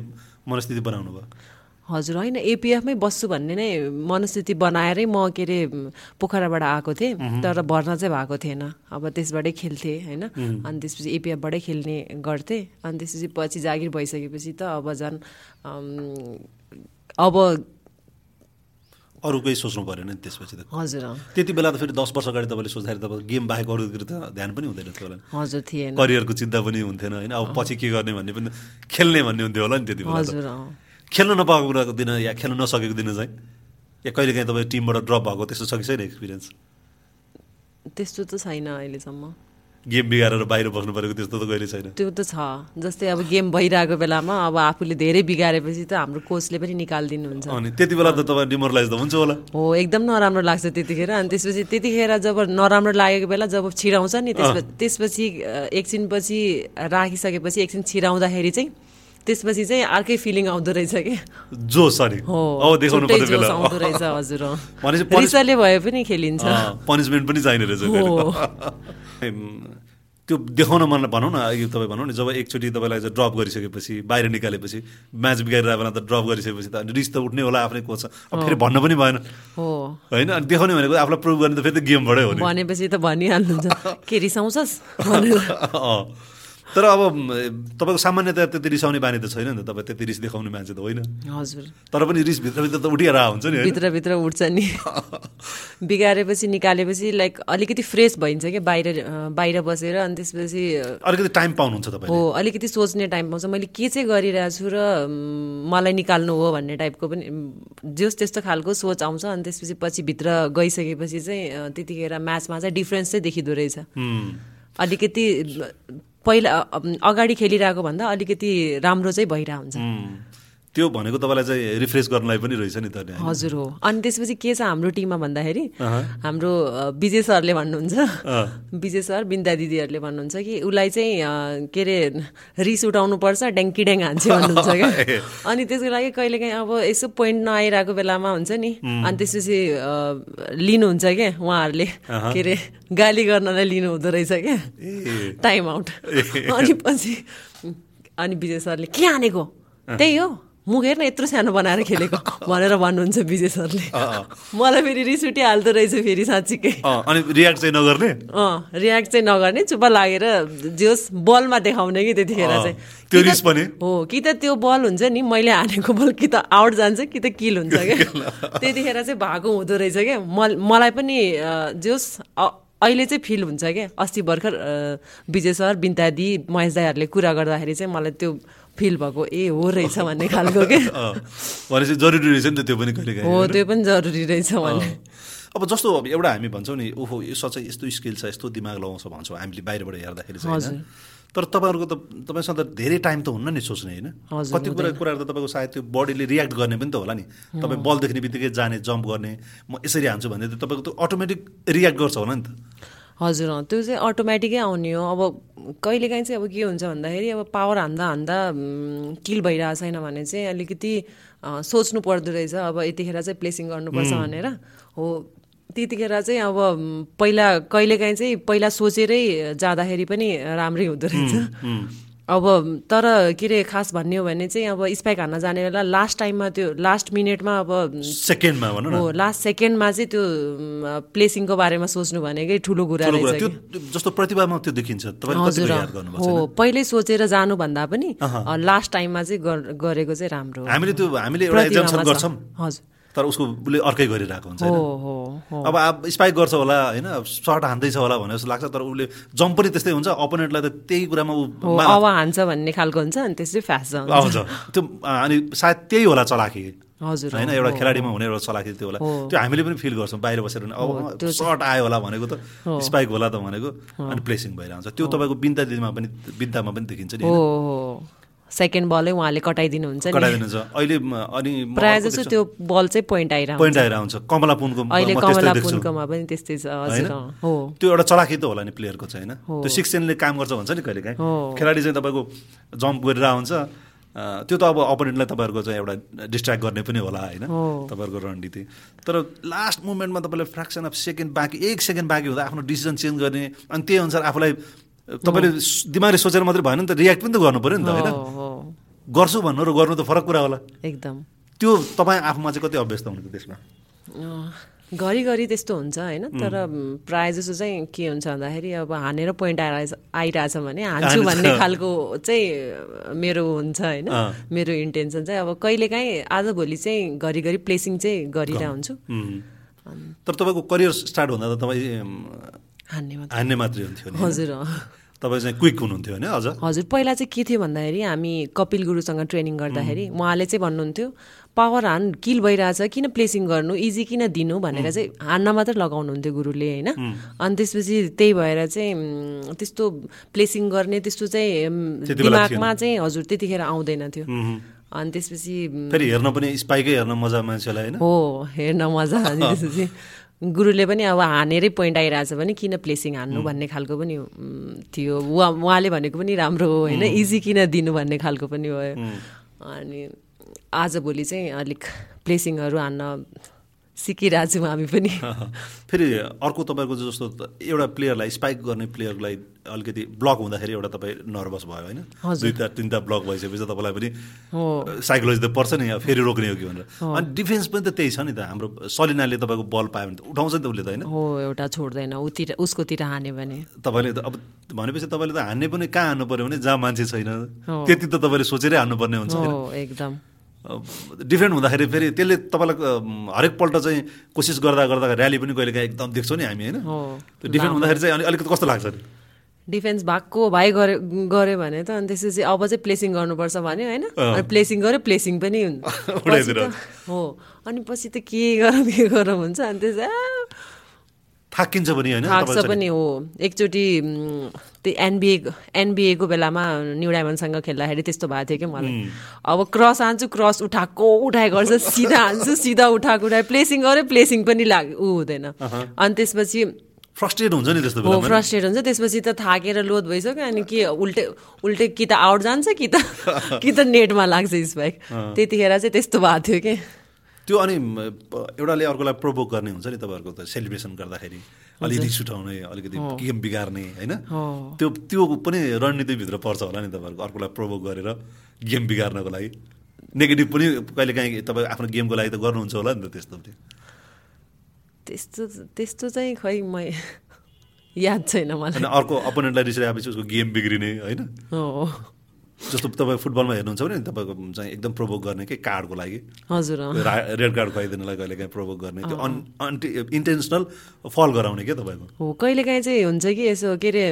S1: मनस्थिति बनाउनु भयो
S2: हजुर होइन एपिएफमै बस्छु भन्ने नै मनस्थिति बनाएरै म के अरे म, पोखराबाट आएको थिएँ तर भर्ना चाहिँ भएको थिएन अब त्यसबाटै खेल्थेँ होइन अनि त्यसपछि एपिएफबाटै खेल्ने गर्थेँ अनि त्यसपछि पछि जागिर भइसकेपछि त अब झन् अम्, अब
S1: अरू केही सोच्नु परेन नि त्यसपछि त
S2: हजुर अँ,
S1: त्यति बेला त फेरि दस वर्ष अगाडि तपाईँले सोच्दाखेरि तपाईँको गेम बाहेक अरूतिर त ध्यान पनि हुँदैन थियो होला नि।
S2: हजुर थिएन
S1: करियरको चिन्ता पनि हुन्थेन होइन अब पछि के गर्ने भन्ने पनि खेल्ने भन्ने हुन्थ्यो होला नि त्यति बेला त।
S2: हजुर अँ
S1: खेल्न नपाएको कुराको दिन या खेल्न नसकेको दिन चाहिँ या कहिलेकाहीँ तपाईँ टिमबाट ड्रप भएको त्यस्तो छ कि छैन एक्सपिरियन्स
S2: त्यस्तो त छैन अहिलेसम्म
S1: गेम बिगारेर बाहिर बस्नु परेको त्यस्तो त कहिले छैन
S2: त्यो त छ जस्तै अब गेम भइरहेको बेलामा अब आफूले धेरै बिगारेपछि त हाम्रो कोचले पनि निकालिदिनुहुन्छ
S1: अनि त्यति बेला त तपाईँ डिमोरलाइज त हुन्छ होला
S2: हो एकदम नराम्रो लाग्छ त्यतिखेर अनि त्यसपछि त्यतिखेर जब नराम्रो लागेको बेला जब छिराउँछ नि त्यसपछि त्यसपछि अ, एकछिनपछि राखिसकेपछि एकछिन छिराउँदाखेरि चाहिँ त्यसपछि चाहिँ अर्कै फिलिङ आउँदो रहेछ कि
S1: जोस अनि
S2: हो
S1: अब देखाउनु पर्ने
S2: छुट्टै
S1: बेला
S2: जोस आउँदो रहेछ हजुर अँ।
S1: भनेपछि पनिस-
S2: रिसले भए पनि खेलिन्छ
S1: पनिसमेन्ट पनि चाहिने रहेछ फेरि। एम, त्यो देखाउन मन भनौँ न अघि तपाईँ भनौँ न जब एकचोटि तपाईँलाई चाहिँ ड्रप गरिसकेपछि बाहिर निकालेपछि म्याच बिगारेर बेला त ड्रप गरिसकेपछि त अनि रिस त उठ्ने होला आफ्नै कोच अब फेरि भन्न पनि भएन
S2: हो
S1: होइन अनि देखाउने भनेको आफूलाई प्रुभ गर्ने त फेरि त गेमबाटै हो नि
S2: भनेपछि त भनिहाल्नुहुन्छ के रिसाउँछस् भनेर
S1: अँ। तर अब म, तपाईँको सामान्यतया त्यति रिसाउने बानी त छैन नि त तपाईँ त्यति रिस देखाउने मान्छे त होइन
S2: हजुर
S1: तर पनि रिस भित्रभित्र त उठिएर आएको हुन्छ नि होइन
S2: भित्रभित्र उठ्छ नि बिगारेपछि निकालेपछि लाइक अलिकति फ्रेस भइन्छ क्या बाहिर अ, बाहिर बसेर अनि त्यसपछि अ,
S1: अलिकति टाइम पाउनुहुन्छ तपाईँ
S2: हो अलिकति सोच्ने टाइम पाउँछ मैले के चाहिँ गरिरहेको छु र म, मलाई निकाल्नु हो भन्ने टाइपको पनि जोस् त्यस्तो खालको सोच आउँछ अनि त्यसपछि पछि भित्र गइसकेपछि चाहिँ अ, त्यतिखेर म्याचमा चाहिँ डिफ्रेन्स चाहिँ देखिँदो रहेछ अलिकति अ, पहिला अ, अगाडि खेलिरहेको भन्दा अलिकति राम्रो चाहिँ भइरहेको हुन्छ
S1: उम्, त्यो भनेको तपाईँलाई चाहिँ रिफ्रेस गर्नलाई पनि रहेछ नि त त्यहाँ।
S2: हजुर हो अनि त्यसपछि के छ हाम्रो टिममा भन्दाखेरि हाम्रो अ, विजय सरले भन्नुहुन्छ विजय सर बिन्दा दिदीहरूले भन्नुहुन्छ कि उसलाई चाहिँ अ, के अरे रिस उठाउनुपर्छ ड्याङ्की ड्याङ हान्छे भन्नुहुन्छ क्या अनि त्यसको लागि कहिलेकाहीँ अब यसो पोइन्ट नआइरहेको बेलामा हुन्छ नि अनि त्यसपछि अ, लिनुहुन्छ क्या उहाँहरूले के अरे गाली गर्नलाई लिनु हुँदो रहेछ क्या
S1: ए
S2: टाइम आउट अनि पछि अनि विजय सरले के हानेको त्यही हो मुख हेर्न यत्रो सानो बनाएर खेलेको भनेर भन्नुहुन्छ विजय सरले मलाई फेरि रिस उठिहाल्दो रहेछ फेरि साँच्चीकै
S1: अँ, अनि रियाक्ट चाहिँ नगर्ने
S2: अँ रियाक्ट चाहिँ नगर्ने चुप लागेर जोस् बलमा देखाउने कि त्यतिखेर
S1: अँ,
S2: चाहिँ
S1: त्यो
S2: कि त-
S1: रिस पनि?
S2: हो कि त त्यो बल हुन्छ नि मैले हानेको बल कि त आउट जान्छ कि त किल हुन्छ क्या त्यतिखेर चाहिँ भएको हुँदो रहेछ क्या म- मलाई पनि अँ, जोस् अ- अहिले चाहिँ फिल हुन्छ क्या अस्ति भर्खर अँ, विजय सर बिन्तादी महेश दाईहरूले कुरा गर्दाखेरि चाहिँ मलाई त्यो फिल भएको ए हो रहेछ भन्ने खालको के
S1: अँ, भनेपछि जरुरी रहेछ नि त त्यो पनि कहिले
S2: हो त्यो पनि जरुरी रहेछ भन्ने
S1: अब जस्तो अब एउटा हामी भन्छौँ नि ओहो यो सचै यस्तो स्किल छ यस्तो दिमाग लगाउँछ भन्छौँ हामीले बाहिरबाट हेर्दाखेरि चाहिँ होइन? तर तपाईँहरूको त तपाईँसँग त धेरै टाइम त हुन्न नि सोच्ने होइन
S2: हजुर,
S1: कति कुरा कुराहरू त तपाईँको सायद त्यो बडीले रियाक्ट गर्ने पनि त होला नि तपाईँ बल देख्ने बित्तिकै जाने जम्प गर्ने म यसरी हान्छु भने त तपाईँको त अटोमेटिक रियाक्ट गर्छ होला नि त
S2: हजुर अँ त्यो चाहिँ अटोमेटिकै आउने हो अब कहिलेकाहीँ चाहिँ अब के हुन्छ भन्दाखेरि अब पावर हान्दा हान्दा उम्, किल भइरहेको छैन भने चाहिँ अलिकति अँ, सोच्नु पर्दो रहेछ अब यतिखेर चाहिँ प्लेसिङ गर्नुपर्छ भनेर हो त्यतिखेर चाहिँ अब उम्, पहिला कहिलेकाहीँ चाहिँ पहिला सोचेरै जाँदाखेरि पनि राम्रै हुँदो रहेछ अब तर के अरे खास भन्ने हो भने चाहिँ अब स्पाइक हान्न जाने बेला लास्ट टाइममा त्यो लास्ट मिनटमा अब उम्,
S1: सेकेन्डमा भनौँ न
S2: हो लास्ट सेकेन्डमा चाहिँ त्यो म, प्लेसिङको बारेमा सोच्नु भनेकै ठुलो कुरा
S1: ठुलो कुरा
S2: रहेछ
S1: त्यो
S2: कि।
S1: त्यो- जस्तो प्रतिभामा त्यो देखिन्छ तपाईँले कति
S2: हजुर
S1: याद गर्नुभएको
S2: हो पहिल्यै सोचेर जानुभन्दा पनि अ, लास्ट टाइममा चाहिँ गर- गरेको चाहिँ राम्रो हो
S1: हामीले त्यो हामीले एउटा
S2: प्रतिभामा
S1: एक्जाम्सन
S2: छ।
S1: गर्छौँ
S2: हजुर
S1: तर उसको उसले अर्कै गरिरहेको हुन्छ होइन?
S2: हो हो हो
S1: अब अब स्पाइक गर्छ होला होइन सर्ट हान्दैछ होला भने जस्तो लाग्छ तर उसले जम्प पनि त्यस्तै हुन्छ अपोनेन्टलाई त त्यही कुरामा ऊ
S2: हो
S1: मा-
S2: अब हान्छ भन्ने खालको हुन्छ अनि त्यसरी फ्यास जान्छ
S1: आउँछ त्यो अँ, अनि सायद त्यही होला चलाखी
S2: हजुर
S1: होइन
S2: हो,
S1: एउटा
S2: हो,
S1: खेलाडीमा हुने एउटा चलाखी त्यो होला त्यो हामीले पनि फिल गर्छौँ बाहिर बसेर पनि, अब सर्ट आयो होला भनेको त स्पाइक होला त भनेको अनि प्लेसिङ भइरहन्छ त्यो तपाईँको बिन्दा दिदीमा पनि बिन्दामा पनि देखिन्छ नि
S2: हो हो सेकेन्ड बलै उहाँले कटाइदिनुहुन्छ नि
S1: कटाइदिनुहुन्छ अहिले म- अनि म
S2: प्रायः जसो त्यो बल चाहिँ पोइन्ट आइरहन्छ
S1: पोइन्ट आएर आउँछ कमला पुनको म
S2: अहिले
S1: त्यस्तै
S2: कमला
S1: देख्छु
S2: पुन्कोमा पनि त्यस्तै छ हजुर
S1: होइन?
S2: अँ, हो
S1: त्यो एउटा चलाखी त होला नि प्लेयरको चाहिँ होइन त्यो सिक्स सेनले काम गर्छ भन्छ नि कहिले काहीँ खेलाडी चाहिँ तपाईँको जम्प गरेर आउँछ अ, त्यो त अब अपोनेन्टलाई तपाईँहरूको चाहिँ एउटा डिस्ट्र्याक्ट गर्ने पनि होला होइन तपाईँहरूको रणनीति तर लास्ट मुमेन्टमा तपाईँले फ्रेक्सन अफ सेकेन्ड बाँकी एक सेकेन्ड बाँकी हुँदा आफ्नो डिसिजन चेन्ज गर्ने अनि त्यही अनुसार आफूलाई तपाईँले दिमागले सोचेर मात्रै भएन नि त रियाक्ट पनि त गर्नु पऱ्यो नि त होइन
S2: हो हो
S1: गर्छु भन्नु र गर्नु त फरक कुरा होला
S2: एकदम
S1: त्यो तपाईँ आफूमा चाहिँ कति अभ्यस्त हुनुहुन्छ त्यसमा
S2: अँ, घरिघरि त्यस्तो हुन्छ होइन तर प्रायः जसो चाहिँ के हुन्छ भन्दाखेरि अब हानेर पोइन्ट आइरहेछ आइरहेछ भने हान्छु भन्ने खालको चाहिँ मेरो हुन्छ होइन
S1: अँ।
S2: मेरो इन्टेन्सन चाहिँ अब कहिलेकाहीँ आजभोलि चाहिँ घरिघरि प्लेसिङ चाहिँ गरिरहन्छु
S1: उम्. तर तपाईँको करियर स्टार्ट हुँदा त तपाईँ उम्,
S2: हान्ने मात्र
S1: हान्ने मात्रै हुन्थ्यो नि
S2: हजुर अँ।
S1: तपाईँ चाहिँ क्विक हुनुहुन्थ्यो होइन अझ
S2: हजुर पहिला चाहिँ के थियो भन्दाखेरि हामी कपिल गुरुसँग ट्रेनिङ गर्दाखेरि उहाँले चाहिँ भन्नुहुन्थ्यो पावर हान किल भइरहेछ किन प्लेसिङ गर्नु इजी किन दिनु भनेर चाहिँ हान्न मात्र लगाउनुहुन्थ्यो गुरुले होइन अनि त्यसपछि त्यही भएर चाहिँ उम्, त्यस्तो प्लेसिङ गर्ने त्यस्तो चाहिँ उम्,
S1: त्यति बेला
S2: दिमागमा चाहिँ हजुर त्यतिखेर आउँदैन थियो अनि त्यसपछि उम्,
S1: फेरि हेर्न पनि स्पाइकै हेर्न मजा मान्छेलाई होइन
S2: हो हेर्न मजा अनि त्यसपछि गुरुले पनि अब हानेरै पोइन्ट आइरहेछ भने किन प्लेसिङ हान्नु भन्ने खालको पनि उम्, थियो उहाँ उहाँले भनेको पनि राम्रो हो होइन इजी किन दिनु भन्ने खालको पनि भयो अनि आजभोलि चाहिँ अलिक प्लेसिङहरू हान्न सिकिरहेछौँ हामी पनि
S1: फेरि अर्को तपाईँको जस्तो त- एउटा प्लेयरलाई स्पाइक गर्ने प्लेयरलाई अलिकति ब्लक हुँदाखेरि एउटा तपाईँ नर्भस भयो होइन दुईवटा तिनवटा ब्लक भइसकेपछि त तपाईँलाई पनि
S2: हो
S1: साइकोलोजी त पर्छ नि अब फेरि रोक्ने हो कि भनेर अनि डिफेन्स पनि त त्यही छ नि त हाम्रो सलिनाले तपाईँको बल पायो भने त उठाउँछ नि त उसले त होइन
S2: हो एउटा छोड्दैन उतिर उसकोतिर हान्यो भने
S1: तपाईँले त अब भनेपछि तपाईँले त हान्ने पनि कहाँ हान्नु पर्यो भने जहाँ मान्छे छैन
S2: हो।
S1: त्यति त तपाईँले सोचेरै हान्नुपर्ने हुन्छ
S2: हो एकदम
S1: डिफ्रेन्ट हुँदाखेरि फेरि त्यसले तपाईँलाई अम, हरेकपल्ट चाहिँ कोसिस गर्दा गर्दा ऱ्याली पनि कहिले काहीँ एकदम देख्छौँ नि हामी होइन
S2: हो
S1: त्यो डिफ्रेन्ट हुँदाखेरि चाहिँ अलि- अलिकति कस्तो लाग्छ नि
S2: डिफेन्स भएको भाइ गऱ्यो गऱ्यो भने त अनि त्यसपछि अब चाहिँ प्लेसिङ गर्नुपर्छ भन्यो होइन अनि प्लेसिङ गऱ्यो प्लेसिङ पनि हुन्। पछि
S1: उडाइदिएर।
S2: त- हो अनि पछि त के गरौँ के गरौँ हुन्छ अनि त्यसै
S1: थाकिन्छ पनि होइन
S2: थाक्छ
S1: तपाईँ चाहिँ-
S2: पनि हो एकचोटि उम्, त्यो एनबिए एनबिएको बेलामा न्यु डायमन्डसँग खेल्दाखेरि त्यस्तो भएको थियो कि मलाई अब क्रस हान्छु क्रस उठाएको उठाइ गर्छ सिधा हान्छु सिधा उठाएको उठाए प्लेसिङ गऱ्यो प्लेसिङ पनि लाग ऊ हुँदैन अनि त्यसपछि
S1: फ्रस्ट्रेट हुन्छ नि त्यस्तो
S2: हो
S1: बेलामा
S2: फ्रस्ट्रेट हुन्छ त्यसपछि त थाकेर लोद भइसक्यो अनि के उल्टे उल्टे कि त आउट जान्छ कि त कि त नेटमा लाग्छ स्पाइक त्यतिखेर चाहिँ त्यस्तो भएको थियो कि
S1: त्यो अनि म, प- एउटाले अर्कोलाई प्रोभोक गर्ने हुन्छ नि तपाईँहरूको त सेलिब्रेसन गर्दाखेरि अलिक रिस उठाउने अलिकति गेम बिगार्ने होइन त्यो त्यो पनि रणनीतिभित्र पर्छ होला नि तपाईँहरूको अर्कोलाई प्रोभोक गरेर गेम बिगार्नको लागि नेगेटिभ पनि कहिले काहीँ तपाईँ आफ्नो गेमको लागि त गर्नुहुन्छ होला नि त त्यस्तो पनि
S2: त्यस्तो त्यस्तो चाहिँ खै म याद छैन मलाई
S1: अनि अर्को अपोनेन्टलाई रिसाएपछि उसको गेम बिग्रिने होइन
S2: हो
S1: जस्तो तपाईँ फुटबलमा हेर्नुहुन्छ भने तपाईँको चाहिँ एकदम प्रोभोक गर्ने के कार्डको लागि
S2: हजुर अँ।
S1: रेड कार्ड खुवाइदिनलाई कहिले काहीँ प्रोभोक गर्ने त्यो अन अन्टि इन्टेन्सनल फल गराउने क्या तपाईँको
S2: हो कहिले काहीँ चाहिँ हुन्छ कि यसो के अरे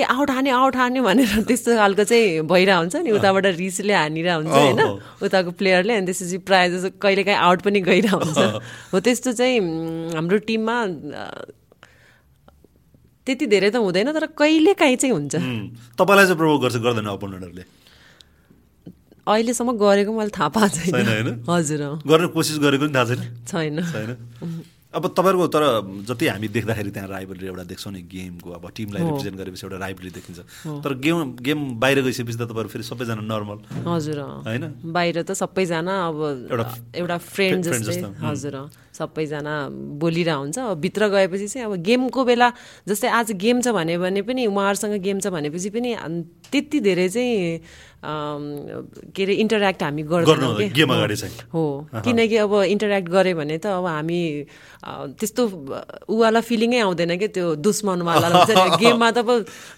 S2: ए आउट हान्यो आउट हान्यो भनेर त्यस्तो खालको चाहिँ भइरह हुन्छ नि उताबाट रिसले हानिरह हुन्छ
S1: अँ,
S2: होइन
S1: अँ।
S2: उताको प्लेयरले अनि त्यसपछि प्रायः जसो कहिले काहीँ आउट पनि गइरह हुन्छ हो त्यस्तो चाहिँ उम्, हाम्रो टिममा अ, त्यति धेरै त हुँदैन तर कहिले काहीँ चाहिँ हुन्छ
S1: उम्, तपाईँलाई चाहिँ प्रभोग गर्छ गर्दैन अपोनेन्टहरूले
S2: अहिलेसम्म गरेको मैले थाहा पाएको
S1: छैन, होइन?
S2: छैन हजुर अँ,
S1: गर्ने कोसिस गरेको नि थाहा छैन
S2: छैन
S1: छैन अब तपाईँहरूको तर जति हामी देख्दाखेरि त्यहाँ राइबलरी एउटा देख्छौँ नि गेमको अब टिमलाई
S2: हो।
S1: रिप्रेजेन्ट गरेपछि एउटा राइबलरी देखिन्छ तर गेम गेम बाहिर गइसकेपछि त तपाईँहरू फेरि सबैजना नर्मल
S2: हजुर अँ।
S1: होइन
S2: बाहिर त सबैजना अब
S1: एउटा-
S2: एउटा फ्रेन्ड
S1: friend
S2: जस्तै
S1: जस्तो, हुँ।
S2: हजुर अँ। सबैजना बोलिरह हुन्छ अब भित्र गएपछि चाहिँ अब गेमको बेला जस्तै आज गेम छ भने भने पनि उहाँहरूसँग गेम छ भनेपछि पनि अन् त्यति धेरै चाहिँ अम, के अरे इन्टरेक्ट हामी
S1: गर्नु
S2: गर्दैनौँ
S1: हुँदैन,
S2: के।
S1: गेम अगाडि चाहिँ
S2: हो किनकि अब इन्टरेक्ट गऱ्यो भने त अब हामी अ, त्यस्तो उवाला फिलिङै आउँदैन क्या त्यो दुश्मनवाला हुन्छ नि गेममा त अब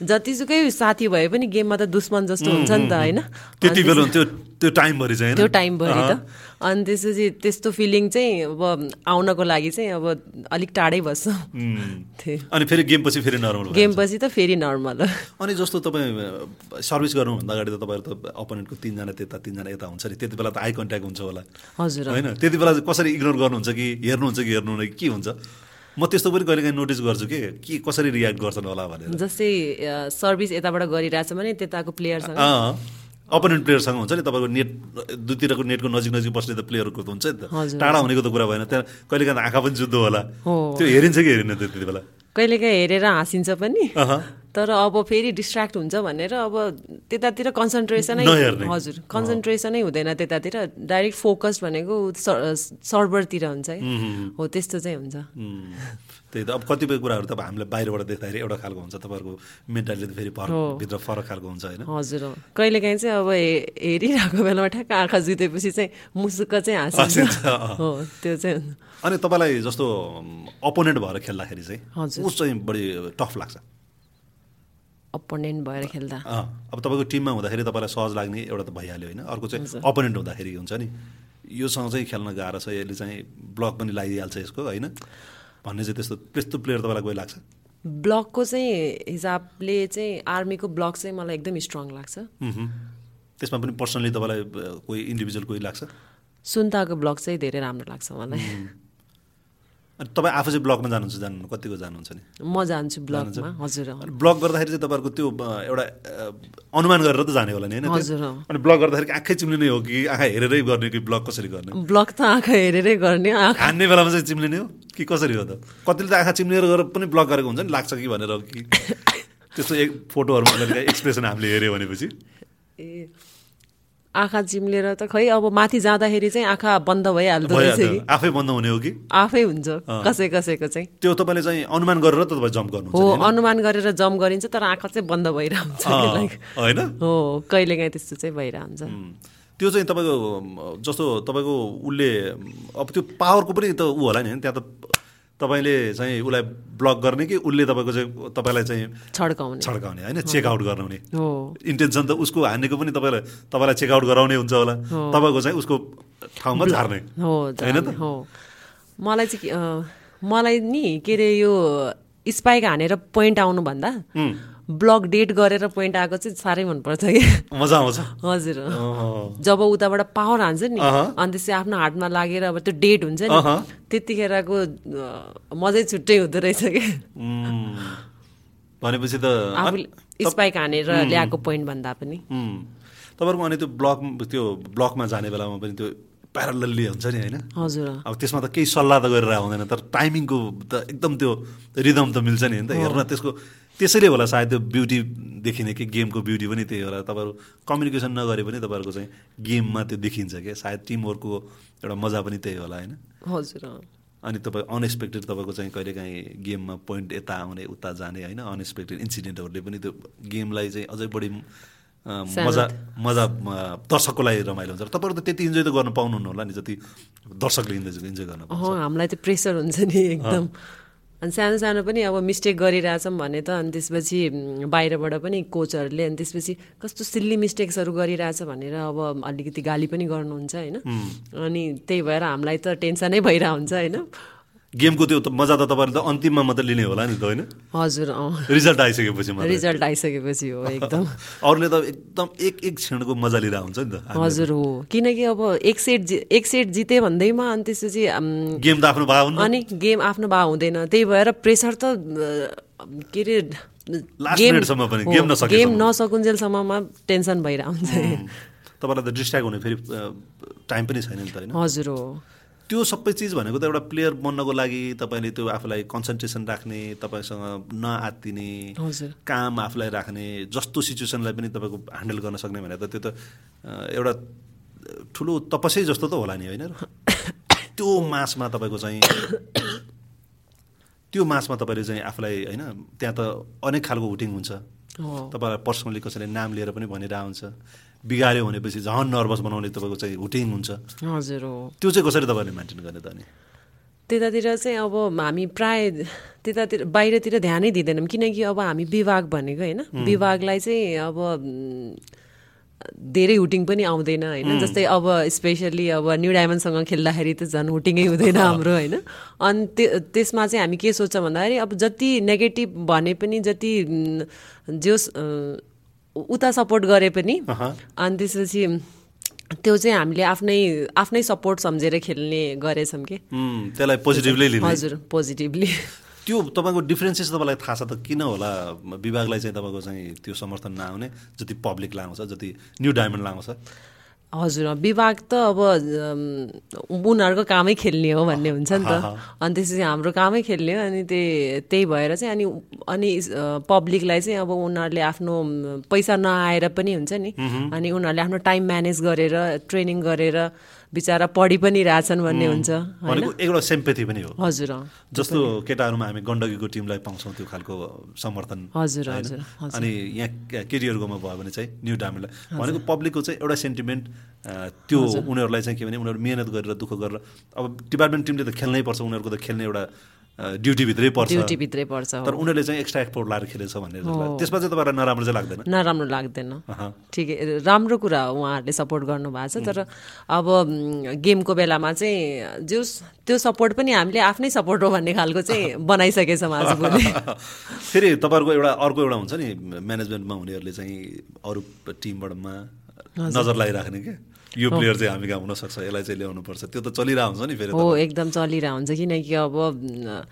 S2: जतिसुकै साथी भए पनि गेममा त दुश्मन जस्तो हुन्छ नि त होइन
S1: त्यति बेला हुन्थ्यो त्यो टाइमभरि चाहिँ
S2: त्यो
S1: होइन
S2: टाइमभरि त अनि त्यसपछि त्यस्तो फिलिङ चाहिँ अब आउनको लागि चाहिँ अब अलिक टाढै बस्छ त्यही
S1: अनि फेरि गेम पछि फेरि नर्मल भयो
S2: गेम पछि त फेरि नर्मल
S1: अनि जस्तो तपाईँ अ, सर्भिस गर्नुभन्दा अगाडि त तपाईँहरू त अपोनेन्टको तिनजना त्यता तिनजना यता हुन्छ नि त्यति बेला त आई कन्ट्याक्ट हुन्छ होला
S2: हजुर
S1: होइन त्यति बेला चाहिँ कसरी इग्नोर गर्नुहुन्छ कि हेर्नुहुन्छ कि हेर्नुहुन्न कि के हुन्छ म त्यस्तो पनि कहिलेकाहीँ नोटिस गर्छु कि के कसरी रियाक्ट गर्छन् होला भनेर
S2: जस्तै अ, सर्भिस यताबाट गरिरहेछ भने त्यताको प्लेयरसँग
S1: अपोनेन्ट प्लेयरसँग हुन्छ नि तपाईँको नेट दुईतिरको नेटको नजिक नजिक बस्ने त प्लेयरको त हुन्छ नि त
S2: हजुर।
S1: टाढा हुनेको त कुरा भएन त्यहाँ कहिलेकाहीँ त आँखा पनि जुद्धो होला
S2: हो।
S1: त्यो हेरिन्छ कि हेरिन्न त्यति बेला
S2: कहिलेकाहीँ हेरेर हाँसिन्छ पनि
S1: अहँ।
S2: तर अब फेरि डिस्ट्र्याक्ट हुन्छ भनेर अब त्यतातिर कन्सन्ट्रेसनै
S1: नहेर्ने।
S2: हजुर कन्सन्ट्रेसनै हुँदैन त्यतातिर डाइरेक्ट फोकस भनेको सर्भरतिर हुन्छ है हो त्यस्तो चाहिँ हुन्छ
S1: उम्, त्यही त अब कतिपय कुराहरू त अब हामीलाई बाहिरबाट देख्दाखेरि एउटा खालको हुन्छ तपाईँहरूको मेन्टालिटी त फेरि फरक भित्र फरक खालको हुन्छ होइन
S2: हजुर अँ। कहिलेकाहीँ चाहिँ अब हे- हेरिरहेको बेलामा ठ्याक्क आँखा जुतेपछि चाहिँ मुसुक्क चाहिँ
S1: हाँसिन्छ,
S2: हाँसिन्छ
S1: अँ।
S2: हो त्यो चाहिँ हुन्छ।
S1: अनि तपाईँलाई जस्तो अपोनेन्ट भएर खेल्दाखेरि चाहिँ
S2: हजुर।
S1: ऊ चाहिँ बढी टफ लाग्छ
S2: अपोनेन्ट भएर खेल्दा
S1: अँ, अब तपाईँको टिममा हुँदाखेरि तपाईँलाई सहज लाग्ने एउटा त भइहाल्यो होइन अर्को चाहिँ अपोनेन्ट हुँदाखेरि हुन्छ नि योसँग चाहिँ खेल्न गाह्रो छ यसले चाहिँ ब्लक पनि लगाइहाल्छ यसको होइन भन्ने चाहिँ त्यस्तो त्यस्तो प्लेयर तपाईँलाई कोही लाग्छ
S2: ब्लकको चाहिँ हिसाबले चाहिँ आर्मीको ब्लक चाहिँ मलाई एकदम स्ट्रङ लाग्छ
S1: उहुँ। त्यसमा पनि पर्सनली तपाईँलाई अ, कोही इन्डिभिजुअल कोही लाग्छ
S2: सुन्ताको ब्लक चाहिँ धेरै राम्रो लाग्छ मलाई
S1: अनि तपाईँ आफू चाहिँ ब्लकमा जानुहुन्छ जानुहुन्न कतिको जानुहुन्छ नि
S2: म जान्छु ब्लकमा हजुर अँ।
S1: अनि ब्लक गर्दाखेरि चाहिँ तपाईँहरूको त्यो अ, एउटा अ, अनुमान गरेर त जाने होला नि होइन त्यो?
S2: हजुर, अँ।
S1: अनि ब्लक गर्दाखेरि आँखै चिम्लिने हो कि आँखा हेरेरै गर्ने कि ब्लक कसरी गर्ने
S2: ब्लक त आँखा हेरेरै गर्ने आँखा
S1: हान्ने बेलामा चाहिँ चिम्लिने हो कि कसरी हो त कतिले त आँखा चिम्लिएर गरेर पनि ब्लक गरेको हुन्छ नि लाग्छ कि भनेर हो कि त्यस्तो एक फोटोहरूमा गरेर एक्सप्रेसन हामीले हेऱ्यो भनेपछि
S2: ए आँखा चिम्लेर त खै अब माथि जाँदाखेरि चाहिँ आँखा बन्द भइहाल्दो रहेछ
S1: भइहाल्छ
S2: कि
S1: आफै बन्द हुने हो कि
S2: आफै हुन्छ कसै कसैको चाहिँ
S1: त्यो तपाईँले चाहिँ अनुमान गरेर त तपाईँ जम्प गर्नुहुन्छ
S2: हो अनुमान गरेर जम्प गरिन्छ तर आँखा चाहिँ बन्द भइरहन्छ
S1: अँ,
S2: like,
S1: होइन
S2: हो कहिलेकाहीँ त्यस्तो चाहिँ भइरहन्छ
S1: उम्, त्यो चाहिँ तपाईँको अम, जस्तो तपाईँको उसले अब त्यो पावरको पनि त ऊ होला नि होइन? त्यहाँ त तपाईँले चाहिँ उसलाई ब्लक गर्ने कि उसले तपाईँको चाहिँ तपाईँलाई चाहिँ
S2: छड्काउने
S1: छड्काउने होइन चेकआउट गर्नुहुने
S2: हो
S1: इन्टेन्सन त उसको हान्नेको पनि तपाईँलाई तपाईँलाई चेकआउट गराउने हुन्छ होला तपाईँको चाहिँ उसको ठाउँमा झार्ने
S2: हो
S1: होइन त
S2: जाने, हो मलाई चाहिँ के- अ, मलाई नि के अरे यो स्पाइक हानेर पोइन्ट आउनुभन्दा ब्लक डेट गरेर पोइन्ट आएको चाहिँ साह्रै मनपर्छ कि
S1: मजा आउँछ
S2: हजुर
S1: अँ।
S2: जब उताबाट पावर हान्छ नि
S1: अहँ।
S2: अनि त्यसै आफ्नो हातमा लागेर अब त्यो डेट हुन्छ नि
S1: अहँ।
S2: त्यतिखेरको अ, मजै छुट्टै हुँदो रहेछ कि
S1: उम्, भनेपछि त
S2: आफूले स्पाइक हानेर ल्याएको पोइन्ट भन्दा पनि
S1: उम्, तपाईँहरूको अनि त्यो ब्लक त्यो ब्लकमा जाने बेलामा पनि त्यो प्यारलल्ली हुन्छ नि होइन
S2: हजुर अँ।
S1: अब त्यसमा त केही सल्लाह त गरेर हुँदैन तर टाइमिङको त एकदम त्यो रिदम त मिल्छ नि होइन त हेर्न त्यसको त्यसैले होला सायद त्यो ब्युटी देखिने कि गेमको ब्युटी पनि त्यही होला तपाईँहरू कम्युनिकेसन नगरे पनि तपाईँहरूको चाहिँ गेममा त्यो देखिन्छ क्या सायद टिमवर्कको एउटा मजा पनि त्यही होला होइन
S2: हजुर अँ।
S1: अनि तपाईँ अनएक्सपेक्टेड तपाईँको चाहिँ कहिलेकाहीँ गेममा पोइन्ट यता आउने उता जाने होइन अनएक्सपेक्टेड इन्सिडेन्टहरूले पनि त्यो गेमलाई चाहिँ अझै बढी अ, मजा मजा अ, दर्शकको लागि रमाइलो हुन्छ तपाईँहरू त त्यति इन्जोय त गर्न पाउनुहुन्न होला नि जति दर्शकले इन्जोय इन्जोय गर्न पाउनु
S2: अँ हामीलाई त प्रेसर हुन्छ नि एकदम अनि सानो सानो पनि अब मिस्टेक गरिरहेछौँ भने त अनि त्यसपछि उम्, बाहिरबाट पनि कोचहरूले अनि त्यसपछि कस्तो सिल्ली मिस्टेक्सहरू गरिरहेछ भनेर अब अलिकति गाली पनि गर्नुहुन्छ होइन अनि त्यही भएर हामीलाई त टेन्सनै भइरहेको हुन्छ होइन
S1: गेमको त्यो त मजा त तपाईँहरूले त अन्तिममा मात्रै लिने होला नि त होइन
S2: हजुर अँ
S1: रिजल्ट आइसकेपछि मात्रै
S2: रिजल्ट आइसकेपछि हो एकदम
S1: अरूले त एकदम एक एक क्षणको मजा लिएर हुन्छ नि त
S2: हजुर हो किनकि अब एक सेट जि एक सेट जिते भन्दैमा अनि त्यसपछि उम्,
S1: गेम त आफ्नो भाव हुन्न
S2: अनि गेम आफ्नो भा हुँदैन त्यही भएर प्रेसर त अ, के अरे
S1: Last
S2: गेम-
S1: minute-सम्म पनि,
S2: हो,
S1: गेम नसकेसम्म।
S2: गेम नसकुन्जेलसम्ममा टेन्सन भइरहन्छ
S1: तपाईँलाई त डिस्ट्र्याक्ट हुने फेरि अ, टाइम पनि छैन नि त होइन
S2: हजुर हो
S1: त्यो सबै चिज भनेको त एउटा प्लेयर बन्नको लागि तपाईँले त्यो आफूलाई कन्सन्ट्रेसन राख्ने तपाईँसँग नआत्तिने
S2: हजुर
S1: काम आफूलाई राख्ने जस्तो सिचुएसनलाई पनि तपाईँको ह्यान्डल गर्न सक्ने भने त त्यो त अ, एउटा ठुलो तपस्यै जस्तो त होला नि होइन र? त्यो मासमा तपाईँको चाहिँ त्यो मासमा तपाईँले चाहिँ आफूलाई होइन त्यहाँ त अनेक खालको हुटिङ हुन्छ
S2: हो
S1: तपाईँलाई पर्सनली कसैले नाम लिएर पनि भनिरहेको हुन्छ बिगाऱ्यो भनेपछि झन् नर्भस बनाउने तपाईँको चाहिँ हुटिङ हुन्छ
S2: हजुर हो
S1: त्यो चाहिँ कसरी तपाईँले मेन्टेन गर्ने त अनि
S2: त्यतातिर चाहिँ अब हामी प्राय त्यतातिर बाहिरतिर ध्यानै दिँदैनौँ किनकि अब हामी विभाग भनेको होइन विभागलाई चाहिँ अब उम्, धेरै हुटिङ पनि आउँदैन होइन जस्तै अब स्पेसल्ली अब न्यु डायमन्डसँग खेल्दाखेरि त झन् हुटिङै हुँदैन हाम्रो होइन अनि त्यो त्यसमा चाहिँ हामी के सोच्छौँ भन्दाखेरि अब जति नेगेटिभ भने पनि जति उम्, जोस् अ, उता सपोर्ट गरे पनि अनि त्यसपछि त्यो चाहिँ हामीले आफ्नै आफ्नै सपोर्ट सम्झेर खेल्ने गरेछौँ कि
S1: उम्, त्यसलाई पोजिटिभली लिने
S2: हजुर पोजिटिभली
S1: त्यो तपाईँको डिफ्रेन्सेस तपाईँलाई थाहा छ त किन होला विभागलाई चाहिँ तपाईँको चाहिँ त्यो समर्थन नआउने जति पब्लिक लाउँछ जति न्यु डायमन्ड लाउँछ
S2: हजुर अँ, विभाग त अब अम्, उनीहरूको कामै खेल्ने हो भन्ने हुन्छ नि त अनि त्यसपछि हाम्रो कामै खेल्ने हो अनि त्यही त्यही भएर चाहिँ अनि अनि इस- अ, पब्लिकलाई चाहिँ अब उनीहरूले आफ्नो म, पैसा नआएर पनि हुन्छ नि अनि उनीहरूले आफ्नो टाइम म्यानेज गरेर ट्रेनिङ गरेर बिचरा पढि पनि रहेछन् भन्ने हुन्छ
S1: भनेको एउटा सेम्पेथी पनि हो
S2: हजुर अँ,
S1: जस्तो केटाहरूमा हामी गण्डकीको टिमलाई पाउँछौँ त्यो खालको समर्थन
S2: हजुर
S1: होइन?
S2: हजुर
S1: अनि यहाँ केरियरकोमा भयो भने चाहिँ न्यु डायमन्डलाई भनेको पब्लिकको चाहिँ एउटा सेन्टिमेन्ट त्यो उनीहरूलाई चाहिँ के भने उनीहरू मिहिनेत गरेर दुःख गरेर अब डिपार्टमेन्ट टिमले त खेल्नै पर्छ उनीहरूको त खेल्ने एउटा अ, ड्युटीभित्रै पर्छ
S2: ड्युटीभित्रै पर्छ हो।
S1: तर उनीहरूले चाहिँ एक्स्ट्रा एक्सपोर्ट लाएर खेलेछ भन्ने जस्तो लाग्छ। त्यसमा चाहिँ तपाईँलाई नराम्रो चाहिँ लाग्दैन
S2: नराम्रो लाग्दैन
S1: अहँ।
S2: ठिकै राम्रो कुरा हो उहाँहरूले सपोर्ट गर्नुभएको छ तर अब म, गेमको बेलामा चाहिँ जो त्यो सपोर्ट पनि हामीले आफ्नै सपोर्ट हो भन्ने खालको चाहिँ बनाइसकेछौँ आजभोलि
S1: फेरि तपाईँहरूको एउटा अर्को एउटा हुन्छ नि म्यानेजमेन्टमा हुनेहरूले चाहिँ अरू टिमबाटमा नजर लगाइराख्ने क्या यो प्लेयर चाहिँ हामी कहाँ हुनसक्छ यसलाई चाहिँ ल्याउनुपर्छ त्यो त चलिरहेको हुन्छ नि फेरि त।
S2: हो एकदम चलिरहेको हुन्छ किनकि अब म,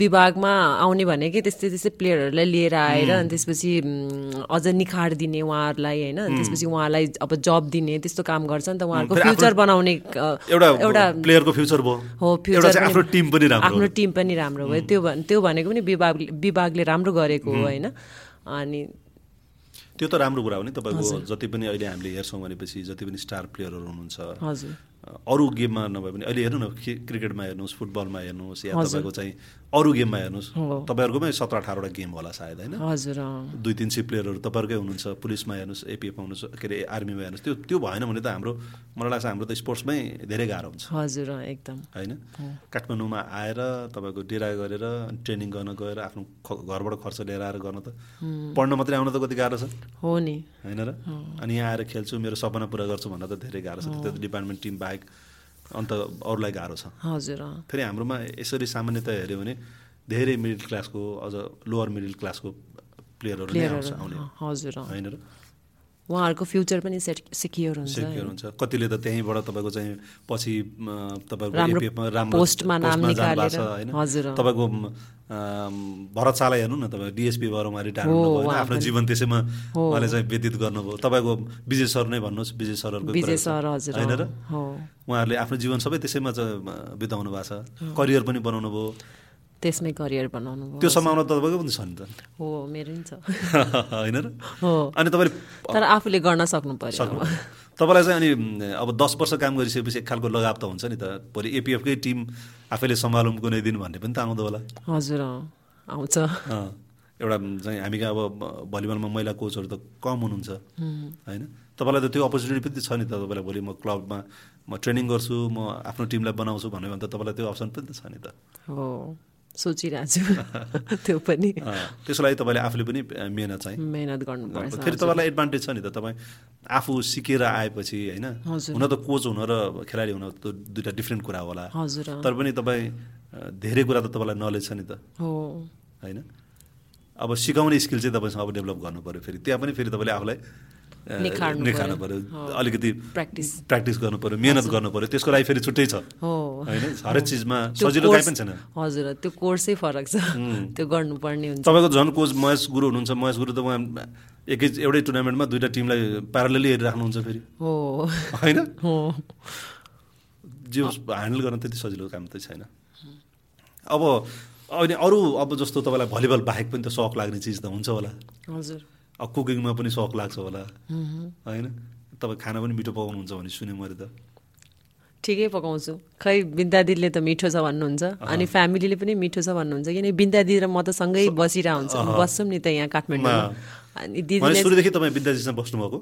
S2: विभागमा आउने भनेकै त्यस्तै त्यस्तै प्लेयरहरूलाई लिएर आएर अनि त्यसपछि म, अझ निखार दिने उहाँहरूलाई होइन अनि त्यसपछि उहाँलाई अब जब दिने त्यस्तो काम गर्छ नि त उहाँहरूको
S1: फेरि आफ्नो-
S2: फ्युचर बनाउने अ,
S1: एउटा एउटा प्लेयरको फ्युचर भयो
S2: हो
S1: एउटा
S2: फ्युचर
S1: चाहिँ आफ्नो टिम पनि राम्रो
S2: आफ्नो टिम पनि राम्रो भयो त्यो भन् त्यो भनेको पनि विभाग विभागले राम्रो गरेको हो होइन अनि
S1: त्यो त राम्रो कुरा हो नि तपाईँको जति पनि अहिले हामीले हेर्छौँ भनेपछि जति पनि स्टार प्लेयरहरू हुनुहुन्छ
S2: हजुर
S1: अरू गेममा नभए पनि अहिले हेर्नु न खे- क्रिकेटमा हेर्नुहोस् फुटबलमा हेर्नुहोस् या तपाईँको चाहिँ अरू गेममा हेर्नुहोस् तपाईँहरूकोमै सत्र अठारवटा गेम होला सायद होइन
S2: हजुर अँ।
S1: दुई तिन सय प्लेयरहरू तपाईँहरूकै हुनुहुन्छ पुलिसमा हेर्नुहोस् एपिएफमा हुनुहुन्छ के अरे आर्मीमा हेर्नुहोस् त्यो त्यो भएन भने त हाम्रो मलाई लाग्छ हाम्रो त स्पोर्ट्समै धेरै गाह्रो हुन्छ
S2: हजुर अँ, एकदम
S1: होइन काठमाडौँमा आएर तपाईँको डेरा गरेर अनि ट्रेनिङ गर्न गएर आफ्नो ख- घरबाट खर्च लिएर आएर गर्न त पढ्न मात्रै आउन त कति गाह्रो छ
S2: हो नि
S1: होइन र अनि यहाँ आएर खेल्छु मेरो सपना पुरा गर्छु भन्न त धेरै गाह्रो छ त्यो त डिपार्टमेन्ट टिम बाहेक अन्त अरूलाई गाह्रो छ
S2: हजुर अँ।
S1: फेरि हाम्रोमा यसरी सामान्यतया हेऱ्यो भने धेरै मिडल क्लासको अझ लोवर मिडल क्लासको प्लेयरहरू नै आउँछ आउने
S2: अँ, हजुर अँ।
S1: होइन र
S2: उहाँहरूको फ्युचर पनि सेट सिक्योर हुन्छ
S1: सेक्योर हुन्छ कतिले त त्यहीँबाट तपाईँको चाहिँ पछि म, तपाईँको
S2: राम्रो
S1: APF मा राम्रो
S2: पोस्टमा नाम
S1: पोस्टमा जानुभएको
S2: निकालेर।
S1: छ, होइन?
S2: हजुर, अँ।
S1: तपाईँको म, अम, भरत शाहलाई हेर्नु न तपाईँ डिएसपी भएर उहाँ रिटायर हुनुभयो होइन? आफ्नो जीवन त्यसैमा उहाँले चाहिँ व्यतीत गर्नुभयो तपाईँको विजय सर नै भन्नुहोस् विजय सरहरूको कुरा
S2: विजय
S1: छ,
S2: सर हजुर
S1: होइन र
S2: अँ, हो
S1: उहाँहरूले आफ्नो जीवन सबै त्यसैमा चाहिँ अ, बिताउनु भएको छ करियर पनि बनाउनु भयो
S2: त्यसमै करियर बनाउनु भयो
S1: त्यो सम्भावना त तपाईँको पनि छ नि त
S2: हो मेरो नि छ
S1: होइन र
S2: हो
S1: अनि तपाईँले
S2: तर आफूले गर्न सक्नु पर्यो
S1: सक्नु तपाईँलाई चाहिँ अनि म, अब दस वर्ष काम गरिसकेपछि एक खालको लगाव त हुन्छ नि त भोलि एपिएफकै टिम आफैले सम्हालौँ कुनै दिन भन्ने पनि त आउँदो होला
S2: हजुर अँ, आउँछ
S1: अँ, एउटा म, चाहिँ हामी कहाँ अब म, भलिबलमा महिला कोचहरू त कम हुनुहुन्छ होइन तपाईँलाई त त्यो अपर्च्युनिटी पनि त छ नि त तपाईँलाई भोलि म क्लबमा म ट्रेनिङ गर्छु म आफ्नो टिमलाई बनाउँछु भन्यो भने त तपाईँलाई त्यो अप्सन पनि त छ नि त
S2: हो सोचिरहेको छु त्यो पनि
S1: अँ, त्यसको लागि तपाईँले आफूले पनि अँ, मिहिनेत चाहिँ
S2: मेहनत गर्नुपर्छ
S1: फेरि तपाईँलाई एडभान्टेज छ नि त तपाईँ आफू सिकेर आएपछि होइन
S2: हजुर।
S1: हुन त कोच हुन र खेलाडी हुन त दुइटा डिफ्रेन्ट कुरा होला
S2: हजुर अँ,
S1: तर पनि तपाईँ अ, धेरै कुरा त तपाईँलाई नलेज छ नि त
S2: हो
S1: होइन अब सिकाउने स्किल चाहिँ तपाईँसँग अब डेभलप गर्नु पऱ्यो फेरि त्यहाँ पनि फेरि तपाईँले आफूलाई अ,
S2: निखार्नु
S1: निखार्नु पऱ्यो अलिकति
S2: प्र्याक्टिस
S1: प्र्याक्टिस गर्नु पऱ्यो मिहिनेत गर्नु पऱ्यो त्यसको लागि फेरि छुट्टै छ
S2: हो
S1: होइन हरेक चिजमा
S2: त्यो
S1: सजिलो काहीँ
S2: कोर्स-
S1: पनि छैन
S2: हजुर त्यो कोर्सै फरक छ त्यो गर्नुपर्ने हुन्छ
S1: तपाईँको झन् कोच महेश गुरु हुनुहुन्छ महेश गुरु त उहाँ एकै एउटै टुर्नामेन्टमा दुइटा टिमलाई प्यारलली हेरिराख्नुहुन्छ फेरि
S2: हो
S1: होइन
S2: हो
S1: जे ह्यान्डल गर्न त्यति सजिलो काम त छैन अब अहिले अरू अब जस्तो तपाईँलाई भलिबल बाहेक पनि त सक लाग्ने चिज त हुन्छ होला
S2: हजुर
S1: अब कुकिङमा पनि सक लाग्छ होला होइन तपाईँ खाना पनि मिठो पकाउनुहुन्छ भने सुनेँ मैले त
S2: ठिकै पकाउँछु खै बिन्दा दिदीले त मिठो छ भन्नुहुन्छ अनि फ्यामिलीले पनि मिठो छ भन्नुहुन्छ किनभने बिन्दा दिदी र म त सँगै बसिरहन्छ बस्छौँ नि त यहाँ काठमाडौँमा अनि
S1: भने
S2: दिदीले
S1: सुरुदेखि तपाईँ विद्याजीसँग बस्नुभएको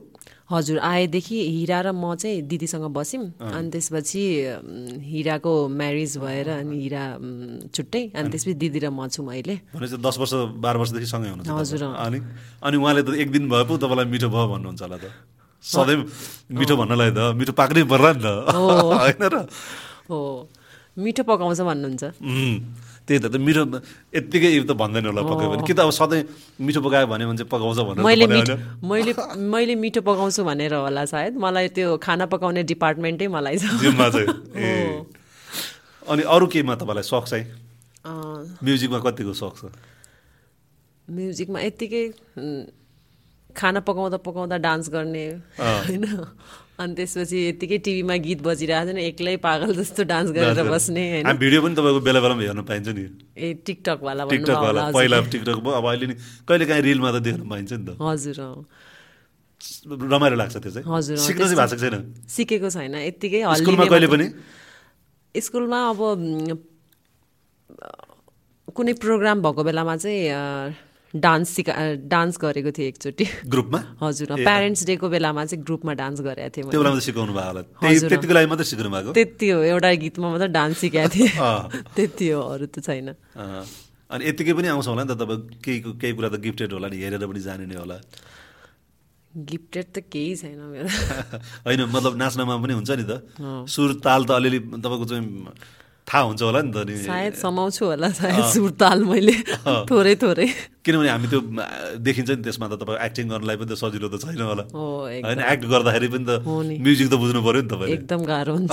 S2: हजुर आएदेखि हिरा र म चाहिँ दिदीसँग बस्यौँ अनि त्यसपछि उम्, हिराको म्यारिज भएर अनि हिरा उम्, छुट्टै अनि त्यसपछि दिदी र म छु मैले
S1: भनेपछि दस वर्ष बाह्र वर्षदेखि सँगै हुनुहुन्छ
S2: हजुर,
S1: तपाईँ। अनि अनि उहाँले त एक दिन भए पो तपाईँलाई मिठो भयो भन्नुहुन्छ होला त सधैँ मिठो भन्नलाई त मिठो पाक्नै पर्ला नि त होइन र
S2: हो मिठो पकाउँछ भन्नुहुन्छ
S1: उम्, त्यही त त मिठो यत्तिकै यो त भन्दैन होला पकायो भने कि त अब सधैँ मिठो पकायो भने मान्छे पकाउँछ भनेर त
S2: मैले
S1: भने
S2: मिठो
S1: होइन।
S2: मैले मैले मिठो पकाउँछु भनेर होला सायद मलाई त्यो खाना पकाउने डिपार्टमेन्टै मलाई छ
S1: जिममा चाहिँ ए अनि अरू केमा तपाईँलाई सोख चाहिँ
S2: अँ,
S1: म्युजिकमा कतिको सोख छ
S2: म्युजिकमा यत्तिकै उम्, खाना पकाउँदा पकाउँदा डान्स गर्ने होइन अनि त्यसपछि यत्तिकै टिभीमा गीत बजिरहेको छैन एक्लै पागल जस्तो डान्स गरेर बस्ने होइन
S1: हामी भिडियो पनि तपाईँको बेला बेलामा हेर्न पाइन्छ नि
S2: ए टिकटकवाला भन्नुभयो
S1: टिकटकवाला
S2: होला हजुर।
S1: पहिला टिकटक भयो अब अहिले नि कहिले काहीँ रिलमा त देख्न पाइन्छ नि त
S2: हजुर अँ।
S1: रमाइलो लाग्छ त्यो चाहिँ
S2: हजुर, अँ,
S1: सिक्न चाहिँ भएको छैन
S2: सिकेको छैन यत्तिकै
S1: स्कुलमा
S2: हल्लिने
S1: कहिले पनि
S2: स्कुलमा अब म, कुनै प्रोग्राम भएको बेलामा चाहिँ अ, डान्स सिका अ, डान्स गरेको थिएँ एकचोटि
S1: ग्रुपमा
S2: हजुर अ, प्यारेन्ट्स डेको बेलामा चाहिँ ग्रुपमा डान्स गरेको थिएँ
S1: त्यो
S2: मैले
S1: बेलामा त सिकाउनु भएको होला त्यही
S2: हजुर, अँ।
S1: त्यतिको लागि मात्रै सिकाउनु भएको
S2: त्यति हो एउटा गीतमा मात्रै डान्स सिकाएको थिएँ
S1: अँ।
S2: त्यति हो अरू त छैन
S1: अँ। अनि यत्तिकै पनि आउँछ होला नि त तपाईँ केही केही कुरा त गिफ्टेड होला नि हेरेर पनि जाने नै होला
S2: गिफ्टेड त केही छैन मेरो
S1: होइन मतलब नाच्नमा पनि हुन्छ नि त सुर ताल त अलिअलि तपाईँको चाहिँ थाहा हुन्छ होला नि त नि
S2: सायद समाउँछु होला सायद सुरताल मैले थोरै थोरै
S1: किनभने हामी त्यो म, देखिन्छ नि त्यसमा त तपाईँ एक्टिङ गर्नलाई पनि त सजिलो त छैन होला
S2: हो एक-
S1: होइन एक्ट गर्दाखेरि पनि त
S2: हो नि।
S1: म्युजिक त बुझ्नु पऱ्यो नि तपाईँले
S2: एकदम गाह्रो हुन्छ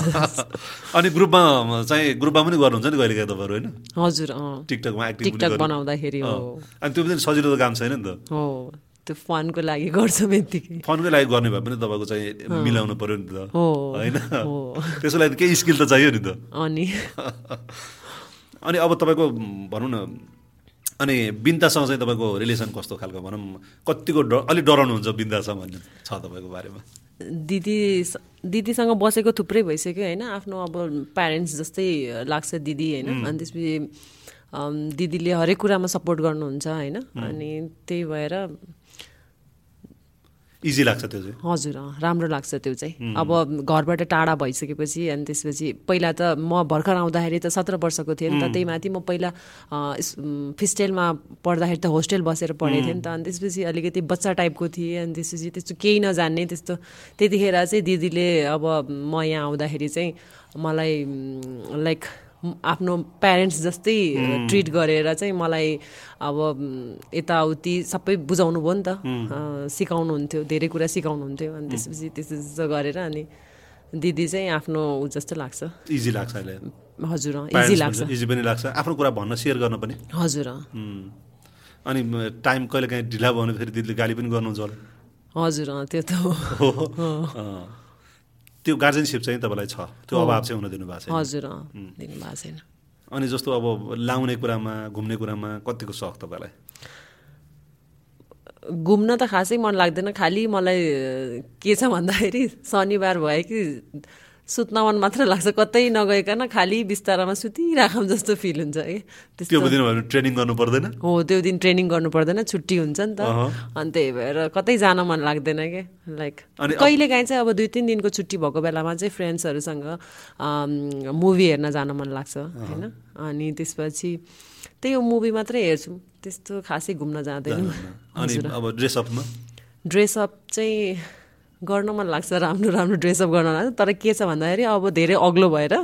S1: अनि ग्रुपमा चाहिँ ग्रुपमा पनि गर्नुहुन्छ नि कहिले काहीँ तपाईँहरू होइन
S2: हजुर अँ
S1: टिकटकमा एक्टिङ पनि
S2: टिकटक
S1: गर्नु।
S2: बनाउँदाखेरि हो
S1: अँ। अनि त्यो पनि सजिलो त काम छैन नि त
S2: हो त्यो फनको लागि गर्छौँ यत्तिकै
S1: फनकै लागि गर्ने भए पनि तपाईँको चाहिँ मिलाउनु पऱ्यो नि त
S2: हो
S1: होइन
S2: हो
S1: त्यसको लागि त केही स्किल त चाहियो नि त
S2: अनि
S1: अनि अब तपाईँको म, भनौँ न अनि बिन्दासँग चाहिँ तपाईँको रिलेसन कस्तो खालको भनौँ कतिको डर अलिक डराउनुहुन्छ बिन्दासँग भन्ने छ तपाईँको बारेमा
S2: दिदी दिदीसँग बसेको थुप्रै भइसक्यो होइन आफ्नो अब प्यारेन्ट्स जस्तै लाग्छ दिदी होइन अनि त्यसपछि अम, दिदीले हरेक कुरामा सपोर्ट गर्नुहुन्छ होइन अनि त्यही भएर
S1: इजी लाग्छ त्यो चाहिँ
S2: हजुर अँ, राम्रो लाग्छ त्यो चाहिँ अब घरबाट टाढा भइसकेपछि अनि त्यसपछि पहिला त म भर्खर आउँदाखेरि त सत्र वर्षको थिएँ नि त त्यही माथि म पहिला अँ, इस- उम्, फिस्टेलमा पढ्दाखेरि त होस्टेल बसेर पढेको थिएँ नि त अनि त्यसपछि अलिकति बच्चा टाइपको थिएँ अनि त्यसपछि त्यस्तो केही नजान्ने त्यस्तो त्यतिखेर चाहिँ दिदीले अब म यहाँ आउँदाखेरि चाहिँ मलाई लाइक आफ्नो प्यारेन्ट्स जस्तै ट्रिट गरेर चाहिँ मलाई अब उम्, यताउति सबै बुझाउनु भयो नि त अँ, सिकाउनुहुन्थ्यो धेरै कुरा सिकाउनुहुन्थ्यो अनि त्यसपछि त्यस्तो त्यस्तो गरेर अनि दिदी चाहिँ आफ्नो ऊ जस्तो लाग्छ
S1: इजी लाग्छ अहिले
S2: हजुर अँ, इजी
S1: Parents
S2: लाग्छ
S1: भन्छ, इजी पनि लाग्छ आफ्नो कुरा भन्न सेयर गर्न पनि
S2: हजुर अँ,
S1: उम्. अनि म, टाइम कहिले काहीँ ढिला भयो भने फेरि दिदीले गाली पनि गर्नुहुन्छ होला
S2: हजुर अँ, त्यो त हो
S1: हो अँ। त्यो गार्जेनसिप चाहिँ तपाईँलाई छ त्यो अभाव चाहिँ हुन दिनुभएको छैन
S2: हजुर अँ, दिनु भएको छैन
S1: अनि जस्तो अब लाउने कुरामा घुम्ने कुरामा कतिको सख तपाईँलाई
S2: घुम्न त खासै मन लाग्दैन खालि मलाई अ, के छ भन्दाखेरि शनिबार भयो कि सुत्न मन मात्र लाग्छ कतै नगइकन खालि बिस्तारामा सुतिराखौँ जस्तो फिल हुन्छ है त्यस्तो
S1: त्यो बुझ्नु भयो भने ट्रेनिङ गर्नु पर्दैन
S2: हो त्यो दिन ट्रेनिङ गर्नु पर्दैन छुट्टी हुन्छ नि त अनि त्यही भएर कतै जान मन लाग्दैन के लाइक
S1: अनि अब-
S2: कहिले काहीँ चाहिँ अब दुई तिन दिनको छुट्टी भएको बेलामा चाहिँ फ्रेन्ड्सहरूसँग मुभी हेर्न जान मन लाग्छ होइन अनि त्यसपछि त्यही हो मुभी मात्रै हेर्छौँ त्यस्तो खासै घुम्न जाँदैनौँ
S1: अनि अब ड्रेसअपमा
S2: ड्रेसअप चाहिँ गर्न मन लाग्छ राम्रो राम्रो ड्रेसअप गर्न लाग्छ तर के छ भन्दाखेरि अब धेरै अग्लो भएर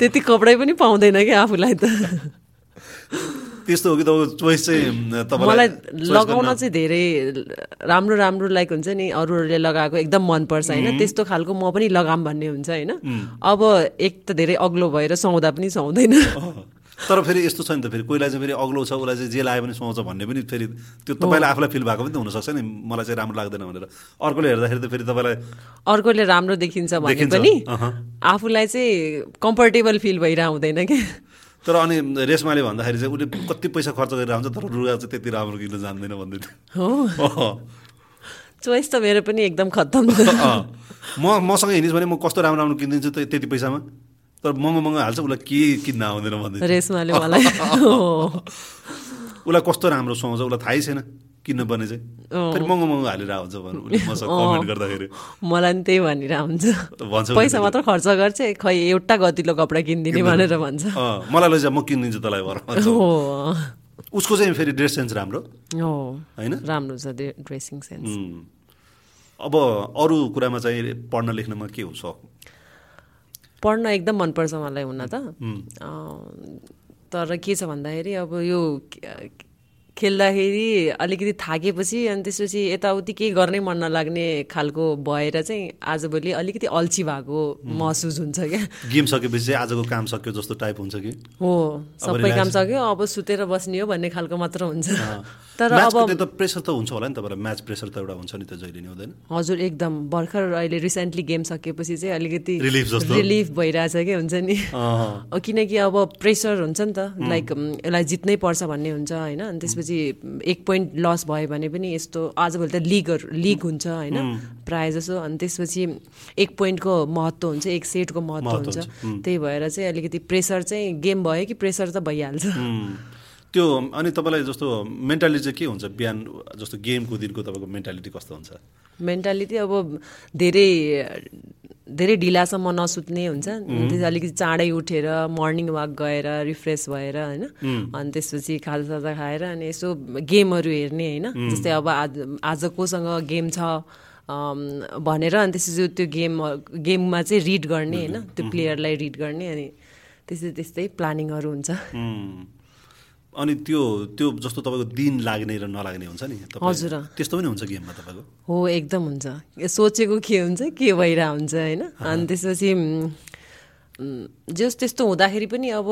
S2: त्यति कपडै पनि पाउँदैन क्या आफूलाई त
S1: त्यस्तो हो कि तपाईँको चोइस चाहिँ तपाईँलाई
S2: मलाई लगाउन चाहिँ धेरै राम्रो राम्रो लाइक हुन्छ नि अरूहरूले लगाएको एकदम मनपर्छ होइन त्यस्तो खालको म पनि लगाम भन्ने हुन्छ होइन अब एक त धेरै अग्लो भएर सुहाउँदा पनि सुहाउँदैन
S1: अँ। तर फेरि यस्तो छ नि त फेरि कोहीलाई चाहिँ फेरि अग्लो छ उसलाई चाहिँ जे लाग्यो भने सुहाउँछ भन्ने पनि फेरि त्यो तपाईँलाई आफूलाई फिल भएको पनि त हुनसक्छ नि मलाई चाहिँ राम्रो लाग्दैन भनेर अर्कोले हेर्दाखेरि त फेरि तपाईँलाई
S2: अर्कोले राम्रो देखिन्छ भने
S1: देखिन्छ,
S2: पनि
S1: अहँ।
S2: आफूलाई चाहिँ कम्फर्टेबल फिल भइरहेको हुँदैन कि
S1: तर अनि रेशमाले भन्दाखेरि चाहिँ उसले कति पैसा खर्च गरिरहेको हुन्छ तर रुगा चाहिँ त्यति राम्रो किन्न जान्दैन भन्दै
S2: हो
S1: थियो
S2: चोइस त मेरो पनि एकदम खत्तम छ।
S1: अँ। म मसँग हिँडिस् भने म कस्तो राम्रो राम्रो किनिदिन्छु त त्यति पैसामा तर महँगो महँगो हाल्छ उसलाई के किन्न आउँदैन भन्दै थियो।
S2: रेशमाले मलाई हो।
S1: उसलाई कस्तो राम्रो सुहाउँछ उसलाई थाहै छैन किन्नुपर्ने चाहिँ
S2: अँ।
S1: फेरि महँगो महँगो हालेर आउँछ भनौँ उसले मसँग कमेन्ट गर्दाखेरि
S2: मलाई नि त्यही भनेर हुन्छ
S1: भन्छ उसले
S2: पैसा
S1: फेरि।
S2: मात्र खर्च गर्छ खै एउटा गतिलो कपडा किनिदिने भनेर भन्छ
S1: अँ, मलाई लैजा म किनिदिन्छु तँलाई भएर भन्छ।
S2: हो
S1: उसको चाहिँ फेरि ड्रेस सेन्स राम्रो
S2: हो
S1: होइन
S2: राम्रो छ ड्रे- ड्रेसिङ सेन्स
S1: उम्। अब अरू कुरामा चाहिँ पढ्न लेख्नमा के हो सक
S2: पढ्न एकदम मनपर्छ मलाई हुन त
S1: उम्,
S2: अँ, तर के छ भन्दाखेरि अब यो खे- खेल्दाखेरि अलिकति थाकेपछि अनि त्यसपछि यताउति केही गर्नै मन नलाग्ने खालको भएर चाहिँ आजभोलि अलिकति अल्छी भएको महसुस हुन्छ क्या
S1: गेम सकेपछि चाहिँ आजको काम सक्यो जस्तो टाइप हुन्छ कि
S2: हो सबै काम
S1: relax-
S2: सक्यो अब सुतेर बस्ने हो भन्ने खालको मात्र हुन्छ तर
S1: म्याचको
S2: अब
S1: त्यो त प्रेसर त हुन्छ होला नि तपाईँलाई म्याच प्रेसर त एउटा हुन्छ नि त जहिले नि हुँदैन
S2: हजुर एकदम भर्खर अहिले रिसेन्टली गेम सकिएपछि चाहिँ अलिकति
S1: Relief जस्तो?
S2: रिलिफ भइरहेछ कि हुन्छ नि
S1: अँ।
S2: अ, किनकि अब प्रेसर हुन्छ नि त लाइक म, यसलाई जित्नै पर्छ भन्ने हुन्छ होइन अनि त्यसपछि म, एक पोइन्ट लस भयो भने पनि यस्तो आजभोलि त लिगहरू लिग हुन्छ होइन प्रायः जसो अनि त्यसपछि एक पोइन्टको महत्त्व हुन्छ एक सेटको महत्त्व
S1: महत्त्व
S2: हुन्छ
S1: हुन्छ,
S2: त्यही भएर चाहिँ अलिकति प्रेसर चाहिँ गेम भयो कि प्रेसर त भइहाल्छ
S1: उम्, त्यो अनि तपाईँलाई जस्तो मेन्टालिटी चाहिँ के हुन्छ बिहान जस्तो गेमको दिनको तपाईँको मेन्टालिटी कस्तो हुन्छ
S2: मेन्टालिटी अब धेरै धेरै ढिलासम्म नसुत्ने हुन्छ त्यसपछि अलिकति चाँडै उठेर मर्निङ वाक गएर रिफ्रेस भएर होइन अनि त्यसपछि खाजासाजा खाएर अनि यसो गेमहरू हेर्ने होइन जस्तै अब आज आज कोसँग गेम छ अम, भनेर अनि त्यसपछि त्यो गेम गेममा चाहिँ रिड गर्ने होइन त्यो प्लेयरलाई रिड गर्ने अनि त्यस्तै त्यस्तै प्लानिङहरू हुन्छ
S1: उम्, अनि त्यो त्यो जस्तो तपाईँको दिन लाग्ने र नलाग्ने हुन्छ नि तपाईँ-
S2: हजुर, अँ।
S1: त्यस्तो पनि हुन्छ गेममा तपाईँको
S2: हो एकदम हुन्छ ए, सोचेको के हुन्छ के भइरहेको हुन्छ होइन अनि त्यसपछि म, म, जोस् त्यस्तो हुँदाखेरि पनि अब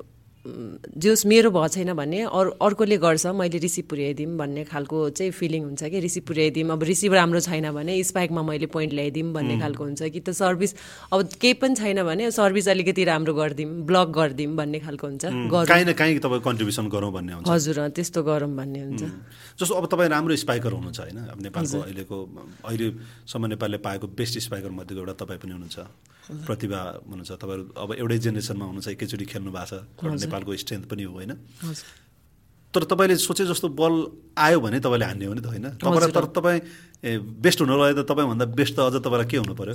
S2: म, जोस् मेरो भएको छैन भने अरू अर्कोले गर्छ मैले रिसिभ पुर्याइदिउँ भन्ने खालको चाहिँ फिलिङ हुन्छ कि रिसिभ पुर्याइदिउँ अब रिसिभ राम्रो छैन भने स्पाइकमा मैले पोइन्ट ल्याइदिउँ भन्ने खालको हुन्छ कि त सर्भिस अब केही पनि छैन भने सर्भिस अलिकति राम्रो गरिदिउँ ब्लक गरिदिउँ भन्ने खालको हुन्छ गरौँ
S1: काहीँ न काहीँ तपाईँ कन्ट्रिब्युसन गरौँ भन्ने हुन्छ
S2: हजुर अँ, त्यस्तो गरौँ भन्ने हुन्छ
S1: जस्तो अब तपाईँ राम्रो स्पाइकर हुनुहुन्छ होइन अब नेपालको अहिलेको अहिलेसम्म नेपालले पाएको बेस्ट स्पाइकर मध्येको एउटा तपाईँ पनि हुनुहुन्छ प्रतिभा हुनुहुन्छ तपाईँहरू अब एउटै जेनेरेसनमा हुनुहुन्छ एकैचोटि खेल्नु भएको छ एउटा नेपालको स्ट्रेन्थ पनि हो होइन
S2: हजुर
S1: तर तपाईँले सोचे जस्तो बल आयो भने तपाईँले हान्ने हो नि त होइन तपाईँलाई तर तपाईँ ए, बेस्ट हुनुलाई त तपाईँभन्दा बेस्ट त अझ तपाईँलाई के हुनु पर्यो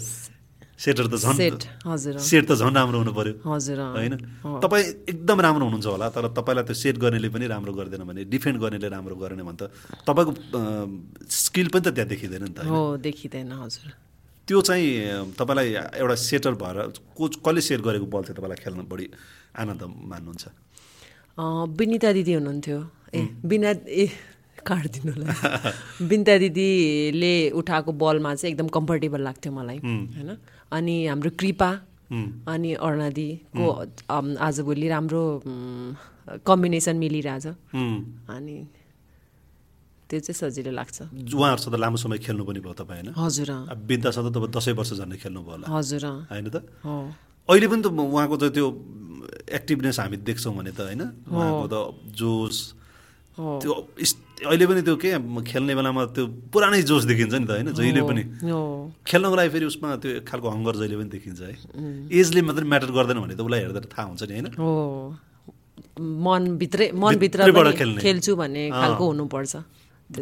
S1: सेटर त झन्
S2: सेट हजुर अँ,
S1: सेट त झन् राम्रो हुनु पर्यो
S2: हजुर अँ।
S1: होइन तपाईँ एकदम राम्रो हुनुहुन्छ होला तर तपाईँलाई त्यो सेट गर्नेले पनि राम्रो गर्दैन भने डिफेन्ड गर्नेले राम्रो गरेन भने त तपाईँको अँ, स्किल पनि त त्यहाँ देखिँदैन नि त
S2: हो देखिँदैन हजुर
S1: त्यो चाहिँ अँ, तपाईँलाई एउटा सेटर भएर कोच कसले सेट गरेको बल चाहिँ तपाईँलाई खेल्न बढी आनन्द मान्नुहुन्छ
S2: अ, विनिता दिदी हुनुहुन्थ्यो ए बिना ए काटिदिनु होला बिनिता दिदीले उठाएको बलमा चाहिँ एकदम कम्फर्टेबल लाग्थ्यो मलाई होइन अनि हाम्रो कृपा अनि अर्णादीको अम, आजभोलि राम्रो कम्बिनेसन मिलिरहेछ
S1: उम्,
S2: अनि त्यो चाहिँ सजिलो लाग्छ
S1: उहाँहरूसँग लामो समय खेल्नु पनि भयो तपाईँ होइन
S2: हजुर अँ,
S1: अब बिन्दासँग तपाईँ दसैँ वर्ष झन्डै खेल्नुभयो होला
S2: हजुर अँ,
S1: होइन त
S2: हो
S1: अहिले पनि त म- उहाँको त त्यो एक्टिभनेस हामी देख्छौँ भने त होइन उहाँको त जोस
S2: हो
S1: त्यो इस- अहिले पनि त्यो के म खेल्ने बेलामा त्यो पुरानै जोस देखिन्छ नि त होइन जहिले पनि
S2: हो
S1: खेल्नको लागि फेरि उसमा त्यो एक खालको हङ्गर जहिले पनि देखिन्छ है एजले मात्रै म्याटर गर्दैन भने त उसलाई हेर्दा थाहा हुन्छ नि होइन
S2: हो मनभित्रै मनभित्र
S1: भित्रैबाट
S2: पनि
S1: खेल्ने।
S2: खेल्छु भन्ने खालको हुनुपर्छ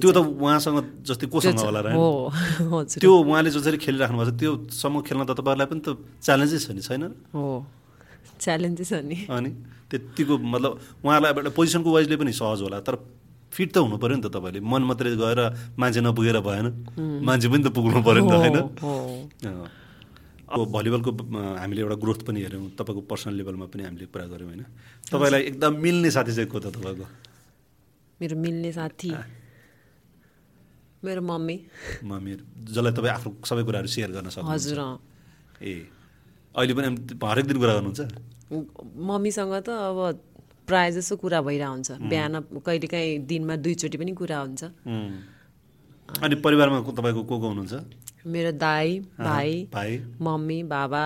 S1: त्यो त उहाँसँग जस्तै कोसँग होला र होइन?
S2: हो हजुर
S1: त्यो उहाँले जसरी खेलिराख्नु भएको छ त्योसम्म खेल्न त तपाईँहरूलाई पनि त च्यालेन्जै छ नि छैन
S2: हो च्यालेन्जै छ नि
S1: अनि त्यतिको मतलब उहाँहरूलाई अब एउटा पोजिसनको वाइजले पनि सहज होला तर फिट त हुनु पऱ्यो नि त तपाईँले मन मात्रै गएर मान्छे नपुगेर भएन मान्छे पनि त पुग्नु पऱ्यो नि त होइन
S2: हो
S1: अँ। अब भलिबलको अँ, हामीले एउटा ग्रोथ पनि हेऱ्यौँ तपाईँको पर्सनल लेभलमा पनि हामीले कुरा गऱ्यौँ होइन तपाईँलाई एकदम मिल्ने साथी चाहिँ को त तपाईँको
S2: मेरो मिल्ने साथी मेरो मम्मी
S1: म मेरो जसलाई तपाईँ आफ्नो सबै कुराहरू सेयर गर्न सक्नु
S2: हजुर अँ।
S1: ए अहिले पनि आम- हरेक दिन कुरा गर्नुहुन्छ
S2: मम्मीसँग त अब प्रायः जसो कुरा भइरहेको हुन्छ बिहान कहिलेकाहीँ दिनमा दुईचोटि पनि कुरा हुन्छ
S1: उम्. अनि परिवारमा को- तपाईँको को को हुनुहुन्छ
S2: मेरो दाई भाइ
S1: भाइ
S2: मम्मी बाबा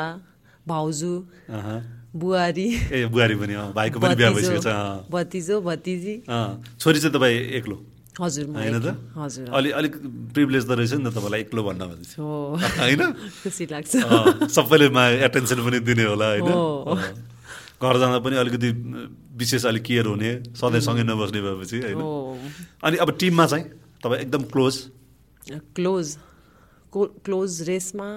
S2: भाउजू
S1: अहँ।
S2: बुहारी
S1: ए बुहारी पनि अँ, भाइको पनि बिहा भइसकेको छ अँ,
S2: भतिजो- भतिजो भतिजी
S1: अँ। छोरी चाहिँ तपाईँ एक्लो
S2: हजुर म
S1: होइन त
S2: एक्लै- हजुर
S1: अलि अलिक प्रिभिलेज त रहेछ नि त तपाईँलाई एक्लो भन्न भनेपछि
S2: हो
S1: होइन
S2: खुसी लाग्छ
S1: अँ, सबैले मा एटेन्सन पनि दिने होला होइन
S2: हो।
S1: अँ। घर जाँदा पनि अलिकति विशेष अलिक केयर हुने सधैँ सँगै नबस्ने भएपछि होइन
S2: हो
S1: अनि अब टिममा चाहिँ तपाईँ एकदम क्लोज
S2: क्लोज को- क्लोज रेसमा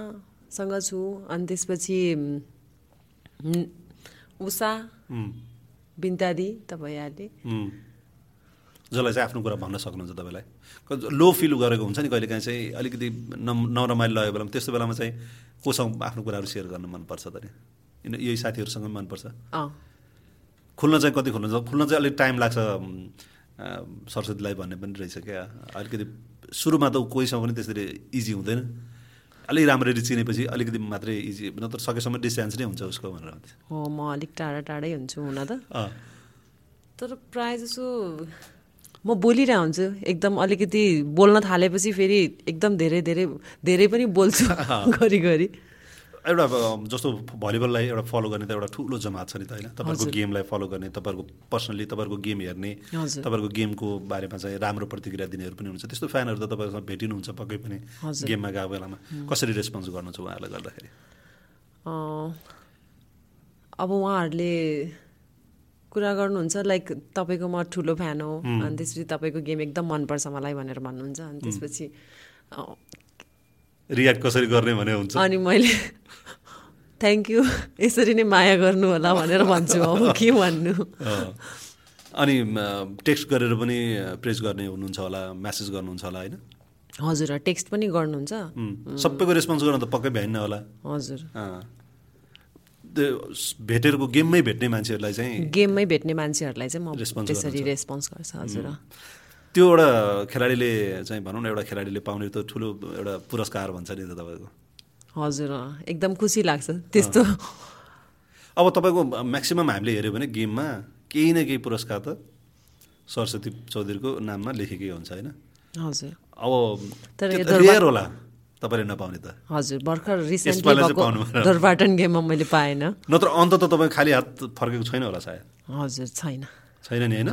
S2: सँग छु अनि त्यसपछि म, न- उषा
S1: उम्,
S2: बिन्तादी तपाईँहरूले
S1: उम्। जसलाई चाहिँ आफ्नो कुरा भन्न सक्नुहुन्छ तपाईँलाई क- लो फिल गरेको हुन्छ नि कहिले काहीँ चाहिँ अलिकति न नरमाइलो लगेको बेलामा त्यस्तो बेलामा चाहिँ कोसँग आफ्नो कुराहरू सेयर गर्न मनपर्छ त नि किन यही साथीहरूसँग पनि मनपर्छ
S2: अँ
S1: खुल्न चाहिँ कति खुल्न छ खुल्न चाहिँ अलिक टाइम लाग्छ अम, अ, सरस्वतीलाई भन्ने पनि रहेछ क्या अलिकति सुरुमा त ऊ कोहीसँग पनि त्यसरी इजी हुँदैन अलिक राम्ररी चिनेपछि अलिकति मात्रै इजी नत्र सकेसम्म डिस्टेन्स नै हुन्छ उसको भनेर भन्थ्यो
S2: हो म अलिक टाढा टाढै हुन्छु हुन त
S1: अँ,
S2: तर प्रायः जसो म बोलिरहेको हुन्छु एकदम अलिकति बोल्न थालेपछि फेरि एकदम धेरै धेरै धेरै पनि बोल्छु घरिघरि
S1: एउटा अम, जस्तो भलिबललाई एउटा फलो गर्ने त एउटा ठुलो जमात छ नि त होइन तपाईँहरूको गेमलाई फलो गर्ने तपाईँहरूको पर्सनली तपाईँहरूको गेम हेर्ने
S2: हजुर।
S1: तपाईँहरूको गेमको बारेमा चाहिँ राम्रो प्रतिक्रिया दिनेहरू पनि हुन्छ त्यस्तो फ्यानहरू त तपाईँसँग भेटिनुहुन्छ पक्कै पनि
S2: हजुर।
S1: गेममा गएको बेलामा कसरी रेस्पोन्स गर्नुहुन्छ उहाँहरूलाई गर्दाखेरि
S2: अँ, अब उहाँहरूले कुरा गर्नुहुन्छ लाइक तपाईँको म ठुलो फ्यान हो अनि त्यसपछि तपाईँको गेम एकदम मनपर्छ मलाई भनेर भन्नुहुन्छ अनि त्यसपछि अँ,
S1: रियाक्ट कसरी गर्ने भने हुन्छ
S2: अनि मैले थ्याङ्क यू यसरी नै माया गर्नु होला भनेर भन्छु अब के भन्नु
S1: अँ। अनि टेक्स्ट गरेर पनि प्रेस गर्ने हुनुहुन्छ होला म्यासेज गर्नुहुन्छ होला होइन
S2: हजुर टेक्स्ट पनि गर्नुहुन्छ
S1: उम्, सबैको रेस्पोन्स गर्नु त पक्कै भ्याइन्न होला
S2: हजुर
S1: अँ। त्यो स- भेटेरको गेममै भेट्ने मान्छेहरूलाई चाहिँ
S2: गेममै भेट्ने मान्छेहरूलाई चाहिँ म
S1: Response
S2: त्यसरी रेस्पोन्स गर्छ हजुर
S1: त्यो एउटा खेलाडीले चाहिँ भनौँ न एउटा खेलाडीले पाउने त ठुलो एउटा पुरस्कार भन्छ नि त तपाईँको
S2: हजुर अँ, एकदम खुसी लाग्छ त्यस्तो
S1: अब तपाईँको म्याक्सिमम् हामीले हेऱ्यो भने गेममा केही न केही पुरस्कार त सरस्वती चौधरीको नाममा लेखेकै हुन्छ होइन
S2: हजुर
S1: अब
S2: तर यो
S1: त्यो रेयर होला तपाईँले नपाउने त
S2: हजुर भर्खर रिसेन्टली
S1: यसपालि चाहिँ
S2: भएको
S1: पाउनु भएन।
S2: दरबाटन गेममा मैले पाएन
S1: नत्र अन्त त तपाईँ खाली हात फर्केको छैन होला सायद
S2: हजुर छैन
S1: छैन नि होइन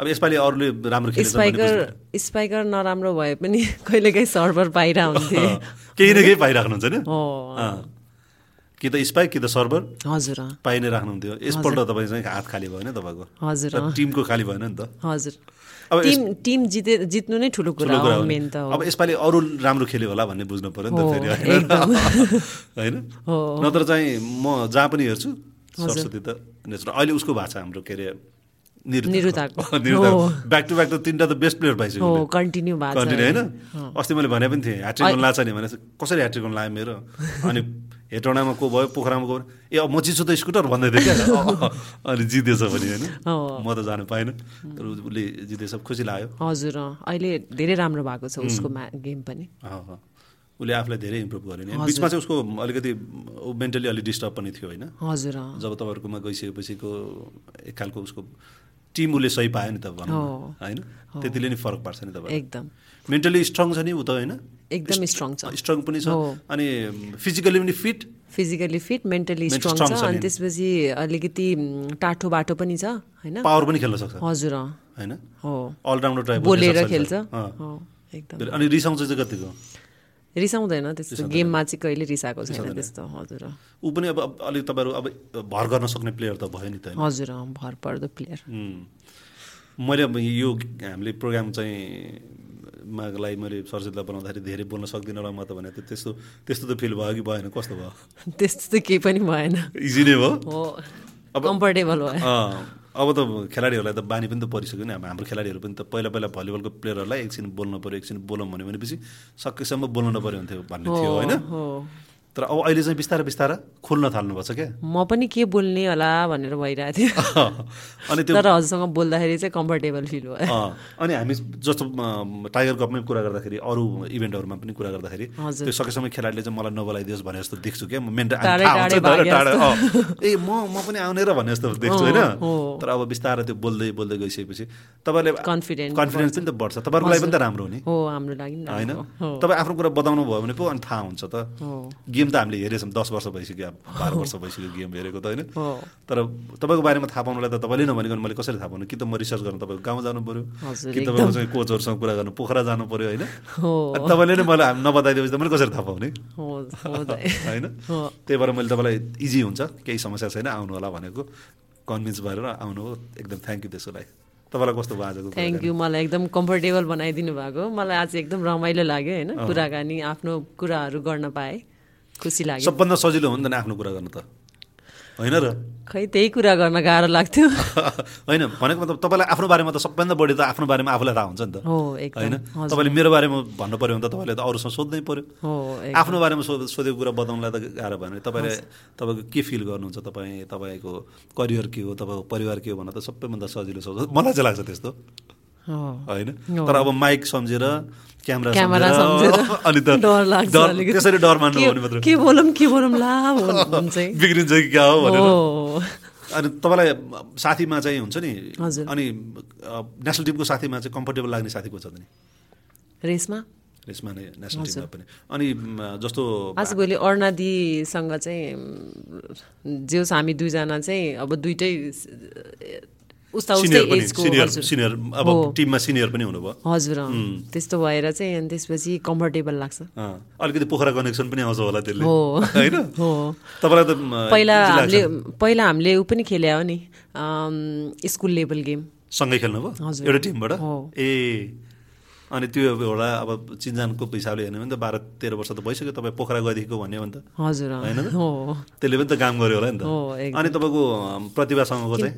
S1: अब यसपालि अरूले राम्रो खेलेछ
S2: स्पाइकर
S1: भनेपछि-
S2: स्पाइकर नराम्रो भए पनि कहिलेकाहीँ सर्भर बाहिर हुन्थे
S1: केही न केही पाइराख्नुहुन्छ नि
S2: हो
S1: अँ। कि त स्पाइक कि त सर्भर
S2: हजुर अँ,
S1: पाइ नै राख्नुहुन्थ्यो यसपल्ट तपाईँ चाहिँ हात खाली भएन तपाईँको
S2: हजुर
S1: त
S2: अँ,
S1: टिमको खाली भएन नि त
S2: हजुर
S1: अब
S2: टिम टिम जिते जित्नु नै ठुलो कुरा
S1: ठुलो कुरा हो
S2: हो
S1: नि।
S2: मेन त हो
S1: अब यसपालि अरू राम्रो खेल्यो होला भन्ने बुझ्नु पऱ्यो नि त
S2: हो,
S1: फेरि
S2: एकदम।
S1: होइन
S2: हो।
S1: नत्र चाहिँ म जहाँ पनि हेर्छु सरस्वती त नेचुरल अहिले उसको भएको छ हाम्रो के अरे
S2: निरुताको।
S1: ब्याक टु ब्याक त तिनवटा त बेस्ट प्लेयर पाइसक्यो
S2: हो
S1: उसले।
S2: कन्टिन्यू भएको छ
S1: कन्टिन्यू होइन अस्ति मैले भने पनि थिएँ ह्याट्रिक हुन लाग्छ नि भने कसरी ह्याट्रिक हुन लाग्यो मेरो अनि हेटौँडामा को भयो पोखरामा को भयो ए अब म जित्छु त स्कुटर भन्दै थियो क्या अ, अनि जितेछ भने होइन
S2: अँ।
S1: म त जानु पाइनँ तर उ- उसले जितेछ खुसी लाग्यो
S2: हजुर अँ, अहिले धेरै राम्रो भएको छ उसको मा- गेम पनि
S1: अँ, अँ। उसले आफूलाई धेरै इम्प्रुभ गर्यो नि अनि बिचमा चाहिँ उसको अलिकति मेन्टली अलिक डिस्टर्ब पनि थियो होइन
S2: हजुर अँ,
S1: जब तपाईँहरूकोमा गइसकेपछिको एक खालको उसको टिम उसले सही पायो नि त भनौँ न, होइन त्यतिले नै फरक पार्छ नि तपाईँ
S2: एकदम
S1: मेन्टली स्ट्रङ छ नि ऊ त होइन
S2: एकदम स्ट्रङ छ
S1: स्ट्रङ पनि छ
S2: हो।
S1: अनि फिजिकली पनि fit
S2: physically fit mentally
S1: Mentally
S2: strong
S1: strong
S2: छ
S1: छ
S2: अनि
S1: नि।
S2: त्यसपछि अलिकति म, टाठो बाटो पनि छ होइन
S1: पावर पनि खेल्न सक्छ
S2: हजुर अँ,
S1: होइन
S2: हो
S1: अलराउन्डर टाइप
S2: बोलेर खेल्छ हो एकदम
S1: अनि रिसाउँछ चाहिँ कतिको
S2: रिसाउँदैन त्यस्तो गेममा चाहिँ कहिले रिसाएको छैन त्यस्तो हजुर अँ,
S1: ऊ पनि अब अब अलिक तपाईँहरू अब भर गर्न सक्ने प्लेयर त भयो नि त होइन
S2: हजुर अँ, भर पर्दो प्लेयर
S1: उम्. मैले अब यो हामीले प्रोग्राम चाहिँ मागलाई मैले सरस्वतीलाई बनाउँदाखेरि धेरै बोल्न सक्दिनँ होला म त भने त्यस्तो त्यस्तो त फिल भयो कि भएन कस्तो भयो
S2: त्यस्तो त केही पनि भएन
S1: इजी नै भयो
S2: हो कम्फर्टेबल भयो
S1: अँ, अब त खेलाडीहरूलाई त बानी पनि त परिसक्यो नि अब हाम्रो खेलाडीहरू पनि त पहिला पहिला भलिबलको प्लेयरहरूलाई एकछिन बोल्नु पऱ्यो एकछिन बोलौँ भन्यो भनेपछि सकेसम्म बोल्नु नपऱ्यो हुन्थ्यो भन्ने थियो होइन
S2: हो
S1: त तर अब अहिले चाहिँ बिस्तारै बिस्तारै खुल्न थाल्नुपर्छ क्या
S2: म पनि के बोल्ने होला भनेर भइरहेको थियो
S1: अनि त्यो
S2: तर हजुरसँग बोल्दाखेरि चाहिँ कम्फर्टेबल फिल भयो
S1: अँ, अनि हामी जस्तो म, टाइगर कपमै कुरा गर्दाखेरि अरू इभेन्टहरूमा पनि कुरा गर्दाखेरि
S2: हजुर।
S1: त्यो सकेसम्म खेलाडीले चाहिँ मलाई नबोलाइदियोस् भने जस्तो देख्छु क्या म मेन्टल
S2: टाढै टाढै भागे
S1: ए म म पनि आउने र भने जस्तो देख्छु होइन
S2: हो।
S1: तर अब बिस्तारै त्यो बोल्दै बोल्दै गइसकेपछि तपाईँले
S2: Confident
S1: कन्फिडेन्स पनि त बढ्छ तपाईँहरूको लागि पनि त राम्रो हुने
S2: हो हाम्रो लागि नि
S1: होइन
S2: राम्रो हो।
S1: तपाईँ आफ्नो कुरा बताउनु भयो भने पो अनि थाहा हुन्छ त
S2: हो।
S1: गेम त हामीले हेरेछौँ दस वर्ष भइसक्यो अब बाह्र वर्ष भइसक्यो गेम हेरेको त होइन
S2: हो।
S1: तर तपाईँको बारेमा थाहा पाउनुलाई त तपाईँले नभनिकन मैले कसरी थाहा पाउनु कि त म रिसर्च गर्नु तपाईँको गाउँ जानु पऱ्यो
S2: हजुर,
S1: कि तपाईँको चाहिँ कोचहरूसँग कुरा गर्नु पोखरा जानु पऱ्यो होइन
S2: हो।
S1: अनि तपाईँले नै मलाई हाम- नबताइदिएपछि त मैले कसरी थाहा पाउने
S2: हो हो दाइ।
S1: होइन
S2: हो।
S1: त्यही भएर मैले तपाईँलाई इजी हुन्छ केही समस्या छैन आउनु होला भनेको कन्भिन्स भएर आउनु हो एकदम थ्याङ्क यू त्यसको लागि तपाईँलाई कस्तो भयो आजको कुरा?
S2: थ्याङ्क यू मलाई एकदम कम्फर्टेबल बनाइदिनु भएको मलाई आज एकदम रमाइलो लाग्यो होइन कुराकानी आफ्नो कुराहरू गर्न पाएँ खुसी लाग्यो
S1: सबभन्दा सजिलो हो नि त नि आफ्नो कुरा गर्नु त होइन र
S2: खै त्यही कुरा गर्न गाह्रो लाग्थ्यो
S1: होइन भनेको मतलब तपाईँलाई आफ्नो बारेमा त सबभन्दा बढी त आफ्नो बारेमा आफूलाई थाहा हुन्छ नि त
S2: हो
S1: होइन
S2: एकदम
S1: तपाईँले मेरो बारेमा भन्नु पऱ्यो भने त तपाईँले त अरूसँग सोध्नै पऱ्यो
S2: हो एक-
S1: आफ्नो बारेमा सो सोधेको कुरा बताउनलाई त गाह्रो भयो भने तपाईँले तपाईँको के फिल गर्नुहुन्छ तपाईँ तपाईँको करियर के हो तपाईँको परिवार के हो भन्दा त सबैभन्दा सजिलो सोध्छ मलाई चाहिँ लाग्छ त्यस्तो
S2: हो
S1: होइन तर अब माइक सम्झेर क्यामेरा
S2: क्यामेरा
S1: सम्झेर अनि त
S2: डर लाग्छ
S1: डर-
S2: अलिकति।
S1: त्यसरी डर मान्नु
S2: के-
S1: भने मात्र
S2: के बोलौँ के बोलौँ ला हुन्छ है।
S1: बिग्रिन्छ कि क्या हो भनेर
S2: हो
S1: अनि तपाईँलाई साथीमा चाहिँ हुन्छ नि
S2: हजुर।
S1: अनि अ, नेसनल टिमको साथीमा चाहिँ कम्फर्टेबल लाग्ने साथी को छ त नि
S2: रेसमा
S1: यसमा नै नेसनल टिममा पनि अनि म, जस्तो
S2: आज भोलि अर्णादीसँग चाहिँ उम्, जे होस् हामी दुईजना चाहिँ अब दुइटै ए, उस्ता उस्तै
S1: सिनियर पनि
S2: एजको
S1: सिनियर
S2: हजुर
S1: सिनियर अब
S2: हो।
S1: टिममा सिनियर पनि हुनुभयो
S2: हजुर अँ। त्यस्तो भएर चाहिँ अनि त्यसपछि कम्फर्टेबल लाग्छ
S1: अँ, अलिकति पोखरा कनेक्सन पनि आउँछ होला त्यसले
S2: हो।
S1: होइन
S2: हो
S1: तपाईँलाई त म,
S2: पहिला
S1: easy लाग्छ।
S2: हामीले पहिला हामीले ऊ पनि खेल्या हो नि अम्, स्कुल लेभल गेम
S1: सँगै खेल्नुभयो
S2: हजुर।
S1: एउटा टिमबाट
S2: हो।
S1: ए अनि त्यो अब एउटा अब चिन्जानको हिसाबले हेर्ने हो भने त बाह्र तेह्र वर्ष त भइसक्यो तपाईँ पोखरा गएदेखिको भन्यो भने त
S2: हजुर अँ।
S1: होइन?
S2: हो
S1: त्यसले पनि त काम गर्यो होला नि त
S2: हो एकदम।
S1: अनि तपाईँको अँ, प्रतिभासँगको चाहिँ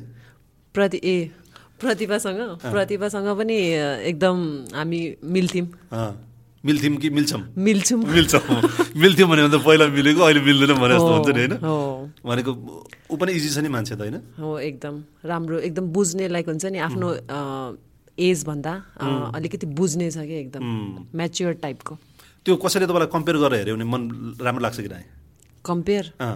S2: प्रति ए प्रतिभासँग प्रतिभासँग पनि अ, एकदम हामी मिल्थ्यौँ
S1: अँ, मिल्थ्यौँ कि मिल्छौँ
S2: मिल्छौँ
S1: मिल्छौँ मिल्थ्यौँ भन्यो भने त पहिला मिलेको अहिले मिल्दैन भने जस्तो हुन्छ नि होइन
S2: हो
S1: भनेको ऊ पनि इजी छ नि मान्छे त होइन
S2: हो एकदम राम्रो एकदम बुझ्ने लाइक हुन्छ नि आफ्नो एज भन्दा अ, अलिकति बुझ्ने छ कि एकदम म्याच्योर टाइपको
S1: त्यो कसैले तपाईँलाई कम्पेयर गरेर हेऱ्यो भने मन राम्रो लाग्छ कि नाइ
S2: कम्पेयर
S1: अँ,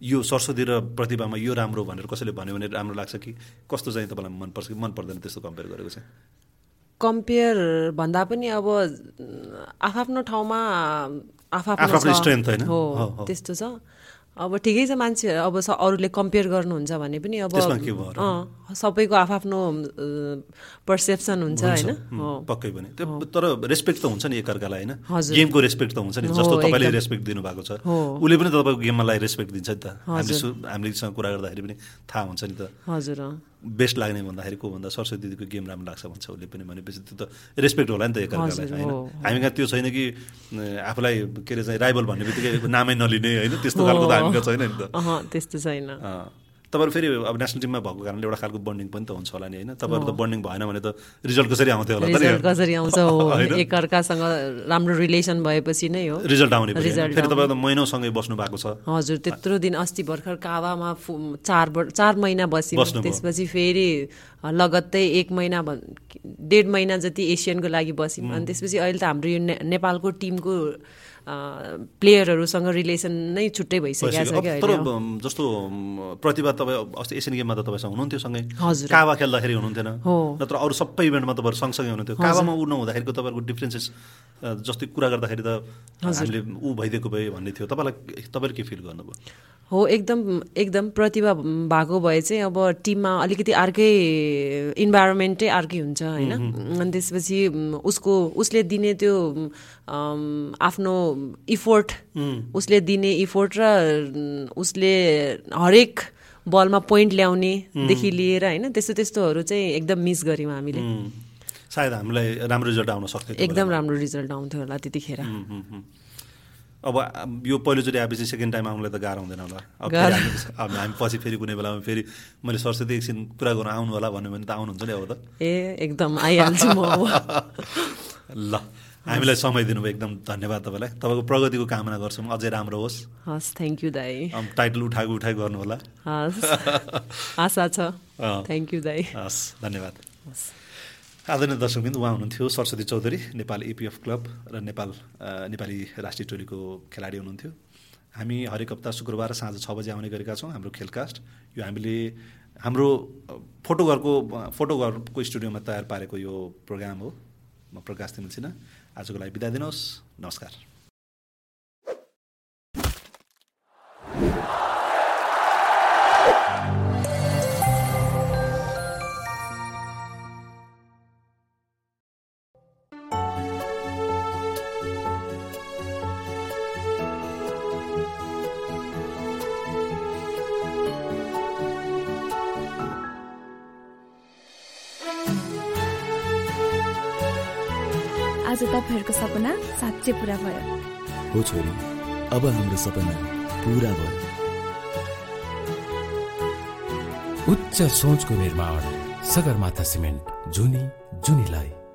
S1: यो सरस्वती र प्रतिभामा यो राम्रो भनेर कसैले भन्यो भने राम्रो लाग्छ कि कस्तो चाहिँ तपाईँलाई मनपर्छ कि मन पर्दैन त्यस्तो कम्पेयर गरेको चाहिँ
S2: कम्पेयर भन्दा पनि अब आफ्नो ठाउँमा आफआफ्नो
S1: आफआफ्नो
S2: छ।
S1: strength होइन?
S2: हो
S1: हो, हो।
S2: त्यस्तो छ अब ठिकै छ मान्छेहरू अब स- अरूले कम्पेयर गर्नुहुन्छ भने पनि अब
S1: त्यसमा के भयो र?
S2: अँ, सबैको आफआफ्नो पर्सेप्सन हुन्छ होइन
S1: हुम्, पक्कै पनि त्यो तर रेस्पेक्ट त हुन्छ नि एकअर्कालाई होइन
S2: हजुर।
S1: गेमको रेस्पेक्ट त हुन्छ नि
S2: हो,
S1: जस्तो तपाईँले
S2: एकदम।
S1: रेस्पेक्ट दिनुभएको छ
S2: हो।
S1: उसले पनि त तपाईँको गेममा लागि रेस्पेक्ट दिन्छ नि त हामीले सु- हामीलेसँग कुरा गर्दाखेरि पनि थाहा हुन्छ नि त
S2: हजुर अँ।
S1: बेस्ट लाग्ने भन्दाखेरि को भन्दा सरस्वती दिदीको गेम राम्रो लाग्छ भन्छ उसले पनि भनेपछि त्यो त रेस्पेक्ट होला नि त एकअर्कालाई
S2: हजुर,
S1: होइन
S2: हो,
S1: हामी कहाँ त्यो छैन कि अ, आफूलाई के अरे चाहिँ राइबल भन्ने बित्तिकै नामै नलिने होइन त्यस्तो खालको त हामी कहाँ छैन नि त
S2: अहँ, त्यस्तो छैन
S1: अ, तपाईँहरू फेरि अब नेसनल टिममा भएको कारणले एउटा खालको बन्डिङ पनि त हुन्छ होला नि होइन तपाईँहरू त बन्डिङ भएन भने त रिजल्ट कसरी आउँथ्यो होला त नि?
S2: रिजल्ट कसरी आउँछ हो
S1: होइन?
S2: एकअर्कासँग राम्रो रिलेसन भएपछि नै हो
S1: रिजल्ट आउने पनि होइन।
S2: रिजल्ट
S1: फेरि तपाईँ त महिनासँगै बस्नु भएको छ
S2: हजुर त्यत्रो दिन अस्ति भर्खर कावामा फु- चार वर- चार महिना
S1: बस्नुभयो।
S2: बस्यौँ त्यसपछि फेरि लगत्तै एक महिना भन् डेढ महिना जति एसियनको लागि बस्यौँ अनि त्यसपछि अहिले त हाम्रो यो ने- नेपालको टिमको अ, प्लेयरहरूसँग रिलेसन नै छुट्टै भइसकेको छ
S1: भइसक्यो। अब
S2: क्या
S1: तर
S2: अहिले
S1: अम, जस्तो अम, प्रतिभा तपाईँ अब अस्ति एसियन गेममा त तपाईँसँग हुनुहुन्थ्यो सँगै
S2: हजुर।
S1: कावा खेल्दाखेरि हुनुहुन्थेन
S2: हो।
S1: नत्र अरू सबै इभेन्टमा तपाईँहरू सँगसँगै हुनुहुन्थ्यो कावामा ऊ नहुँदाखेरिको तपाईँहरूको डिफ्रेन्सेस जस्तै कुरा गर्दाखेरि त हामीले ऊ भइदिएको भए भन्ने थियो तपाईँलाई तपाईँले के फिल गर्नुभयो
S2: हो एकदम एकदम प्रतिभा भएको भए चाहिँ अब टिममा अलिकति अर्कै इन्भाइरोमेन्टै अर्कै हुन्छ होइन अनि त्यसपछि म, उसको उसले दिने त्यो अम, आफ्नो इफोर्ट उसले दिने इफोर्ट र म, उसले हरेक बलमा पोइन्ट ल्याउनेदेखि लिएर होइन त्यस्तो त्यस्तोहरू चाहिँ एकदम मिस गऱ्यौँ हामीले
S1: उम्, सायद हामीलाई राम्रो रिजल्ट आउन सक्थ्यो त्यो
S2: एकदम राम्रो रिजल्ट आउँथ्यो होला त्यतिखेर
S1: हुँ, हुँ, हुँ। अब आ- यो पहिलोचोटि आएपछि सेकेन्ड टाइम आउनुलाई त गाह्रो हुँदैन होला अब फेरि हामी- अब हामी पछि फेरि कुनै बेलामा फेरि मैले सरस्वती एकछिन कुरा गर्न आउनु होला भन्यो भने त आउनुहुन्छ नि अब त
S2: ए एकदम आइहाल्छु म अब
S1: ल हामीलाई समय दिनुभयो एकदम धन्यवाद तपाईँलाई तपाईँको प्रगतिको कामना गर्छौँ अझै राम्रो होस्
S2: हस् थ्याङ्क यू दाई
S1: अम्, टाइटल उठाएको उठाइ गर्नुहोला
S2: हस् आशा छ
S1: अँ।
S2: थ्याङ्क यू दाई
S1: हस् धन्यवाद
S2: हस्
S1: आदरणीय दर्शकबिन्दु उहाँ हुनुहुन्थ्यो सरस्वती चौधरी नेपाल एपिएफ क्लब र नेपाल अ, नेपाली राष्ट्रिय टोलीको खेलाडी हुनुहुन्थ्यो हामी हरेक हप्ता शुक्रबार साँझ छ बजी आउने गरेका छौँ हाम्रो खेलकास्ट यो हामीले हाम्रो अ, फोटोघरको अ, फोटोघरको स्टुडियोमा तयार पारेको यो प्रोग्राम हो म प्रकाश तिमल सिन्हा आजको लागि बिदा दिनुहोस् नमस्कार
S3: आज तपाईँहरूको सपना साँच्चै पुरा भयो
S4: हो छोरी अब हाम्रो सपना पुरा भयो
S5: उच्च सोचको निर्माण सगरमाथा सिमेन्ट जुनी जुनीलाई